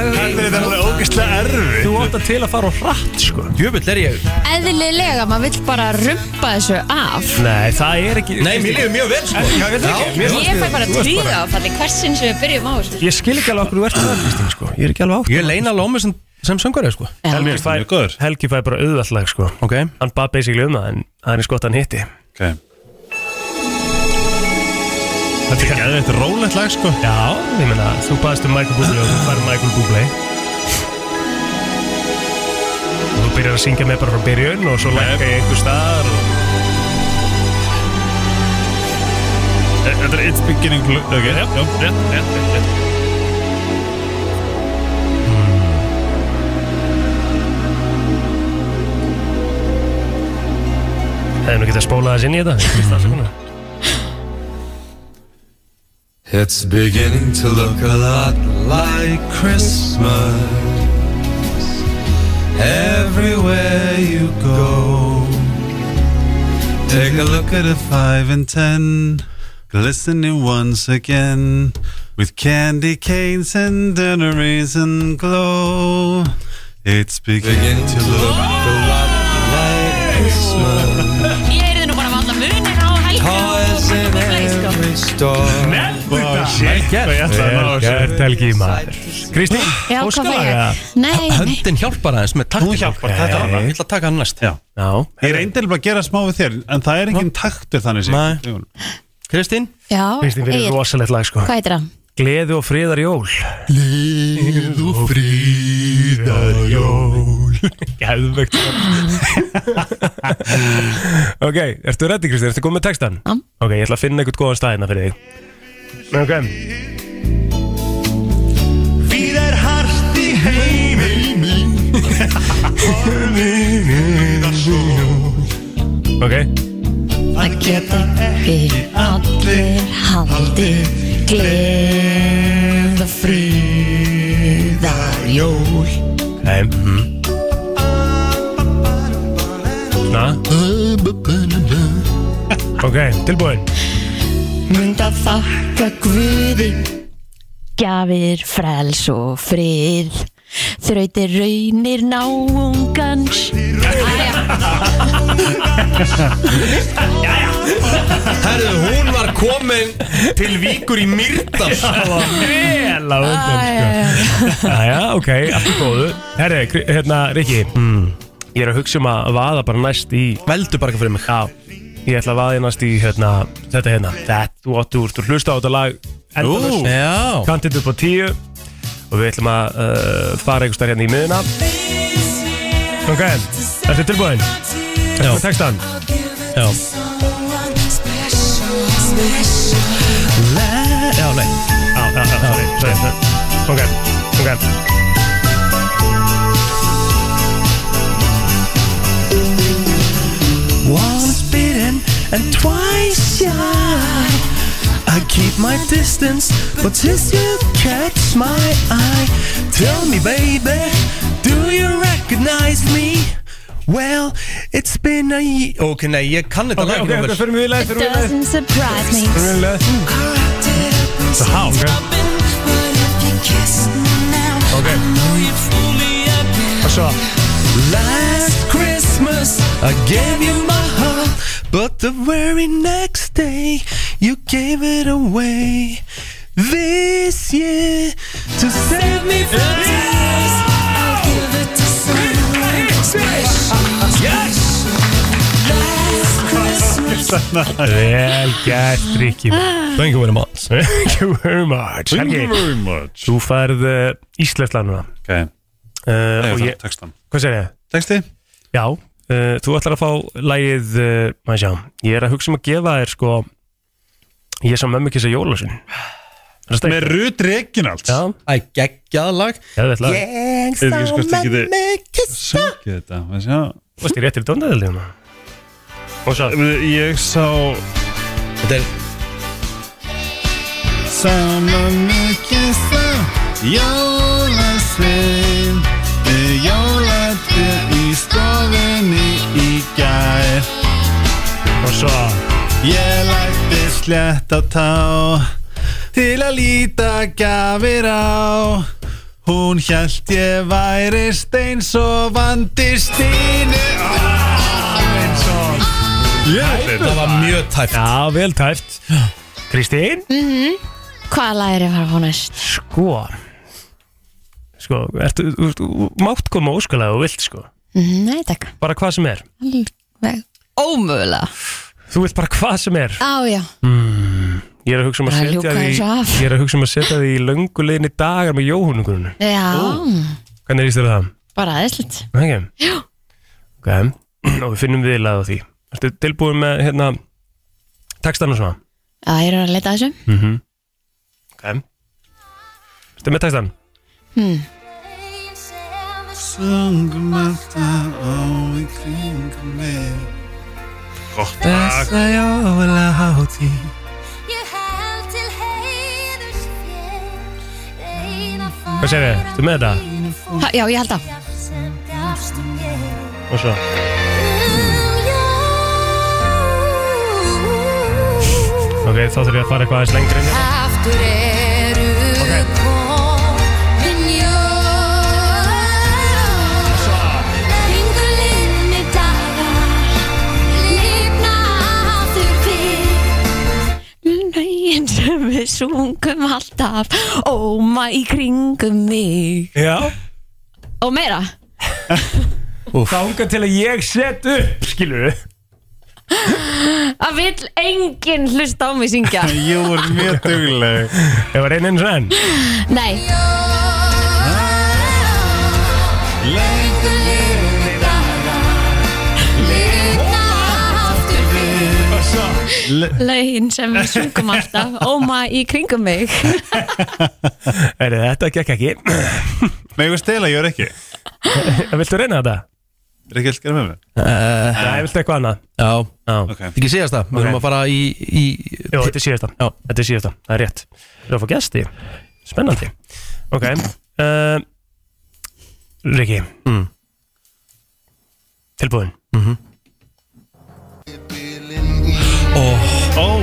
Speaker 7: Þetta er alveg ógeðslega erfi
Speaker 1: Þú átt að til að fara á hratt sko
Speaker 11: Jöfull er ég
Speaker 4: Eðlilega, maður vill bara rumpa þessu af
Speaker 1: Nei, það er ekki
Speaker 11: Nei, mér lífið mjög vel sko
Speaker 1: Já, ég veit ekki. Mér
Speaker 4: Ég fæ bara tríða áfalli hversin sem við byrjum á þessu.
Speaker 1: Ég skil ekki alveg okkur þú ert það, Kristín, sko Ég er ekki alveg átt
Speaker 11: Ég leina lómi sem, sem söngarið sko
Speaker 4: Já.
Speaker 1: Helgi fær, Helgi fær bara auðvallag, sko
Speaker 11: Ok
Speaker 1: Hann bað basically um það, en það er eins gott að hann hitti
Speaker 7: okay. Þetta er gæðið eitt rólegt lag sko
Speaker 1: Já, ég meina, þú baðist um Michael Bublé og þú fær Michael Bublé Og þú byrjar að syngja með bara frá byrjun og svo lækka ég einhver staðar og...
Speaker 7: Eh, Þetta er It's Beginning Blue Ok, já, já, já, já, já
Speaker 1: Hmm. Það er nú getið að spóla þess inn í þetta Fyrst
Speaker 7: Mhm.
Speaker 1: afsökunar.
Speaker 3: It's beginning to look a lot like Christmas everywhere you go.
Speaker 7: Take a look at a 5 and 10 Glistening once again With candy canes and dungarees and glow It's
Speaker 3: Beginning
Speaker 7: beginning
Speaker 3: to look a lot like Christmas.
Speaker 4: Ég heyrði nú bara um alla munir á helgum og
Speaker 3: Toys in
Speaker 4: sko.
Speaker 3: every store.
Speaker 1: Vel gert Vel gert, Helgi, maður Kristín,
Speaker 4: Já, hvað fæ
Speaker 1: óskalaga.
Speaker 4: ég? Nei, nei,
Speaker 11: Höndin hjálpar aðeins með taktum Hún hjálpar,
Speaker 1: þetta er
Speaker 11: Ég ætla að taka hann næst
Speaker 7: Já,
Speaker 1: Já,
Speaker 7: ég reyndi alveg að gera smá við þér En það er engin taktur þannig
Speaker 11: Nei.
Speaker 7: sér
Speaker 11: Kristín
Speaker 4: já,
Speaker 1: Kristín fyrir
Speaker 4: Egill,
Speaker 1: rosalegt lag, sko
Speaker 4: hvað heitir það?
Speaker 1: Gleði og friðar jól
Speaker 3: Gleð og fríðar jól.
Speaker 1: Gæðvegt Ok, ertu reddi Kristi, ertu góð með textan?
Speaker 4: Já.
Speaker 1: Ok, ég ætla að finna einhvern góðan staðina fyrir þig Ok
Speaker 2: Við er hart í heiminn
Speaker 1: Ok,
Speaker 4: Það geta ekki allir haldið Gleða fríðar jól
Speaker 1: heim Na, ok, tilbúin
Speaker 4: Mynd að þakka Guði Gjafir, frels og frið Þrautir raunir náungans Æja,
Speaker 11: Herðu, hún var komin til Víkur í Myrdal
Speaker 1: Vel á undan, sko Jæja, ok, allt í góðu Herri, Kri- hérna, Rikki Ég er að hugsa um að vaða bara næst í
Speaker 11: Mm. Veldu bara eitthvað fyrir mig
Speaker 1: Já, ég ætla að vaðinast í hérna, þetta hérna Þetta, þú átt úr, þú hlusta á þetta lag Endalaust,
Speaker 11: Já
Speaker 1: kantinn upp á tíu Og við ætlum að uh, fara einhver starf hérna í miðuna Ok, þetta er tilbúin Já Textan,
Speaker 11: Já Já, nei
Speaker 1: já, já, já, sorry, sorry, sorry Ok, ok
Speaker 2: Once bitten and twice shy I keep my distance But since you catch my eye Tell me baby Do you recognize me? Well, it's been a year
Speaker 11: Ok, nei, ég kann þetta
Speaker 1: Ok,
Speaker 11: lag
Speaker 1: ok, ok,
Speaker 11: Róbert.
Speaker 1: fyrir mig í leið, fyrir mig í leið
Speaker 4: doesn't surprise me
Speaker 1: Fyrir mig í leið
Speaker 2: Ah,
Speaker 7: Þetta er hálf
Speaker 1: Ok, og svo
Speaker 2: Last Christmas I gave you my heart But the very next day You gave it away This year To save me from tears I'll give it to someone special Last Christmas
Speaker 1: Vel gert, Rikki
Speaker 11: Thank you very much
Speaker 1: Thank you very much Helgi, eh,
Speaker 7: very much
Speaker 1: þú færð uh, Íslandslanuna
Speaker 7: Ok,
Speaker 1: Eh, uh,
Speaker 7: Nei,
Speaker 1: og
Speaker 7: það
Speaker 1: ég-
Speaker 7: er textan.
Speaker 1: Hvað segir ég?
Speaker 7: Texti?
Speaker 1: Já, uh, þú ætlar að fá lægið, uh, maður sjá, ég er að hugsa um að gefa þér sko Ég er sá mömmu kissa jólasun
Speaker 7: Með Rut Reginald
Speaker 1: Já,
Speaker 2: Æ, geggjað lag
Speaker 1: ég veit lag yeah.
Speaker 2: Ég
Speaker 7: Ég veit ekki hvort ekki þið-
Speaker 2: kissa
Speaker 7: Söngið þetta maður sjá.
Speaker 1: Þú veist, ég réttir dóndaðið hérna Og svo,
Speaker 7: Ég meina, Ég sá
Speaker 2: Þetta er
Speaker 7: Saman mig kissa Jólasvein Með jólatrið í stofunni í gær
Speaker 1: og svo
Speaker 7: Ég lætti slett á tá Til að líta gafir á Hún hjælt ég væri steins og vandi stínu
Speaker 2: Það var mjög tæft
Speaker 1: Já, vel tæft Kristín
Speaker 4: Hvaða lag er ég að fara að fá næst?
Speaker 1: Sko Sko, ertu, þú veist, þú mátt koma óskalega og vilt sko
Speaker 4: Nei, takk
Speaker 1: Bara hvað sem er
Speaker 4: Alveg Ómögulega
Speaker 1: Þú vilt bara hvað sem er
Speaker 4: Á, já
Speaker 1: Ég er að hugsa um að
Speaker 4: Bara
Speaker 1: setja
Speaker 4: ljúka
Speaker 1: því
Speaker 4: þessu af.
Speaker 1: Ég er að hugsa um að setja því í lönguleginni dagar með jóhunungurinn
Speaker 4: Já,
Speaker 1: Hvernig er ístöru það?
Speaker 4: bara aðeinslut
Speaker 1: Ok Já Ok, og við finnum við lað á því Ertu tilbúin með hérna textan og svona?
Speaker 4: Já, ég er að leita að þessu
Speaker 1: Mhm Ok Ertu með textan?
Speaker 4: hmm.
Speaker 7: Sungum alltaf á í kringum mig Gott lag
Speaker 1: Hvað segir þið? Ertu með þetta?
Speaker 4: ha, Já, ég held að
Speaker 1: Og svo Ok, þá þurfum við að fara eitthvað aðeins lengri inn
Speaker 8: Aftur eru
Speaker 1: Ok.
Speaker 8: komin jól Lengur linni dagar Lifna aftur við
Speaker 4: Lögin sem við sungum alltaf Óma í kringum mig
Speaker 1: Já
Speaker 4: Og meira
Speaker 1: Þánga til að ég set upp, skilur við
Speaker 4: Það vill enginn hlusta á mig syngja
Speaker 7: Ég voru mjög dugleg
Speaker 1: Ég var einn eins og enn
Speaker 4: Nei,
Speaker 8: Lengur linni dagar Lifna aftur við
Speaker 4: lögin sem við sungum alltaf Óma í kringum mig
Speaker 1: Heyrðu, Þetta gekk ekki
Speaker 7: Megum við stela, ég er ekki
Speaker 1: Viltu reyna þetta?
Speaker 7: Er ekki að skilja með mér?
Speaker 1: Nei, viltu eitthvað annað?
Speaker 2: Já,
Speaker 1: Já
Speaker 7: Ok
Speaker 2: þetta ekki segjast það Við erum að fara í, í
Speaker 1: Jó, þetta er síðasta
Speaker 2: Já.
Speaker 1: Þetta er síðasta, það er rétt Við erum að fá gesti Spennandi Ok uh, Riki mm. Tilbúin Oh.
Speaker 7: Ó,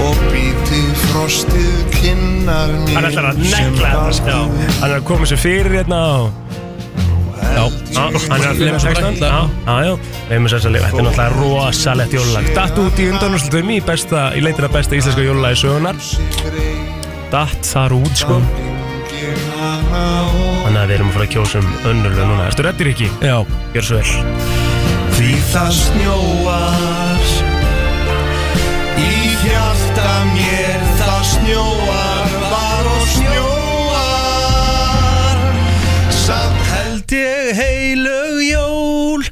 Speaker 9: Og býti frostið kinnar mín
Speaker 1: Hann ætlar að negla þetta Já. Hann er að koma sér fyrir hérna og Já, já, hann er að hérna. flyma textan Já, já, já, leifum þess að lifa Þetta er náttúrulega rosalegt jólulag Datt út í undanúrslutum í besta, í leitina besta íslenska jólulagi sögunar Datt þar út, sko Þannig að við erum að fara að kjósa um önnurlega núna Ertu reddir ekki?
Speaker 2: Já
Speaker 1: Gjör svo vel
Speaker 9: Því það snjóar Í hjarta mér það snjóar Var og snjóar
Speaker 2: Samt held ég heilug jól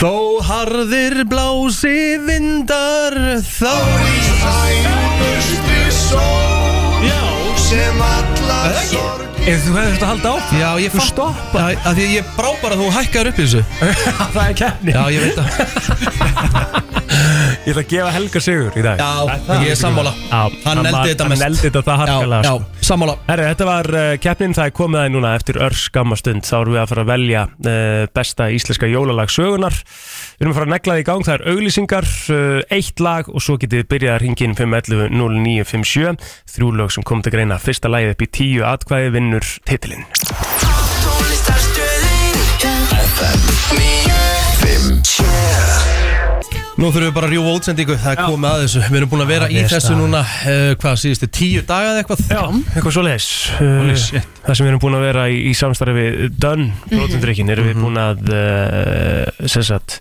Speaker 2: Þó harðir blási vindar
Speaker 9: Í
Speaker 2: Þá
Speaker 9: hægustu sól
Speaker 2: Já
Speaker 9: Sem allar sorg
Speaker 1: Ef þú hefði þetta að halda á
Speaker 2: Já, ég fann stoppa að Því að ég brá bara að þú hækkaður upp í þessu
Speaker 1: Það er keppni
Speaker 2: Já, ég veit það
Speaker 1: Ég ætla að gefa Helga sigur í dag
Speaker 2: Já, ég er sammála
Speaker 1: Já,
Speaker 2: Hann
Speaker 1: var-
Speaker 2: eldi þetta
Speaker 1: Hann
Speaker 2: mest
Speaker 1: eldi þetta það harkalega
Speaker 2: Já,
Speaker 1: sko.
Speaker 2: já, sammála
Speaker 1: Herri, þetta var uh, keppnin, það er komið aðeins núna eftir örskamma stund, þá erum við að fara að velja uh, besta íslenska jólalag sögunar Við erum að fara að negla það í gang, það er auglýsingar uh, eitt lag og svo getið þið byrjað að ringin 511 0957 þrjú lög sem kom til greina, fyrsta lagið upp í 10 atkvæði vinnur titilinn
Speaker 2: Nú þurfum við bara að rjúfa útsendingu, það er komið að þessu Við erum búin að vera
Speaker 1: Já,
Speaker 2: í
Speaker 1: ég
Speaker 2: þessu
Speaker 1: staðar.
Speaker 2: núna, uh, hvað, síðustu tíu daga eða eitthvað
Speaker 1: Já, eitthvað svo leis Það sem við erum búin að vera í, í samstarfi við Dönn, Brótundrykkin erum við búin að uh, eh, sem sagt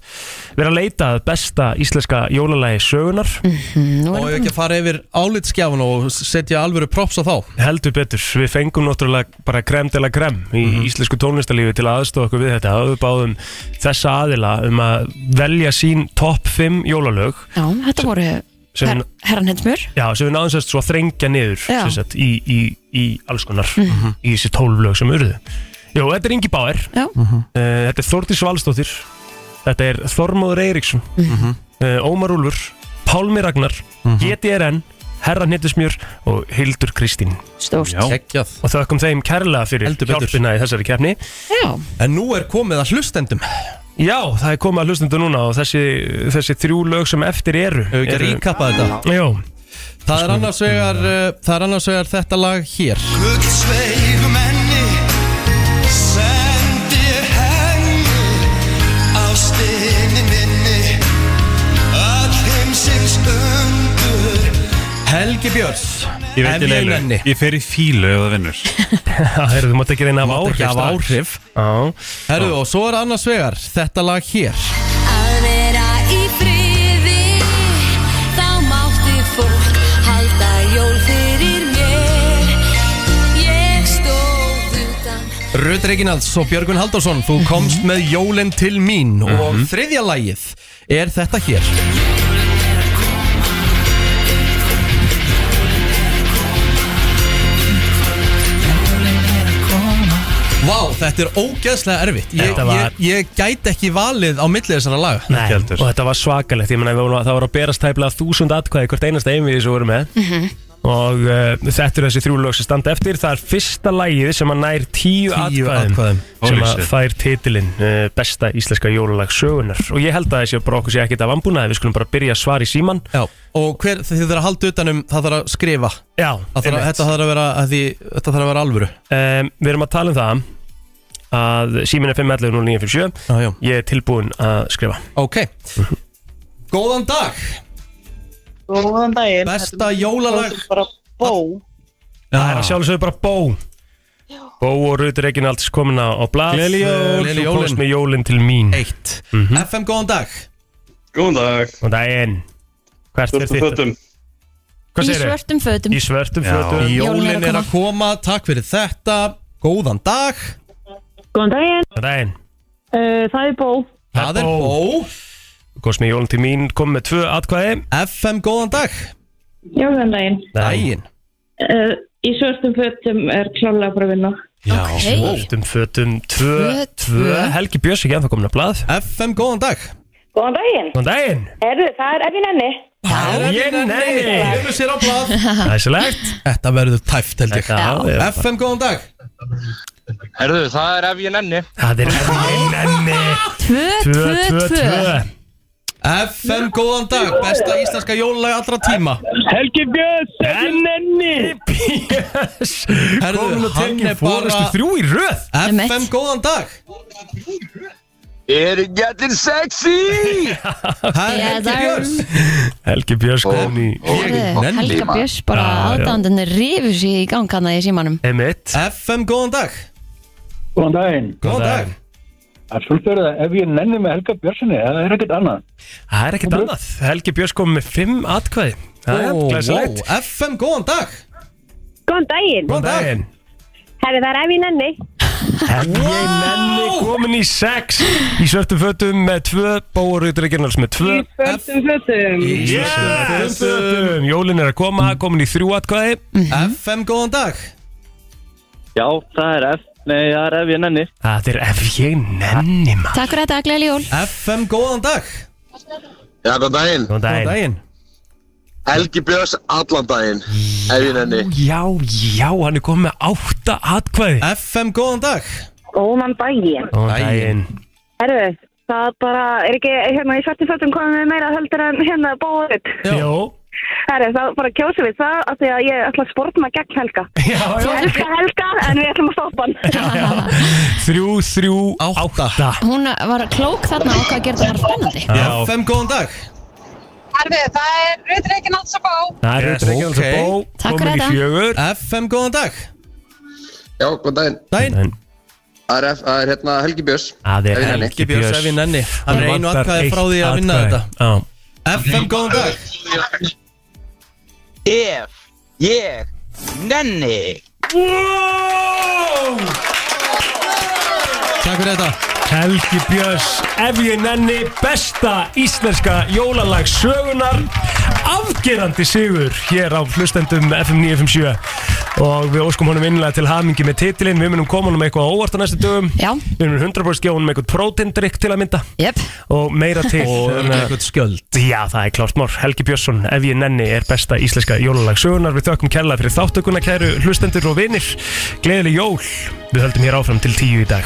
Speaker 1: Við erum að leita að besta íslenska jólalagi sögunar
Speaker 4: Mm,
Speaker 2: Og ég ekki að fara yfir álitskjafan og setja alvöru props á þá
Speaker 1: Heldur betur, við fengum náttúrulega bara krem til að krem í íslensku tónlistarlífi til aðstofa okkur við þetta og við báðum þessa aðila um að velja sín topp 5 jólalög
Speaker 4: Já, þetta voru
Speaker 1: sem-
Speaker 4: her, herran hensmur
Speaker 1: Já, sem við náðum sérst svo að þrengja niður
Speaker 4: Já. Mhm.
Speaker 1: sem sagt, í, í, í alls konar í þessi tólflög sem urðu Jó, þetta er Ingi Báer
Speaker 4: Já.
Speaker 1: uh, Þetta er Þórdís Valstóttir Þetta er Þormóður Eiríksson
Speaker 8: Mhm.
Speaker 1: uh, Ómar Úlfur Pálmi Ragnar, GTRN Herran Hittusmjör og Hildur Kristín
Speaker 4: Stórt.
Speaker 2: Já. Geggjað.
Speaker 1: Og þökkum þeim kærlega fyrir hjálpina í þessari keppni
Speaker 4: Já
Speaker 2: En nú er komið að hlustendum
Speaker 1: Já, það er komið að hlustundu núna og þessi, þessi þrjú lög sem eftir eru
Speaker 2: Hefur ekki
Speaker 1: eru-
Speaker 2: recapað þetta?
Speaker 1: Jó
Speaker 2: Það er annars vegar, uh, það er annars vegar þetta lag hér
Speaker 8: Gull sveigum enni Sendi henni Á stinni minni All heimsins undur
Speaker 2: Helgi Björns
Speaker 7: Ég veit í leilu, ég fer í fílu ef það vinnur
Speaker 1: Herru, þú mátt ekki reyna að hafa
Speaker 2: Mátt ekki
Speaker 1: áhrif
Speaker 2: hafa
Speaker 1: strax.
Speaker 2: áhrif.
Speaker 1: Já
Speaker 2: Herru, og svo er annars vegar þetta lag hér
Speaker 12: Að vera í friði Þá mátti fólk halda jól fyrir mér Ég stóð utan
Speaker 2: Rut Reginalds og Björgun Halldórsson
Speaker 1: Mhm.
Speaker 2: Þú komst með jólinn til mín Og þriðja lagið er þetta hér Vá, þetta er ógeðslega erfitt ég,
Speaker 1: Þetta var-
Speaker 2: ég, ég gæti ekki valið á milli þessara laga
Speaker 1: Nei, og þetta var svakalegt, ég meina við vorum að- það voru að berast tæplega þúsund atkvæði hvert einasta einvið sem við vorum með
Speaker 8: Mhm.
Speaker 1: og uh, þetta eru þessi þrjú lög sem standa eftir það er fyrsta lagið sem að nær tíu, atkvæðum,
Speaker 2: atkvæðum.
Speaker 1: sem
Speaker 2: Holy
Speaker 1: að
Speaker 2: shit.
Speaker 1: fær titilinn uh, besta íslenska jólalag sögunar og ég held að þessi bara okkur sé ekkit af ambúnaði við skulum bara byrja að svara í síman
Speaker 2: Já, og hver, þið þurfa að halda utanum það þarf að skrifa
Speaker 1: Já,
Speaker 2: það þarf, að-
Speaker 1: einmitt.
Speaker 2: þetta þarf að vera, að því, þetta þarf að vera alvöru
Speaker 1: um, Við erum að tala um það að símin er 511 og 957
Speaker 2: ah,
Speaker 1: Ég er tilbúin að skrifa
Speaker 2: Ok Góðan dag
Speaker 13: Góðan daginn
Speaker 2: Besta jólalag
Speaker 13: Bara bó
Speaker 1: Það
Speaker 2: Ah.
Speaker 1: er að sjálfsögur bara bó Bó og Rutur Reginalds komin á, á blað
Speaker 2: Gleðileg jól.
Speaker 1: Eh,
Speaker 2: Gleðileg
Speaker 1: Þú komst
Speaker 2: jólin.
Speaker 1: með jólin til mín
Speaker 2: Eitt FM, góðan dag
Speaker 1: Góðan dag Góðan daginn Hvert er
Speaker 2: Svörtum
Speaker 1: þitt?
Speaker 2: fötum.
Speaker 1: Hvað
Speaker 4: Í
Speaker 1: segirðu?
Speaker 4: svörtum fötum
Speaker 1: Í svörtum fötum
Speaker 2: Jólin er að koma, takk fyrir þetta Góðan dag
Speaker 13: Góðan daginn
Speaker 1: Góðan daginn
Speaker 13: uh, Það er bó
Speaker 2: Það er bó
Speaker 1: Þú komst með jólin til mín Kom með tvö atkvæði
Speaker 2: FM góðan dag
Speaker 13: Jóðan daginn
Speaker 2: Daginn
Speaker 13: uh, Í svörstum fötum er klálega bara að vinna
Speaker 1: Já
Speaker 13: Ok.
Speaker 1: Svörtum fötum Tvö
Speaker 13: Tvö,
Speaker 1: Tvö
Speaker 13: tvö.
Speaker 1: Helgi Björs ekki ennþá komin á blað
Speaker 2: FM góðan dag
Speaker 13: Góðan daginn
Speaker 1: Góðan daginn
Speaker 13: Herðu, það er Ebbi Nenni
Speaker 1: Það er Ég nenni
Speaker 2: Hefur sér á blað
Speaker 1: Æsilegt
Speaker 2: Þetta verður tæft held ég
Speaker 1: Já, já.
Speaker 2: FM góðan dag
Speaker 14: Herðu, það er ef ég nenni
Speaker 1: Það er ef ég nenni
Speaker 4: Tvö,
Speaker 14: tvö, tvö.
Speaker 2: FM góðan dag Besta íslenska jólalag allra tíma
Speaker 8: Helgi Björns, ekki nenni
Speaker 1: Björns
Speaker 2: Herðu, hann er bara
Speaker 1: þrjú í röð
Speaker 2: FM góðan dag
Speaker 14: Er getting sexy
Speaker 2: Það er Helgi Björns
Speaker 1: Helgi Björns
Speaker 2: Sko.
Speaker 1: komin í
Speaker 4: Herðu, Helga Björns bara aðdándinni rifu sér í gang hana í símanum
Speaker 1: Emitt
Speaker 2: FM góðan dag
Speaker 6: Góðan daginn
Speaker 2: Góðan dag
Speaker 6: Absolutt er það, ef ég nenni með Helga Björnssoni, það er ekkert annað
Speaker 1: Það er
Speaker 13: Mhm.
Speaker 1: ekkert annað Helgi Björns kom með fimm atkvæði Það er
Speaker 6: Ó,
Speaker 1: glæsilegt
Speaker 2: FM, góðan dag
Speaker 13: Góðan daginn
Speaker 1: Góðan daginn
Speaker 13: Herðu, það er Ebbi Nenni
Speaker 1: Helgi Nenni komin í sex Í svörtum fötum með tvö Bóruður Reginals með tvö
Speaker 13: Svörstum fötum
Speaker 1: Í svörtum fötum Jólin er að koma Komin í þrjú atkvæði
Speaker 2: FM góðan dag
Speaker 14: Já, það er ef Nei, það er ef ég nenni
Speaker 1: Það er ef ég nenni maður
Speaker 4: Takk fyrir þetta, gleðileg jól
Speaker 2: FM góðan dag
Speaker 14: Já, góðan daginn
Speaker 1: Góðan
Speaker 2: Góðan daginn
Speaker 14: Helgi Björns allan daginn Ef ég nenni
Speaker 1: Já, já, hann er komið með átta atkvæði
Speaker 2: FM, góðan dag
Speaker 13: Góðan daginn
Speaker 1: Góðan daginn
Speaker 13: Herðu, það bara er ekki hérna í svörstum fötum komið með meira heldur en hérna bóðið
Speaker 1: Jó
Speaker 13: Herðu, það bara kjósum við það af því að ég ætla að spórna gegn Helga
Speaker 1: Já, já
Speaker 13: Ég elska Helga en við ætlum að stoppa hann
Speaker 1: Þrjú, þrjú, átta
Speaker 4: Hún var klók þarna og hvað gerði það spennandi
Speaker 1: Já.
Speaker 2: FM góðan dag
Speaker 12: Herfi, það er Rutt Reykjavík að bá
Speaker 1: Það er Ruth Reginalds að bó
Speaker 4: Takk fyrir
Speaker 1: Komin í
Speaker 4: þetta.
Speaker 1: fjögur
Speaker 2: FM góðan dag
Speaker 14: Já, góðan daginn
Speaker 2: Daginn
Speaker 15: Það er- það er hérna Helgi Björns
Speaker 1: Það
Speaker 15: Ef
Speaker 1: er
Speaker 15: ég nenni.
Speaker 1: Helgi Björns
Speaker 2: ef ég nenni. Hann er einu
Speaker 1: vantar
Speaker 2: atkvæði
Speaker 1: eitt
Speaker 2: frá því að vinna
Speaker 1: atkvæði.
Speaker 2: þetta.
Speaker 1: Já.
Speaker 2: FM, góðan dag
Speaker 16: Ef ég nenni
Speaker 1: wow!
Speaker 2: Takk fyrir þetta
Speaker 1: Helgi Björns, ef ég nenni besta íslenska jólalag sögunar afgerandi sigur hér á hlustendum FM 957 og við óskum honum innlega til hamingi með titilinn, við munum koma honum eitthvað á óvart á næstu dögum, Já. við munum 100% gefa honum eitthvað prótindrykk til að mynda
Speaker 4: yep.
Speaker 1: og hérna- meira til
Speaker 2: Og eitthvað
Speaker 1: skjöld Já, það er klárt mór, Helgi Björnsson, ef ég nenni er besta íslenska jólalag sögunar við þökkum kærlega fyrir þáttökuna kæru hlustendur og vinir, gleðileg jól við höldum hér áfram til tíu í dag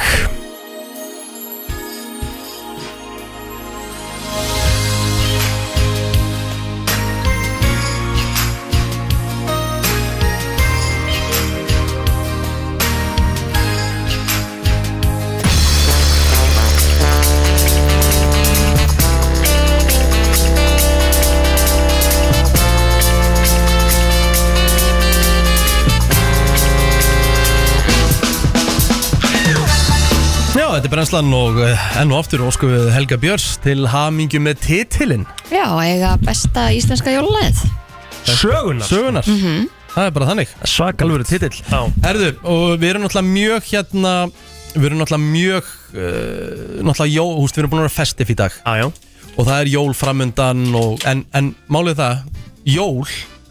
Speaker 2: Já, þetta er brennslan og eh, enn og aftur óskum við Helga Björns til hamingju með titilinn
Speaker 4: Já, eiga besta íslenska jólalæð
Speaker 1: Sögunar
Speaker 2: Sögunar
Speaker 4: Mhm.
Speaker 2: Það er bara þannig
Speaker 1: Svakal
Speaker 2: Alvöru titill Herðu, og við erum náttúrulega mjög hérna Við erum náttúrulega mjög uh, Náttúrulega jól, húst, við erum búin að vera festif í dag
Speaker 1: Ajá
Speaker 2: Og það er jól framundan og, en, en málið það, jól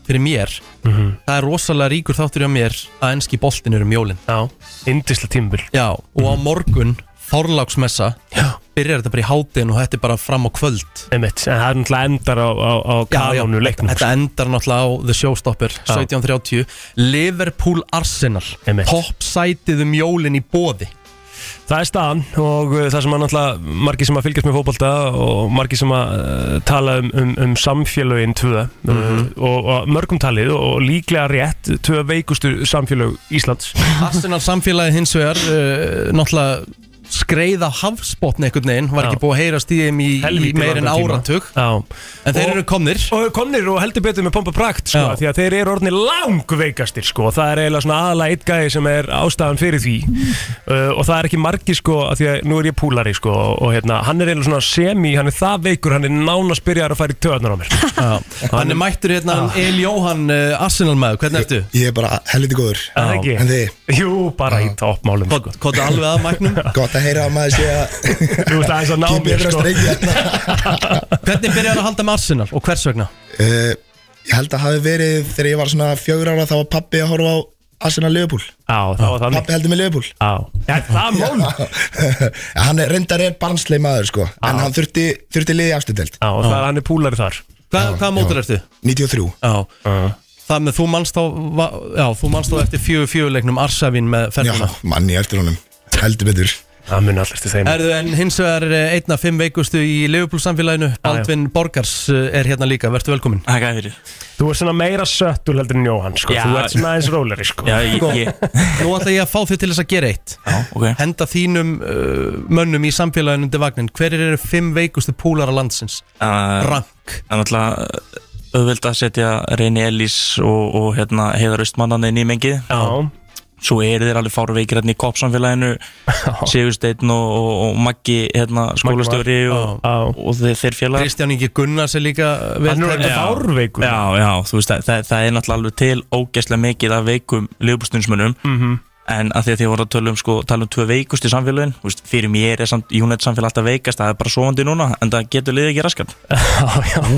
Speaker 2: fyrir mér
Speaker 1: Mhm.
Speaker 2: Það er rosalega ríkur þáttur hjá mér að enski boltin er um jólin
Speaker 1: Já, indisla tímbil
Speaker 2: Já, og
Speaker 1: Mhm.
Speaker 2: á morgun Þorláksmessa Já. Byrjar þetta bara í hátinn og þetta er bara fram á kvöld
Speaker 1: Einmitt, en það er náttúrulega endar á, á, á kanónu leiknum sko.
Speaker 2: Þetta endar náttúrulega á The Showstopper 17.30 Liverpool Arsenal Topp sætið um jólin í bóði
Speaker 1: Það er staðan og uh, það sem að náttúrulega margir sem að fylgjast með fótbolta og margir sem að uh, tala um, um, um samfélögin tvö uh, og, og mörgum talið og líklega rétt tvö veikustu samfélög Íslands
Speaker 2: Arsenal samfélagi hins vegar uh, náttúrulega skreið á hafsbotni einhvern veginn, var ekki búið að heyrast í þeim í, í
Speaker 1: Helvíti
Speaker 2: meir en
Speaker 1: langan tíma.
Speaker 2: áratug
Speaker 1: Já.
Speaker 2: en þeir eru komnir
Speaker 1: og komnir og heldur betur með pompa prakt sko,
Speaker 2: Já.
Speaker 1: því að þeir eru orðinni langveikastir sko, og það er eiginlega svona aðalega eitt gæði sem er ástæðan fyrir því uh, og það er ekki margir sko, af því að nú er ég púlari sko, og hérna, hann er eiginlega svona semi, hann er það veikur, hann er nánast byrjar að fara í töðanar á mér
Speaker 2: hann er mættur hérna
Speaker 1: Ah.
Speaker 2: El Jóhann uh, Arsenal maður, hvernig ertu?
Speaker 7: Ég er bara helviti góður
Speaker 1: Er það ekki?
Speaker 7: En þið?
Speaker 1: Jú, bara í toppmálum
Speaker 2: Kott sko. alveg að mæknum
Speaker 7: Gott að heyra að maður sé að
Speaker 1: Þú veist aðeins að ná
Speaker 7: Keep
Speaker 1: mér sko.
Speaker 7: it on straight,
Speaker 2: Hvernig byrjar að halda með Arsenal og hvers vegna?
Speaker 7: uh, Ég held að hafi verið þegar ég var svona fjögur ára þá var pappi að horfa á Arsenal Liverpool
Speaker 1: Já, það var þannig
Speaker 7: Pappi heldur með Liverpool
Speaker 1: Já, ja, það mál
Speaker 7: Hann er, reyndar er barnsleif maður sko En hann þurfti, þurfti liði afstundelt
Speaker 1: Já, og það er hann er púlari þar
Speaker 2: Hva, Hvaða mótur ertu?
Speaker 7: 93
Speaker 2: Já Það með þú manst þá, va- já, þú manst þá eftir fjögur fjögur leiknum Arsavin með ferðina
Speaker 7: Manni eftir honum, heldur betur
Speaker 1: Það mun allir til þeim
Speaker 2: Erðu en hins vegar eh, einn af fimm veikustu í Liverpool samfélaginu Baldvin Borgars eh, er hérna líka, verður velkomin
Speaker 1: Takk að fyrir Þú ert svona meira söttul heldur en Jóhann sko.
Speaker 2: Já.
Speaker 1: Þú ert svona aðeins róleri sko.
Speaker 2: Sko, Nú ætla ég að fá þig til þess að gera eitt já, okay. Henda þínum uh, mönnum í samfélaginu undir vagnin Hverir eru fimm veikustu púlara landsins?
Speaker 5: Rank Það er náttúrulega auðvöld að setja Reyni Ellis og, og hérna, Heiðar Östmannan inn í mengið
Speaker 1: Já.
Speaker 5: Svo eru þeir alveg fárveikir hérna í kopsamfélaginu Sigursteinn og, og, og Maggi hérna, skólastjóri og, og, þeir, þeir félagar
Speaker 2: Ah. Kristján Ingi Gunnars er líka
Speaker 1: Hann er orðinn fárveikur.
Speaker 5: Já, já, þú veist það, það, það er náttúrulega alveg til ógæslega mikið af veikum liðbústunismunum
Speaker 1: Mhm.
Speaker 5: En að því að því voru að tala um, sko, tala um tvö veikust í samfélagin veist, Fyrir mér er samt, Júnet samfélag alltaf veikast Það er bara svoandi núna, en það getur liðið ekki raskat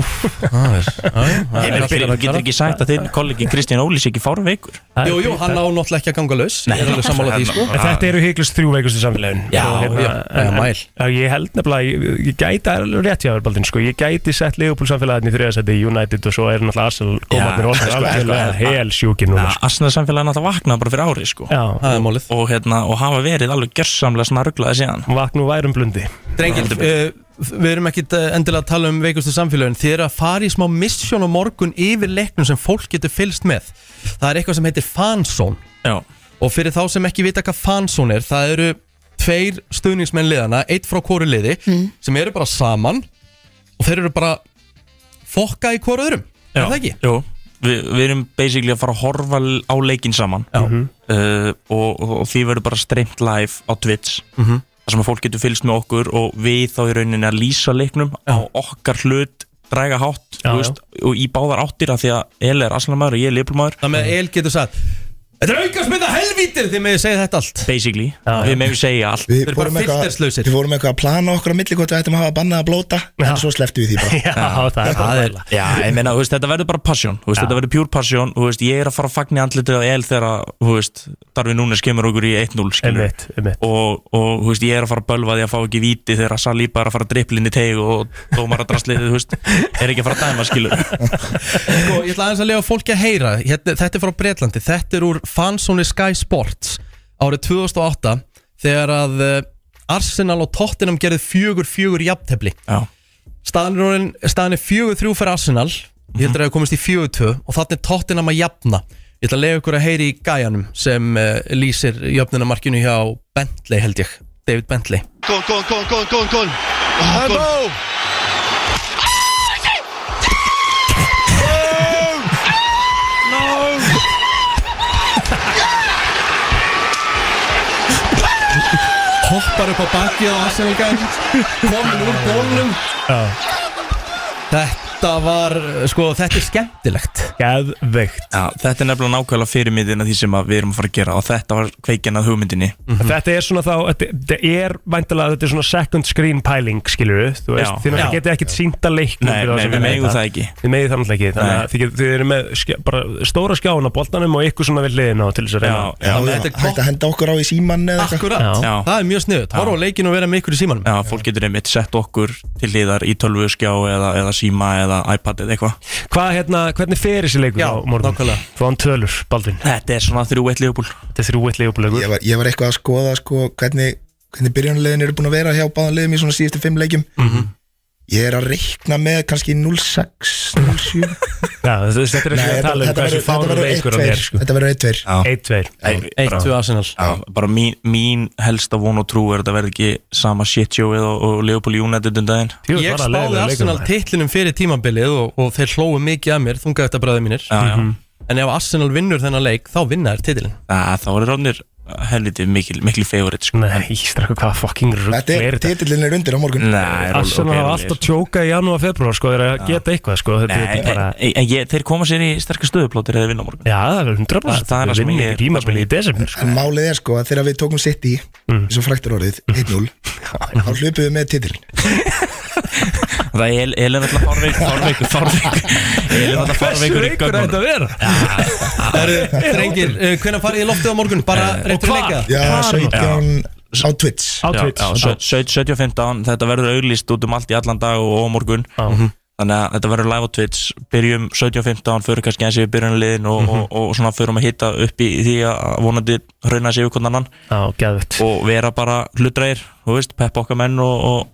Speaker 5: Ég meina, fyrir þú getur ekki sagt að þinn kollegi Kristján Óli sé ekki fárum veikur
Speaker 2: Jú, jú, hann á náttúrulega ekki að ganga laus
Speaker 5: Nei.
Speaker 2: Ég er alveg sammála því, sko
Speaker 1: En þetta eru hygglust þrjú veikustu samfélagin
Speaker 2: Já,
Speaker 1: Og hérna-
Speaker 2: já, já,
Speaker 1: en-
Speaker 2: mæl.
Speaker 1: en- Ég held nefnilega, ég, ég gæti það er alveg rétt hjá þér, Baldvin, sko. Ég gæti sett Leopold samfélagin í þriðasæti í United og svo er náttúrulega Arsenal komarnir og
Speaker 5: sko,
Speaker 1: það er alveg hel sjúkin núna sko.
Speaker 5: Asna samfélagin alltaf vaknaði bara fyrir ári sko.
Speaker 1: Já,
Speaker 2: það er málið
Speaker 5: og, hérna, og hafa verið alveg gjörsamlega svona rugglaði síðan
Speaker 1: Vaknu værum blundi
Speaker 2: Drengir, uh, við erum ekkit eh, endilega að tala um veikustu samfélögin Þið eru að fara í smá misjón á morgun yfir leiknum sem fólk getur fylgst með Það er eitthvað sem heitir fanzón
Speaker 5: Já.
Speaker 2: Og fyrir þá sem ekki vita hvað fanzón er Það eru tveir stuðningsmenn liðana Eitt frá hvori liði Sem eru bara saman Og þeir eru bara fokka í hvori öðrum Já. Er það ekki?
Speaker 5: Jú við, við erum basically að fara að horfa á leikin saman uh, og, og, og því verður bara streymt live á Twitch
Speaker 2: Mhm.
Speaker 5: þar sem að fólk getur fylgst með okkur og við þá í rauninni að lýsa leiknum á okkar hlut, dræga hátt
Speaker 2: Já,
Speaker 5: þú veist, og í báðar áttir af því að El er aslanmaður og ég er leifbólmaður
Speaker 2: Það með El getur sagt Þetta er aukast með það helvítir Þið meðu segja þetta allt
Speaker 5: Basically, við meðum segja allt
Speaker 7: Við fórum eitthvað við fórum eitthvað að plana okkur á milli hvort við ættum að hafa bannað að blóta en svo slepptum við því bara
Speaker 5: Já, ég meina, þú veist, þetta verður bara passion þú veist, Þetta verður pure passion þú veist, Ég er að fara að fagna andlitið á el þegar að, þú veist, Darfi núna skemur okkur í 1-0 skilur.
Speaker 1: Einmitt, einmitt.
Speaker 5: Og, og þú veist, ég er að fara að bölva því að fá ekki víti þegar að Saliba er að fara að dripplinni teg og dómar að drasliðið, þú veist er ekki að fara að dæma, skilur
Speaker 2: Sko, ég ætla aðeins að lega fólki að heyra hérna, Þetta er frá Bretlandi, þetta er úr Fansóni Sky Sports árið 2008 þegar að eh, Arsenal og Tottenham gerði fjögur fjögur jafntefli staðan er orðin- staðan er fjögur þrjú fyrir Arsenal ég heldur að það hefur komist í fjögur tvö og þannig er Tottenham að jafna ég ætla að lega ykkur að heyri í gæjanum sem uh, lýsir jöfnunamarkinu hjá Bentley held ég, David Bentley
Speaker 3: Go on, go on, go on, go on, go on, go on. Oh, go on.
Speaker 2: hoppar upp á bakið á Arsenal gæjan komin úr bólnum Þetta var, sko, þetta er skemmtilegt
Speaker 1: Geðveikt
Speaker 5: Já, þetta er nefnilega nákvæmlega fyrirmyndin að því sem að við erum að fara að gera og þetta var kveikin að hugmyndinni
Speaker 1: Þetta er svona þá, þetta þetta er væntalega, þetta er svona second screen pæling, skilur við, þú veist,
Speaker 5: Já.
Speaker 1: þið
Speaker 5: Já.
Speaker 1: náttúrulega getið ekkert sínta leiknum
Speaker 5: Nei,
Speaker 1: fyrir þá
Speaker 5: nei,
Speaker 1: sem
Speaker 5: við
Speaker 1: er
Speaker 5: megum
Speaker 1: þetta.
Speaker 5: það ekki.
Speaker 1: Þið megið það náttúrulega ekki, þannig að þið getið- þið eru með skjá, bara stóra skjána boltanum og ykkur svona við liðin á til þess að reyna.
Speaker 7: Já, já, hægt að henda okkur á í símann eða eitthvað
Speaker 2: Akkurat,
Speaker 5: Já.
Speaker 2: það er mjög sniðut Horfa á leikin og vera með ykkur í símanum
Speaker 5: Já, fólk getur einmitt sett okkur til hliðar í tölvuskjá eða, eða síma eða iPad eða eitthvað
Speaker 1: Hvað hérna, hvernig fer þessi leikur Já, á morgun? Nákvæmlega. Fáðan tölur, Baldvin.
Speaker 5: Þetta er svona þrjú eitt leifbúl.
Speaker 1: Þetta er þrjú eitt leifbúl.
Speaker 7: ég var, ég var eitthvað að skoða sko, hvernig, hvernig byrjunarlegin eru búin að vera hjá báðan liðum í svona síðustu fimm leikjum
Speaker 1: Mhm.
Speaker 7: ég er að reikna með kannski 0-6, 0-7
Speaker 1: Já, þetta er þetta er ekki
Speaker 7: Nei,
Speaker 1: að
Speaker 7: þetta-
Speaker 1: tala um
Speaker 7: þetta
Speaker 1: hversu
Speaker 7: verður-
Speaker 1: fánu
Speaker 7: þetta verður
Speaker 1: leikur hann
Speaker 7: 1-2.
Speaker 1: er, sko.
Speaker 7: Þetta verður 1-2
Speaker 1: 1-2
Speaker 2: 1-2 Arsenal
Speaker 5: Já, bara mín, mín helsta von og trú er að þetta verði ekki sama shitjóið og, og Leopold United um daginn
Speaker 2: Ég spáði Arsenal titlinum fyrir tímabilið og, og þeir hlóðu mikið að mér, þunga þetta bræði mínir Mhm.
Speaker 5: Já, já.
Speaker 2: En ef Arsenal vinnur þennan leik, þá vinna þær titlin
Speaker 5: Æ, Þá er ráðnir helviti mikil, mikil favorite sko.
Speaker 1: Nei, strakku hvað fucking
Speaker 7: þetta er, titillin er undir á morgun
Speaker 5: Nei,
Speaker 1: Arsenal hafa alltaf tjóka í janúar, februar, sko, þeir að geta eitthvað, sko, þetta
Speaker 5: Nei,
Speaker 1: er bara...
Speaker 5: en, en ég, þeir koma sér í sterkar stöðuplótir eða vinna á morgun
Speaker 1: Já, það er 100%
Speaker 5: Það, það er það sem
Speaker 1: Vinni
Speaker 5: ég
Speaker 1: ekki tímabili í desember
Speaker 7: en málið er sko að þegar við tókum sitt í
Speaker 5: Mm.
Speaker 7: eins og fræktur orðið, 1-0 þá hlupum við með titillin
Speaker 5: Það er El- Elin alltaf fárveikur Fárveikur, fárveikur Elin alltaf fárveikur í gögnunum.
Speaker 2: að vera? Drengir, uh, hvenær farið ég í loftið á morgun? Bara réttur leika?
Speaker 7: já, 17 á Twitch
Speaker 5: Já, já, sau- sau- 17 og 15, þetta verður auglýst út um allt í allan dag og á morgun
Speaker 1: Mhm.
Speaker 5: Þannig að þetta verður live á Twitch Byrjum 17 og 15, fyrir kannski eins yfir byrjunliðin og, og, og, svona förum að hitta upp í því að vonandi hrauna sig yfir hvern annan
Speaker 1: Já, geðvitt
Speaker 5: Og vera bara hlutræðir, þú veist, peppa okkar menn og, og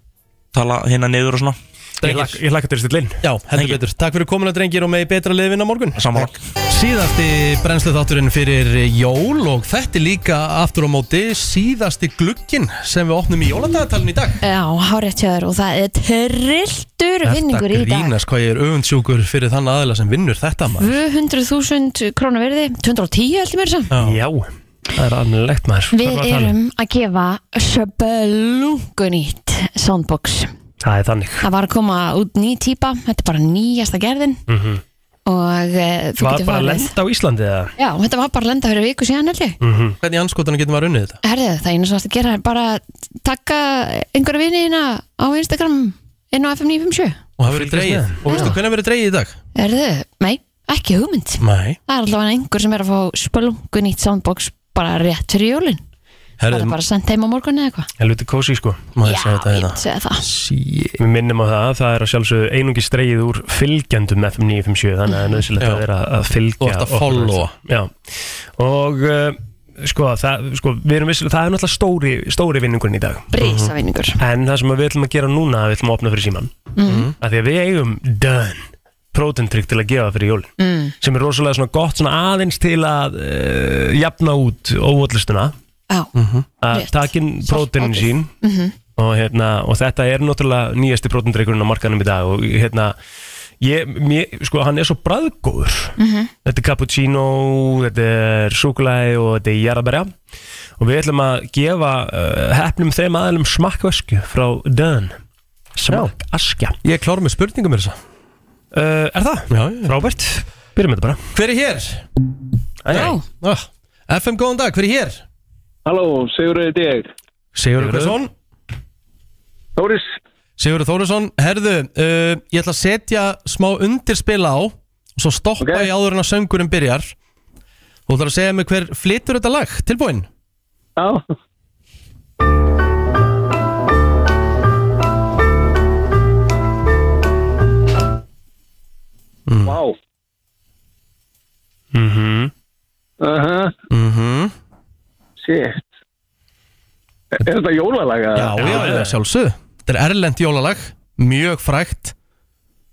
Speaker 5: tala hérna niður og svona
Speaker 1: Ég hlakka- Ég hlakka til þess til inn
Speaker 2: Já, heldur betur Takk fyrir komuna drengir og með betra liðið vinna á morgun Eh,
Speaker 5: Saman
Speaker 2: Síðasti brennslu þátturinn fyrir jól og þetta er líka aftur á móti síðasti glugginn sem við opnum í jóladagatalinn í dag
Speaker 4: Já, háréttjöður og það er trilltur vinningur í
Speaker 2: Þetta
Speaker 4: dag
Speaker 2: grínast hvað ég er öfundsjúkur fyrir þann aðila sem vinnur þetta maður
Speaker 4: 200.000 krónar verði 210 heldur mér sem
Speaker 1: Já, það er alveg maður Hvað
Speaker 4: Við
Speaker 1: var að tala um?
Speaker 4: erum að gefa Söbelungunýtt Soundbox
Speaker 1: Það er þannig
Speaker 4: Það var að koma út ný típa Þetta er bara nýjasta gerðin
Speaker 1: Mhm.
Speaker 4: Og uh, þú
Speaker 1: Var bara
Speaker 4: getur
Speaker 1: að
Speaker 4: farið
Speaker 1: lenda á Íslandi eða? Mhm.
Speaker 4: Já, þetta var bara að lenda fyrir viku síðan held ég
Speaker 2: Hvernig anskotunum getum við að runnið þetta?
Speaker 4: Herðið, það er einu sem það að gera er bara taka einhverja vinina á Instagram inn á FM 957
Speaker 2: Og það verið dreigið Og veistu hvernig verið dreigið í dag?
Speaker 4: Herðið, nei, ekki hugmynd
Speaker 2: Nei
Speaker 4: Það er allavega einhver sem er að fá spölungu nýtt soundbox bara rétt fyrir jólin Það
Speaker 1: Herðu,
Speaker 4: er bara sendt heim á morgunni eða eitthvað
Speaker 1: Helviti kósi sko
Speaker 2: Má ég segja þetta
Speaker 4: Ég segi það
Speaker 1: Við minnum á það, það er að sjálfsögðu einungi streygið úr fylgjendum FM 957 þannig að það er nöðsilegt að
Speaker 2: Já.
Speaker 1: vera að fylgja
Speaker 2: Þú ert að
Speaker 1: okkur.
Speaker 2: followa.
Speaker 1: Já, og uh, sko, það, sko, við erum vissilega, það er náttúrulega stóri, stóri vinningurinn í dag
Speaker 4: Brísavinningur
Speaker 1: En það sem við ætlum að gera núna, við ætlum að opna fyrir síman
Speaker 4: Mhm.
Speaker 1: að Því að við eigum done prótendrykk til að gefa fyrir jólin
Speaker 4: mm.
Speaker 1: sem er rosalega svona gott svona aðeins til að uh, jafna út óvallistuna
Speaker 4: Já,
Speaker 1: að takin próteinin sín
Speaker 4: Mhm.
Speaker 1: og, hérna, og þetta er náttúrulega nýjasti prótendrykkurinn á markanum í dag og hérna ég, mér, sko, hann er svo bræðgóður
Speaker 8: Mhm.
Speaker 1: Þetta er cappuccino, þetta er súkulæði og þetta er jarðabæra og við ætlum að gefa uh, hefnum þeim aðalum smakkvösku frá Dön Smakkaskja
Speaker 2: Ég er klár með spurningum er þessa
Speaker 1: uh, Er það?
Speaker 2: Já,
Speaker 1: Robert, byrjum þetta bara
Speaker 2: Hver er hér?
Speaker 1: Já
Speaker 2: ah, FM, góðan dag, hver er hér?
Speaker 5: Halló, Sigurður Deg
Speaker 2: Sigurður Hversson
Speaker 5: Þóris
Speaker 2: Sigurður Þórisson, herðu, uh, ég ætla að setja smá undirspil á og svo stoppa ég áður en að söngurinn byrjar Þú ætlar að segja mig hver flytur þetta lag, tilbúin?
Speaker 5: Já Vá
Speaker 1: Mhm
Speaker 5: uh
Speaker 2: Mhm
Speaker 5: Shit Er er þetta jólalaga?
Speaker 2: Já, já, já, sjálfsög Þetta er erlend jólalag, mjög frægt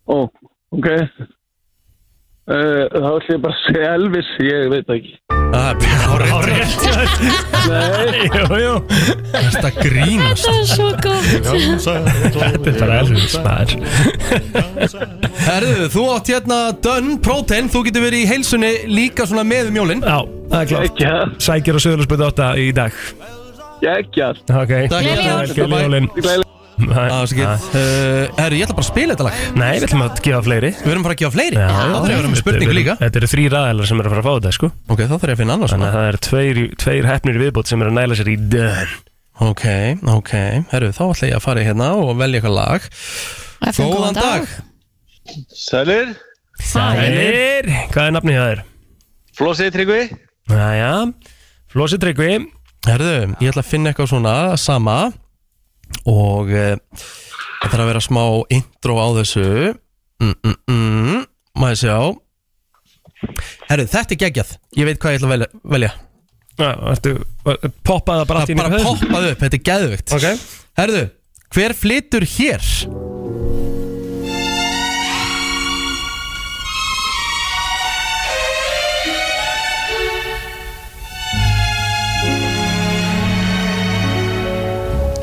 Speaker 5: Ó, ok uh, Þá ætlum ég bara að segja Elvis Ég veit það ekki
Speaker 2: Það er
Speaker 5: Nei
Speaker 1: Jú, jú
Speaker 2: Þetta grínast
Speaker 8: Það er svo
Speaker 1: Þetta er bara Elvis maður
Speaker 2: Herðu, þú átt hérna Dönn Protein, þú getur verið í heilsunni líka svona með um jólinn
Speaker 1: Já, það er klárt Sækir og Suðurlandsbyrð 8 í dag
Speaker 5: Gekkjað
Speaker 1: Ok,
Speaker 2: Takk, Gleðileg jól.
Speaker 1: Gleðileg jólin
Speaker 2: Það er skil Herru, Eh, ég ætla bara að spila þetta lag
Speaker 1: Ah. Nei, við ætlum að gefa fleiri
Speaker 2: Við erum að fara að gefa fleiri
Speaker 1: Já,
Speaker 2: Það þarf að vera með spurningu líka
Speaker 1: Þetta eru þrý ræðalar sem eru að fara að fá þetta, sko
Speaker 2: Ok, þá þarf ég að finna annars
Speaker 1: Þannig að það eru tveir, í- tveir hefnir í viðbót sem eru að næla sér í dön
Speaker 2: Ok, ok, herru, þá ætla ég að fara hérna og velja eitthvað lag
Speaker 8: FM, góðan dag.
Speaker 5: Sælir
Speaker 1: Sælir Hvað er nafnið það er?
Speaker 5: Flósið Tryggvi
Speaker 1: Jæja, Flósi Tryggvi
Speaker 2: Herðu, ég ætla að finna eitthvað svona sama og eh, það þarf að vera smá intro á þessu mm, mm, mm, maður sjá Herðu, þetta er geggjað ég veit hvað ég ætla að velja, velja.
Speaker 1: Já, ertu, poppaði það bara allt í einu
Speaker 2: bara
Speaker 1: í hausinn?
Speaker 2: poppaði upp, þetta er geðvögt
Speaker 1: Ok.
Speaker 2: Herðu, hver flytur hér?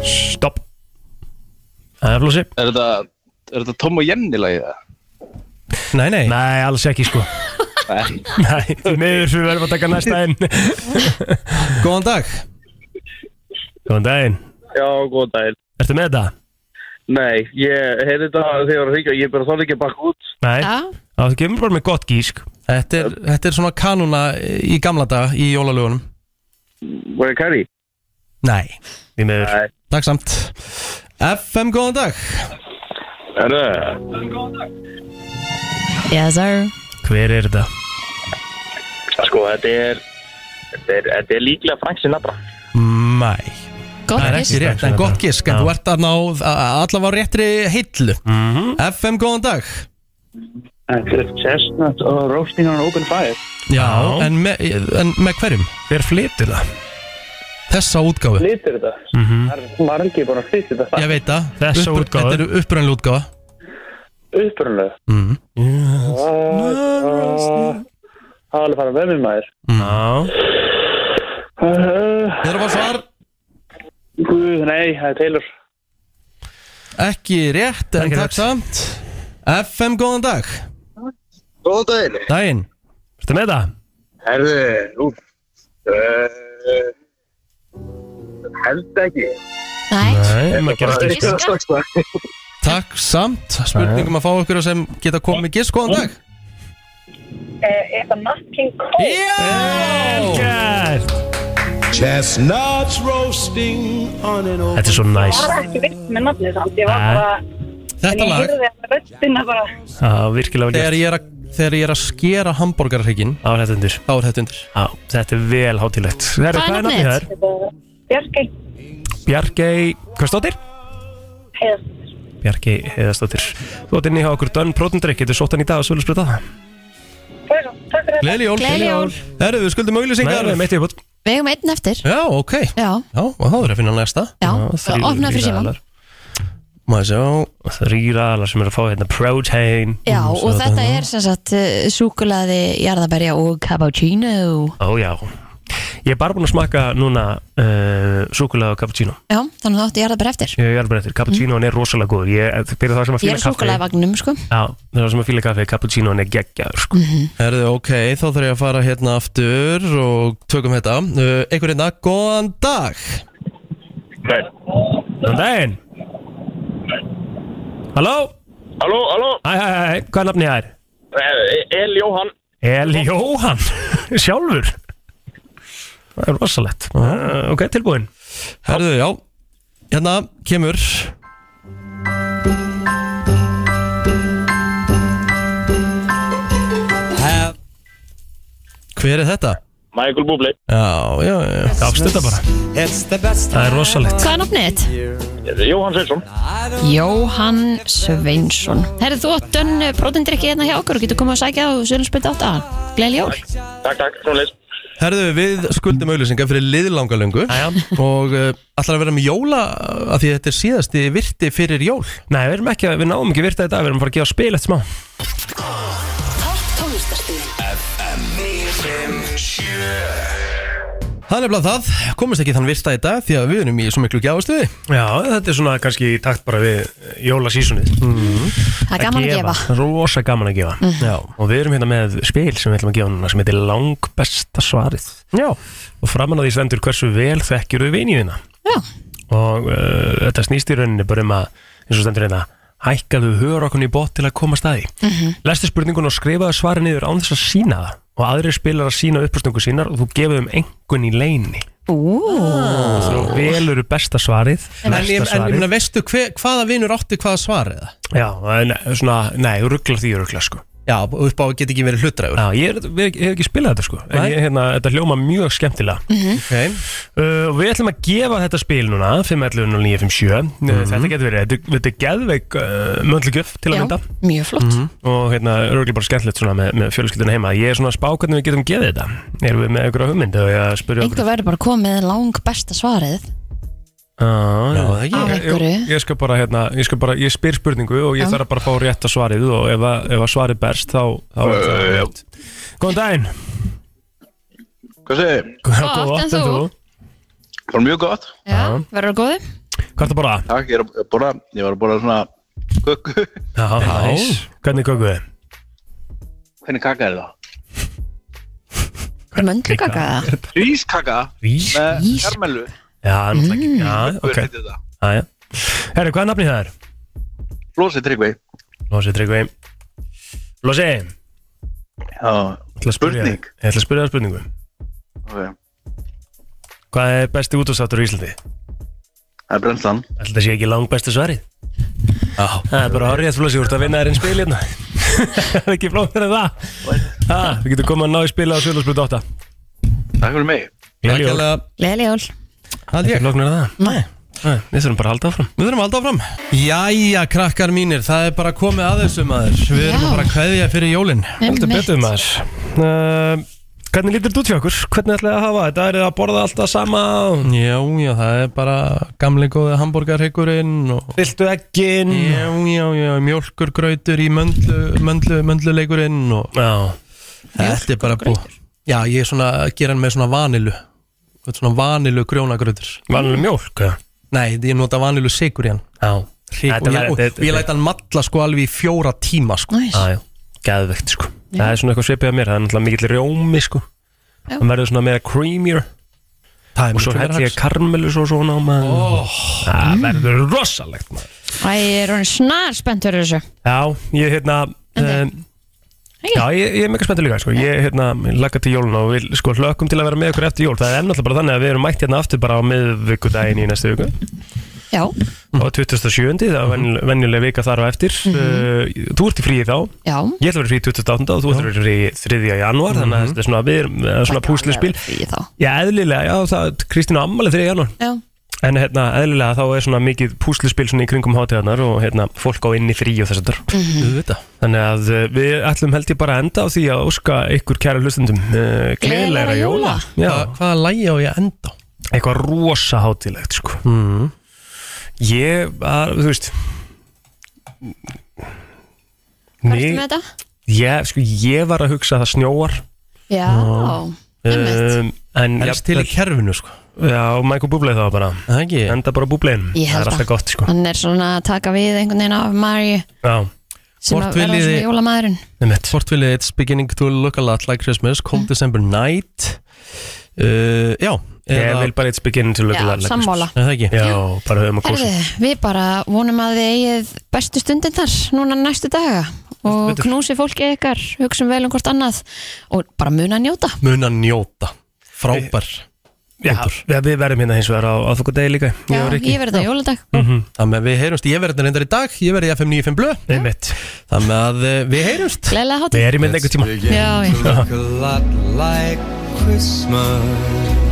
Speaker 1: Stopp Það er Flósi
Speaker 5: Er þetta, er þetta Tom og Jenny lagið það?
Speaker 2: Nei, nei
Speaker 1: Nei, alls ekki, sko
Speaker 5: Nei
Speaker 1: Nei, því miður við verðum að taka næsta inn
Speaker 2: Góðan dag
Speaker 1: Góðan daginn
Speaker 5: Já, góðan daginn
Speaker 1: Ertu með þetta?
Speaker 5: Nei, ég heyrði þetta þegar ég var að hringja Ég bara þáði ekki að bakka út
Speaker 1: Nei Já, þú kemur bara með gott gísk
Speaker 2: Þetta er, þetta er svona kanúna í gamla daga í jólalögunum
Speaker 5: Var ég kæri?
Speaker 2: Nei
Speaker 1: Því miður
Speaker 2: Takk samt FM, góðan dag
Speaker 5: Herru
Speaker 4: Yes sir
Speaker 1: Hver er þetta?
Speaker 5: Sko, þetta er Þetta er, þetta er líklega Frank Sinatra
Speaker 2: Nei
Speaker 5: Gott
Speaker 2: Það er
Speaker 5: gisk.
Speaker 2: ekki rétt, en gott gisk En þú ert að ná allavega á réttri hillu FM, góðan dag
Speaker 5: Þetta er Chestnut og Roasting on Open Fire
Speaker 2: Já, en, me, en með hverjum?
Speaker 1: Hver flytur það?
Speaker 2: Þessa útgáfu
Speaker 5: Flytur þetta?
Speaker 1: Mhm.
Speaker 5: Það er margir búin að flytja þetta
Speaker 2: Ég veit það
Speaker 5: Þessa
Speaker 2: Uppr-
Speaker 5: útgáfu.
Speaker 2: Þetta eru upprænlega útgáfa
Speaker 5: Upprunlega
Speaker 2: mm.
Speaker 5: Það var alveg farað með mér maður
Speaker 1: Já
Speaker 5: Það
Speaker 2: er bara svar
Speaker 5: Guð, nei, það er Taylor
Speaker 2: Ekki rétt, en takk samt FM, góðan dag
Speaker 14: Góðan daginn
Speaker 2: Daginn
Speaker 1: Ertu með það?
Speaker 14: Herðu, nú uh, Held ekki
Speaker 1: Nei, maður
Speaker 14: bara
Speaker 1: gerast
Speaker 14: eitthvað
Speaker 1: gísk
Speaker 14: slags lag.
Speaker 2: Takk samt Spurningum að fá okkur sem geta komið með gisk, góðan dag
Speaker 12: Eh, Er það Nat King Cole?
Speaker 1: Já!
Speaker 17: Chestnuts roasting on an open
Speaker 1: Þetta er svo
Speaker 12: Ég
Speaker 1: næs
Speaker 12: var ekki vilt með nafnið samt, ég var bara...
Speaker 2: Þetta
Speaker 12: en
Speaker 2: lag.
Speaker 12: Ég hyrði að röddina bara...
Speaker 1: Já, virkilega vel gert.
Speaker 2: Þegar ég er að, þegar ég er að skera hambúrgarhryggin
Speaker 1: Þá er þetta undir
Speaker 2: Þá er þetta undir
Speaker 1: Já, þetta er vel hátilegt Herru, hvað er nafnið það?
Speaker 12: Bjarkey
Speaker 1: Bjargei, hvað stóttir?
Speaker 12: Heiðar.
Speaker 1: Bjargei Heiðastóttir Þú átt inni hjá okkur Dönn Prótendrykk Getur sótt hann í dag og svölusbrytað
Speaker 2: Gleðli jól
Speaker 4: Gleðileg jól.
Speaker 2: Herru, við skuldum auglýsingar
Speaker 1: Nei, nei, meitt ég bútt
Speaker 4: Við eigum einn eftir
Speaker 2: Já, ok
Speaker 4: Já,
Speaker 2: Já, og þá er að finna næsta
Speaker 4: já, opnað fyrir síman
Speaker 2: Maður
Speaker 1: sjá Þrýraðalar sem eru að fá hérna protein
Speaker 4: Já, og þetta eh, er sem sagt súkulaði, jarðabæri og cappuccino
Speaker 1: Ó já Ég er bara búin að smakka núna uh, súkulega og cappuccino
Speaker 4: Já, þannig þá átti ég að það bara eftir
Speaker 1: Ég er bara eftir, cappuccinoan er rosalega góður Ég, eh, fyrir það sem að
Speaker 4: Mm. Ég
Speaker 1: fíla
Speaker 4: er
Speaker 1: kaffi
Speaker 4: súkulega vagnum, sko
Speaker 1: Já, það er sem að fíla kaffi, cappuccinoan er geggjaður
Speaker 4: Mm.
Speaker 1: sko.
Speaker 2: Herðu, ok, þá þarf ég að fara hérna aftur og tökum þetta uh, Einhver hérna, góðan dag
Speaker 1: Góðan daginn Halló
Speaker 18: Halló, halló
Speaker 1: Hæ, hæ, hæ, hæ, hvað er nafnið það er?
Speaker 18: Eh, El Jóhann
Speaker 1: Eli Jóhann, sjálfur Það er rosalegt uh, Ok, tilbúin
Speaker 2: Herðu, já, hérna kemur Hef Hver er þetta?
Speaker 18: Michael Bublé
Speaker 2: Já, já, já
Speaker 1: Gafstu þetta bara
Speaker 2: Það
Speaker 1: er rosalegt
Speaker 4: Hvað er nafnið þitt?
Speaker 18: Jóhann Sveinsson
Speaker 4: Jóhann Sveinsson Herðu þú átt dönn prótendrykki hérna hjá okkur og getur komið að sækja á Sjölandsbyrð 8 Gleil jól
Speaker 18: Takk, takk, svona leys
Speaker 2: Herðu, við skuldum auðlýsingar fyrir liðlanga löngu og uh, allar að vera með jóla uh, af því að þetta er síðasti virti fyrir jól
Speaker 1: Nei, við erum ekki, við náum ekki virta í dag, við erum bara að gefa spil eftir smá
Speaker 2: Það er nefnilega það, komist ekki þann virta í dag því að við erum í svo miklu gjáðastuði
Speaker 1: Já, þetta er svona kannski í takt bara við eh, jólasísunni mm.
Speaker 4: Það er gaman að gefa.
Speaker 1: Rosa gaman að gefa
Speaker 4: Mhm.
Speaker 1: Já. Og við erum hérna með spil sem við ætlum að gefa núna sem heitir langbesta svarið Já Og framan að því stendur hversu vel þekkjur við vinjina
Speaker 4: Já
Speaker 1: Og uh, þetta snýst í rauninni bara um að eins og stendur hérna hækkaðu hör okkur í bótt til að komast að því
Speaker 4: Mhm.
Speaker 1: Lestu spurningun og skrifaðu svarið niður án þess að sína það og aðrir spilar að sína uppstungu sínar og þú gefur þeim engun í leini
Speaker 4: Ú
Speaker 1: Þú velur besta svarið
Speaker 2: Ah. En, en,
Speaker 1: næsta
Speaker 2: ég- en,
Speaker 1: svarið.
Speaker 2: en veistu hver, hvaða vinur átti hvaða svar eða?
Speaker 1: Já, en eh, svona, nei, þú rugglar því rugglar sko
Speaker 2: Já, upp á get ekki verið hlutræður
Speaker 1: Já, ég, er, ég hef ekki spilað þetta sko En
Speaker 2: Nei.
Speaker 1: ég, hérna, þetta hljóma mjög skemmtilega
Speaker 2: Mhm.
Speaker 1: okay. uh, Við ætlum að gefa þetta spil núna 5.11.09.57 mm
Speaker 2: Mhm.
Speaker 1: Þetta getur verið, þetta, þetta er geðveik uh, möndlugjöf til að
Speaker 4: Já,
Speaker 1: mynda
Speaker 4: mjög flott
Speaker 1: Og hérna, örgulega bara skemmtilegt svona með, með fjölskylduna heima Ég er svona að spá hvernig við getum gefið þetta Erum við með einhverja hugmynd og ég að spyrja okkur
Speaker 4: Einhver verður bara komið lang besta svarið
Speaker 1: Já, já,
Speaker 4: það ekki. Á einhverju.
Speaker 1: Ég, ég skal bara, hérna, ég skal bara, ég spyr spurningu og ég
Speaker 4: Já.
Speaker 1: þarf að bara að fá rétt að svarið og ef, að- ef að svarið berst þá, þá er það rétt. Góðan daginn.
Speaker 18: Hvað segir?
Speaker 1: Góð
Speaker 4: en
Speaker 1: átt en þú.
Speaker 4: þú?
Speaker 18: Bara mjög gott
Speaker 4: Já, verður það góði?
Speaker 1: Hvað er það bara?
Speaker 18: Takk, ég er að borða, ég var að borða svona kökku
Speaker 1: Já, næs. Hvernig kökuð þið?
Speaker 18: Hvernig kaka er það?
Speaker 4: Möndlugaka eða?
Speaker 18: Rískaka
Speaker 1: Rís? Mm.
Speaker 18: Með karmelu
Speaker 1: Já, náttúrulega ekki. Já, ok.
Speaker 18: heitir þetta?
Speaker 1: Já, já. Herru, hvað er nafnið það er?
Speaker 18: Flósi Tryggvi
Speaker 1: Lósi Tryggvi. Lósi.
Speaker 18: Já,
Speaker 1: ætla að spyrja þig- Ég ætla að spyrja það spurningu.
Speaker 18: ok
Speaker 1: Hvað er besti útastáttur í Íslandi?
Speaker 18: Það er brennslan
Speaker 1: Ætla það sé ekki lang besti svarið? Já. Það er bara horrið að þú ert að vinna þér einn spil hérna. Það er ekki flóknar en það. Ha, Við getum komið að ná í spila á Sjölandsblut 8.
Speaker 18: Takk fyrir mig.
Speaker 1: Gleðileg jól.
Speaker 4: Gleil jól
Speaker 2: Hald
Speaker 1: Ekki flóknar en það.
Speaker 4: Nei
Speaker 1: Nei, Við þurfum bara að halda áfram.
Speaker 2: Við þurfum að halda áfram Jæja, krakkar mínir, það er bara komið að þessu maður Við erum
Speaker 1: Já.
Speaker 2: að bara að kveðja fyrir jólin
Speaker 1: Heldur Einmitt. betur, maður uh, Hvernig lítur þetta út hjá okkur? Hvernig ætlaði að hafa þetta? Er það að borða alltaf sama?
Speaker 2: Já, já, það er bara gamli góði hambúrgarhyggurinn og...
Speaker 1: Viltu egginn?
Speaker 2: Já, já, já, mjölkurgrautur í möndlu, möndlu, möndluleikurinn og...
Speaker 1: Já
Speaker 2: Þetta er bara búið Já, ég er svona að gera hann með svona vanilu Þetta er Svona vanilu grjónagrautur
Speaker 1: Vanilu mjólk? eða?
Speaker 2: Nei, ég nota vanilu sigur í hann
Speaker 1: Já
Speaker 2: Hrik,
Speaker 1: Þetta
Speaker 2: og, ég,
Speaker 1: væri-
Speaker 2: og,
Speaker 1: þetta-
Speaker 2: og ég læt hann matla sko alveg í fjóra tíma sko
Speaker 4: Næs.
Speaker 1: Já, já, geðvegt sko Það er svona eitthvað svipið að mér, það er náttúrulega mikill rjómi sko
Speaker 4: Já.
Speaker 1: Það verður svona meira creamier Og svo
Speaker 2: miklu meira
Speaker 1: hætti ég
Speaker 2: hax.
Speaker 1: karmelu svo svona á maður Það verður rosalegt maður
Speaker 4: Æ, ég er orðin snar spennt fyrir þessu
Speaker 1: Já, ég hérna um, Já, ég, ég er mega spenntur líka sko. Ég hérna, lakka til jólun og við sko, hlökkum til að vera með ykkur eftir jól Það er ennáttúrulega bara þannig að við erum mætt hérna aftur bara á miðvikudaginn í næstu viku
Speaker 4: Já,
Speaker 1: á 27. það er venjuleg, venjuleg vika þar á eftir uh, Þú ert í fríi þá
Speaker 4: Já.
Speaker 1: Ég ætla að vera í fríi 28. og þú ætla að vera í fríi 3. janúar þannig að þetta er svona, við erum það er svona púslispil Já, eðlilega, já, það Kristín á ammali 3. janúar
Speaker 4: já
Speaker 1: En hérna, eðlilega þá er svona mikið púslispil svona í kringum hátíðarnar og hérna, fólk á inn í frí og þess að
Speaker 4: Mhm.
Speaker 1: þetta Þannig að uh, við ætlum held ég bara að enda á því að óska ykkur kæra hlustendum uh,
Speaker 2: Gleðilegra
Speaker 1: Gleðilegra jóla
Speaker 2: jóla.
Speaker 1: Já.
Speaker 2: Hvaða lægi á ég að enda á?
Speaker 1: Eitthvað rosa hátíðlegt sko mm. Ég, að, þú veist
Speaker 4: Hvað ertu með þetta?
Speaker 1: Ég, sko, ég var að hugsa að það snjóar
Speaker 4: Já,
Speaker 1: um, En
Speaker 2: Helst til í kerfinu sko
Speaker 1: Já, Michael Bublé þá bara Ekki Enda bara Bublénum Það
Speaker 4: Ég held
Speaker 1: er alltaf gott sko
Speaker 4: Hann er svona að taka við einhvern veginn af Maríu
Speaker 1: Já
Speaker 4: sem
Speaker 2: Hvort
Speaker 4: að vera
Speaker 2: viljið
Speaker 4: svona
Speaker 2: þið-
Speaker 4: jólamæðurinn
Speaker 2: Einmitt. Hvort vil it's beginning to look a lot like Christmas
Speaker 1: Hm.
Speaker 2: Cold December night
Speaker 1: Eh,
Speaker 2: uh, Já
Speaker 1: Ég vil bara it's beginning to look
Speaker 4: Já,
Speaker 1: a lot like
Speaker 4: sammála.
Speaker 1: Christmas. Er það ekki? sko. Já, bara höfum að um
Speaker 4: Herðu,
Speaker 1: kósi
Speaker 4: við bara vonum að þið eigið bestu stundinnar núna næstu daga og
Speaker 2: betur.
Speaker 4: knúsi fólki ykkar, hugsum vel um hvort annað og bara muna að njóta
Speaker 2: Muna njóta Frábær
Speaker 1: Já, já, við verðum hérna hins vegar á, á þokku degi líka
Speaker 4: Já, ég verði það jóladag
Speaker 2: Þannig að við heyrumst Ég verði reyndar í dag Ég verði í FM 95 blöð Þannig að uh, við heyrumst
Speaker 4: Gleðilega hátíð.
Speaker 2: Við erum hérna einhver tíma
Speaker 4: Já, já.
Speaker 9: Look a lot like Christmas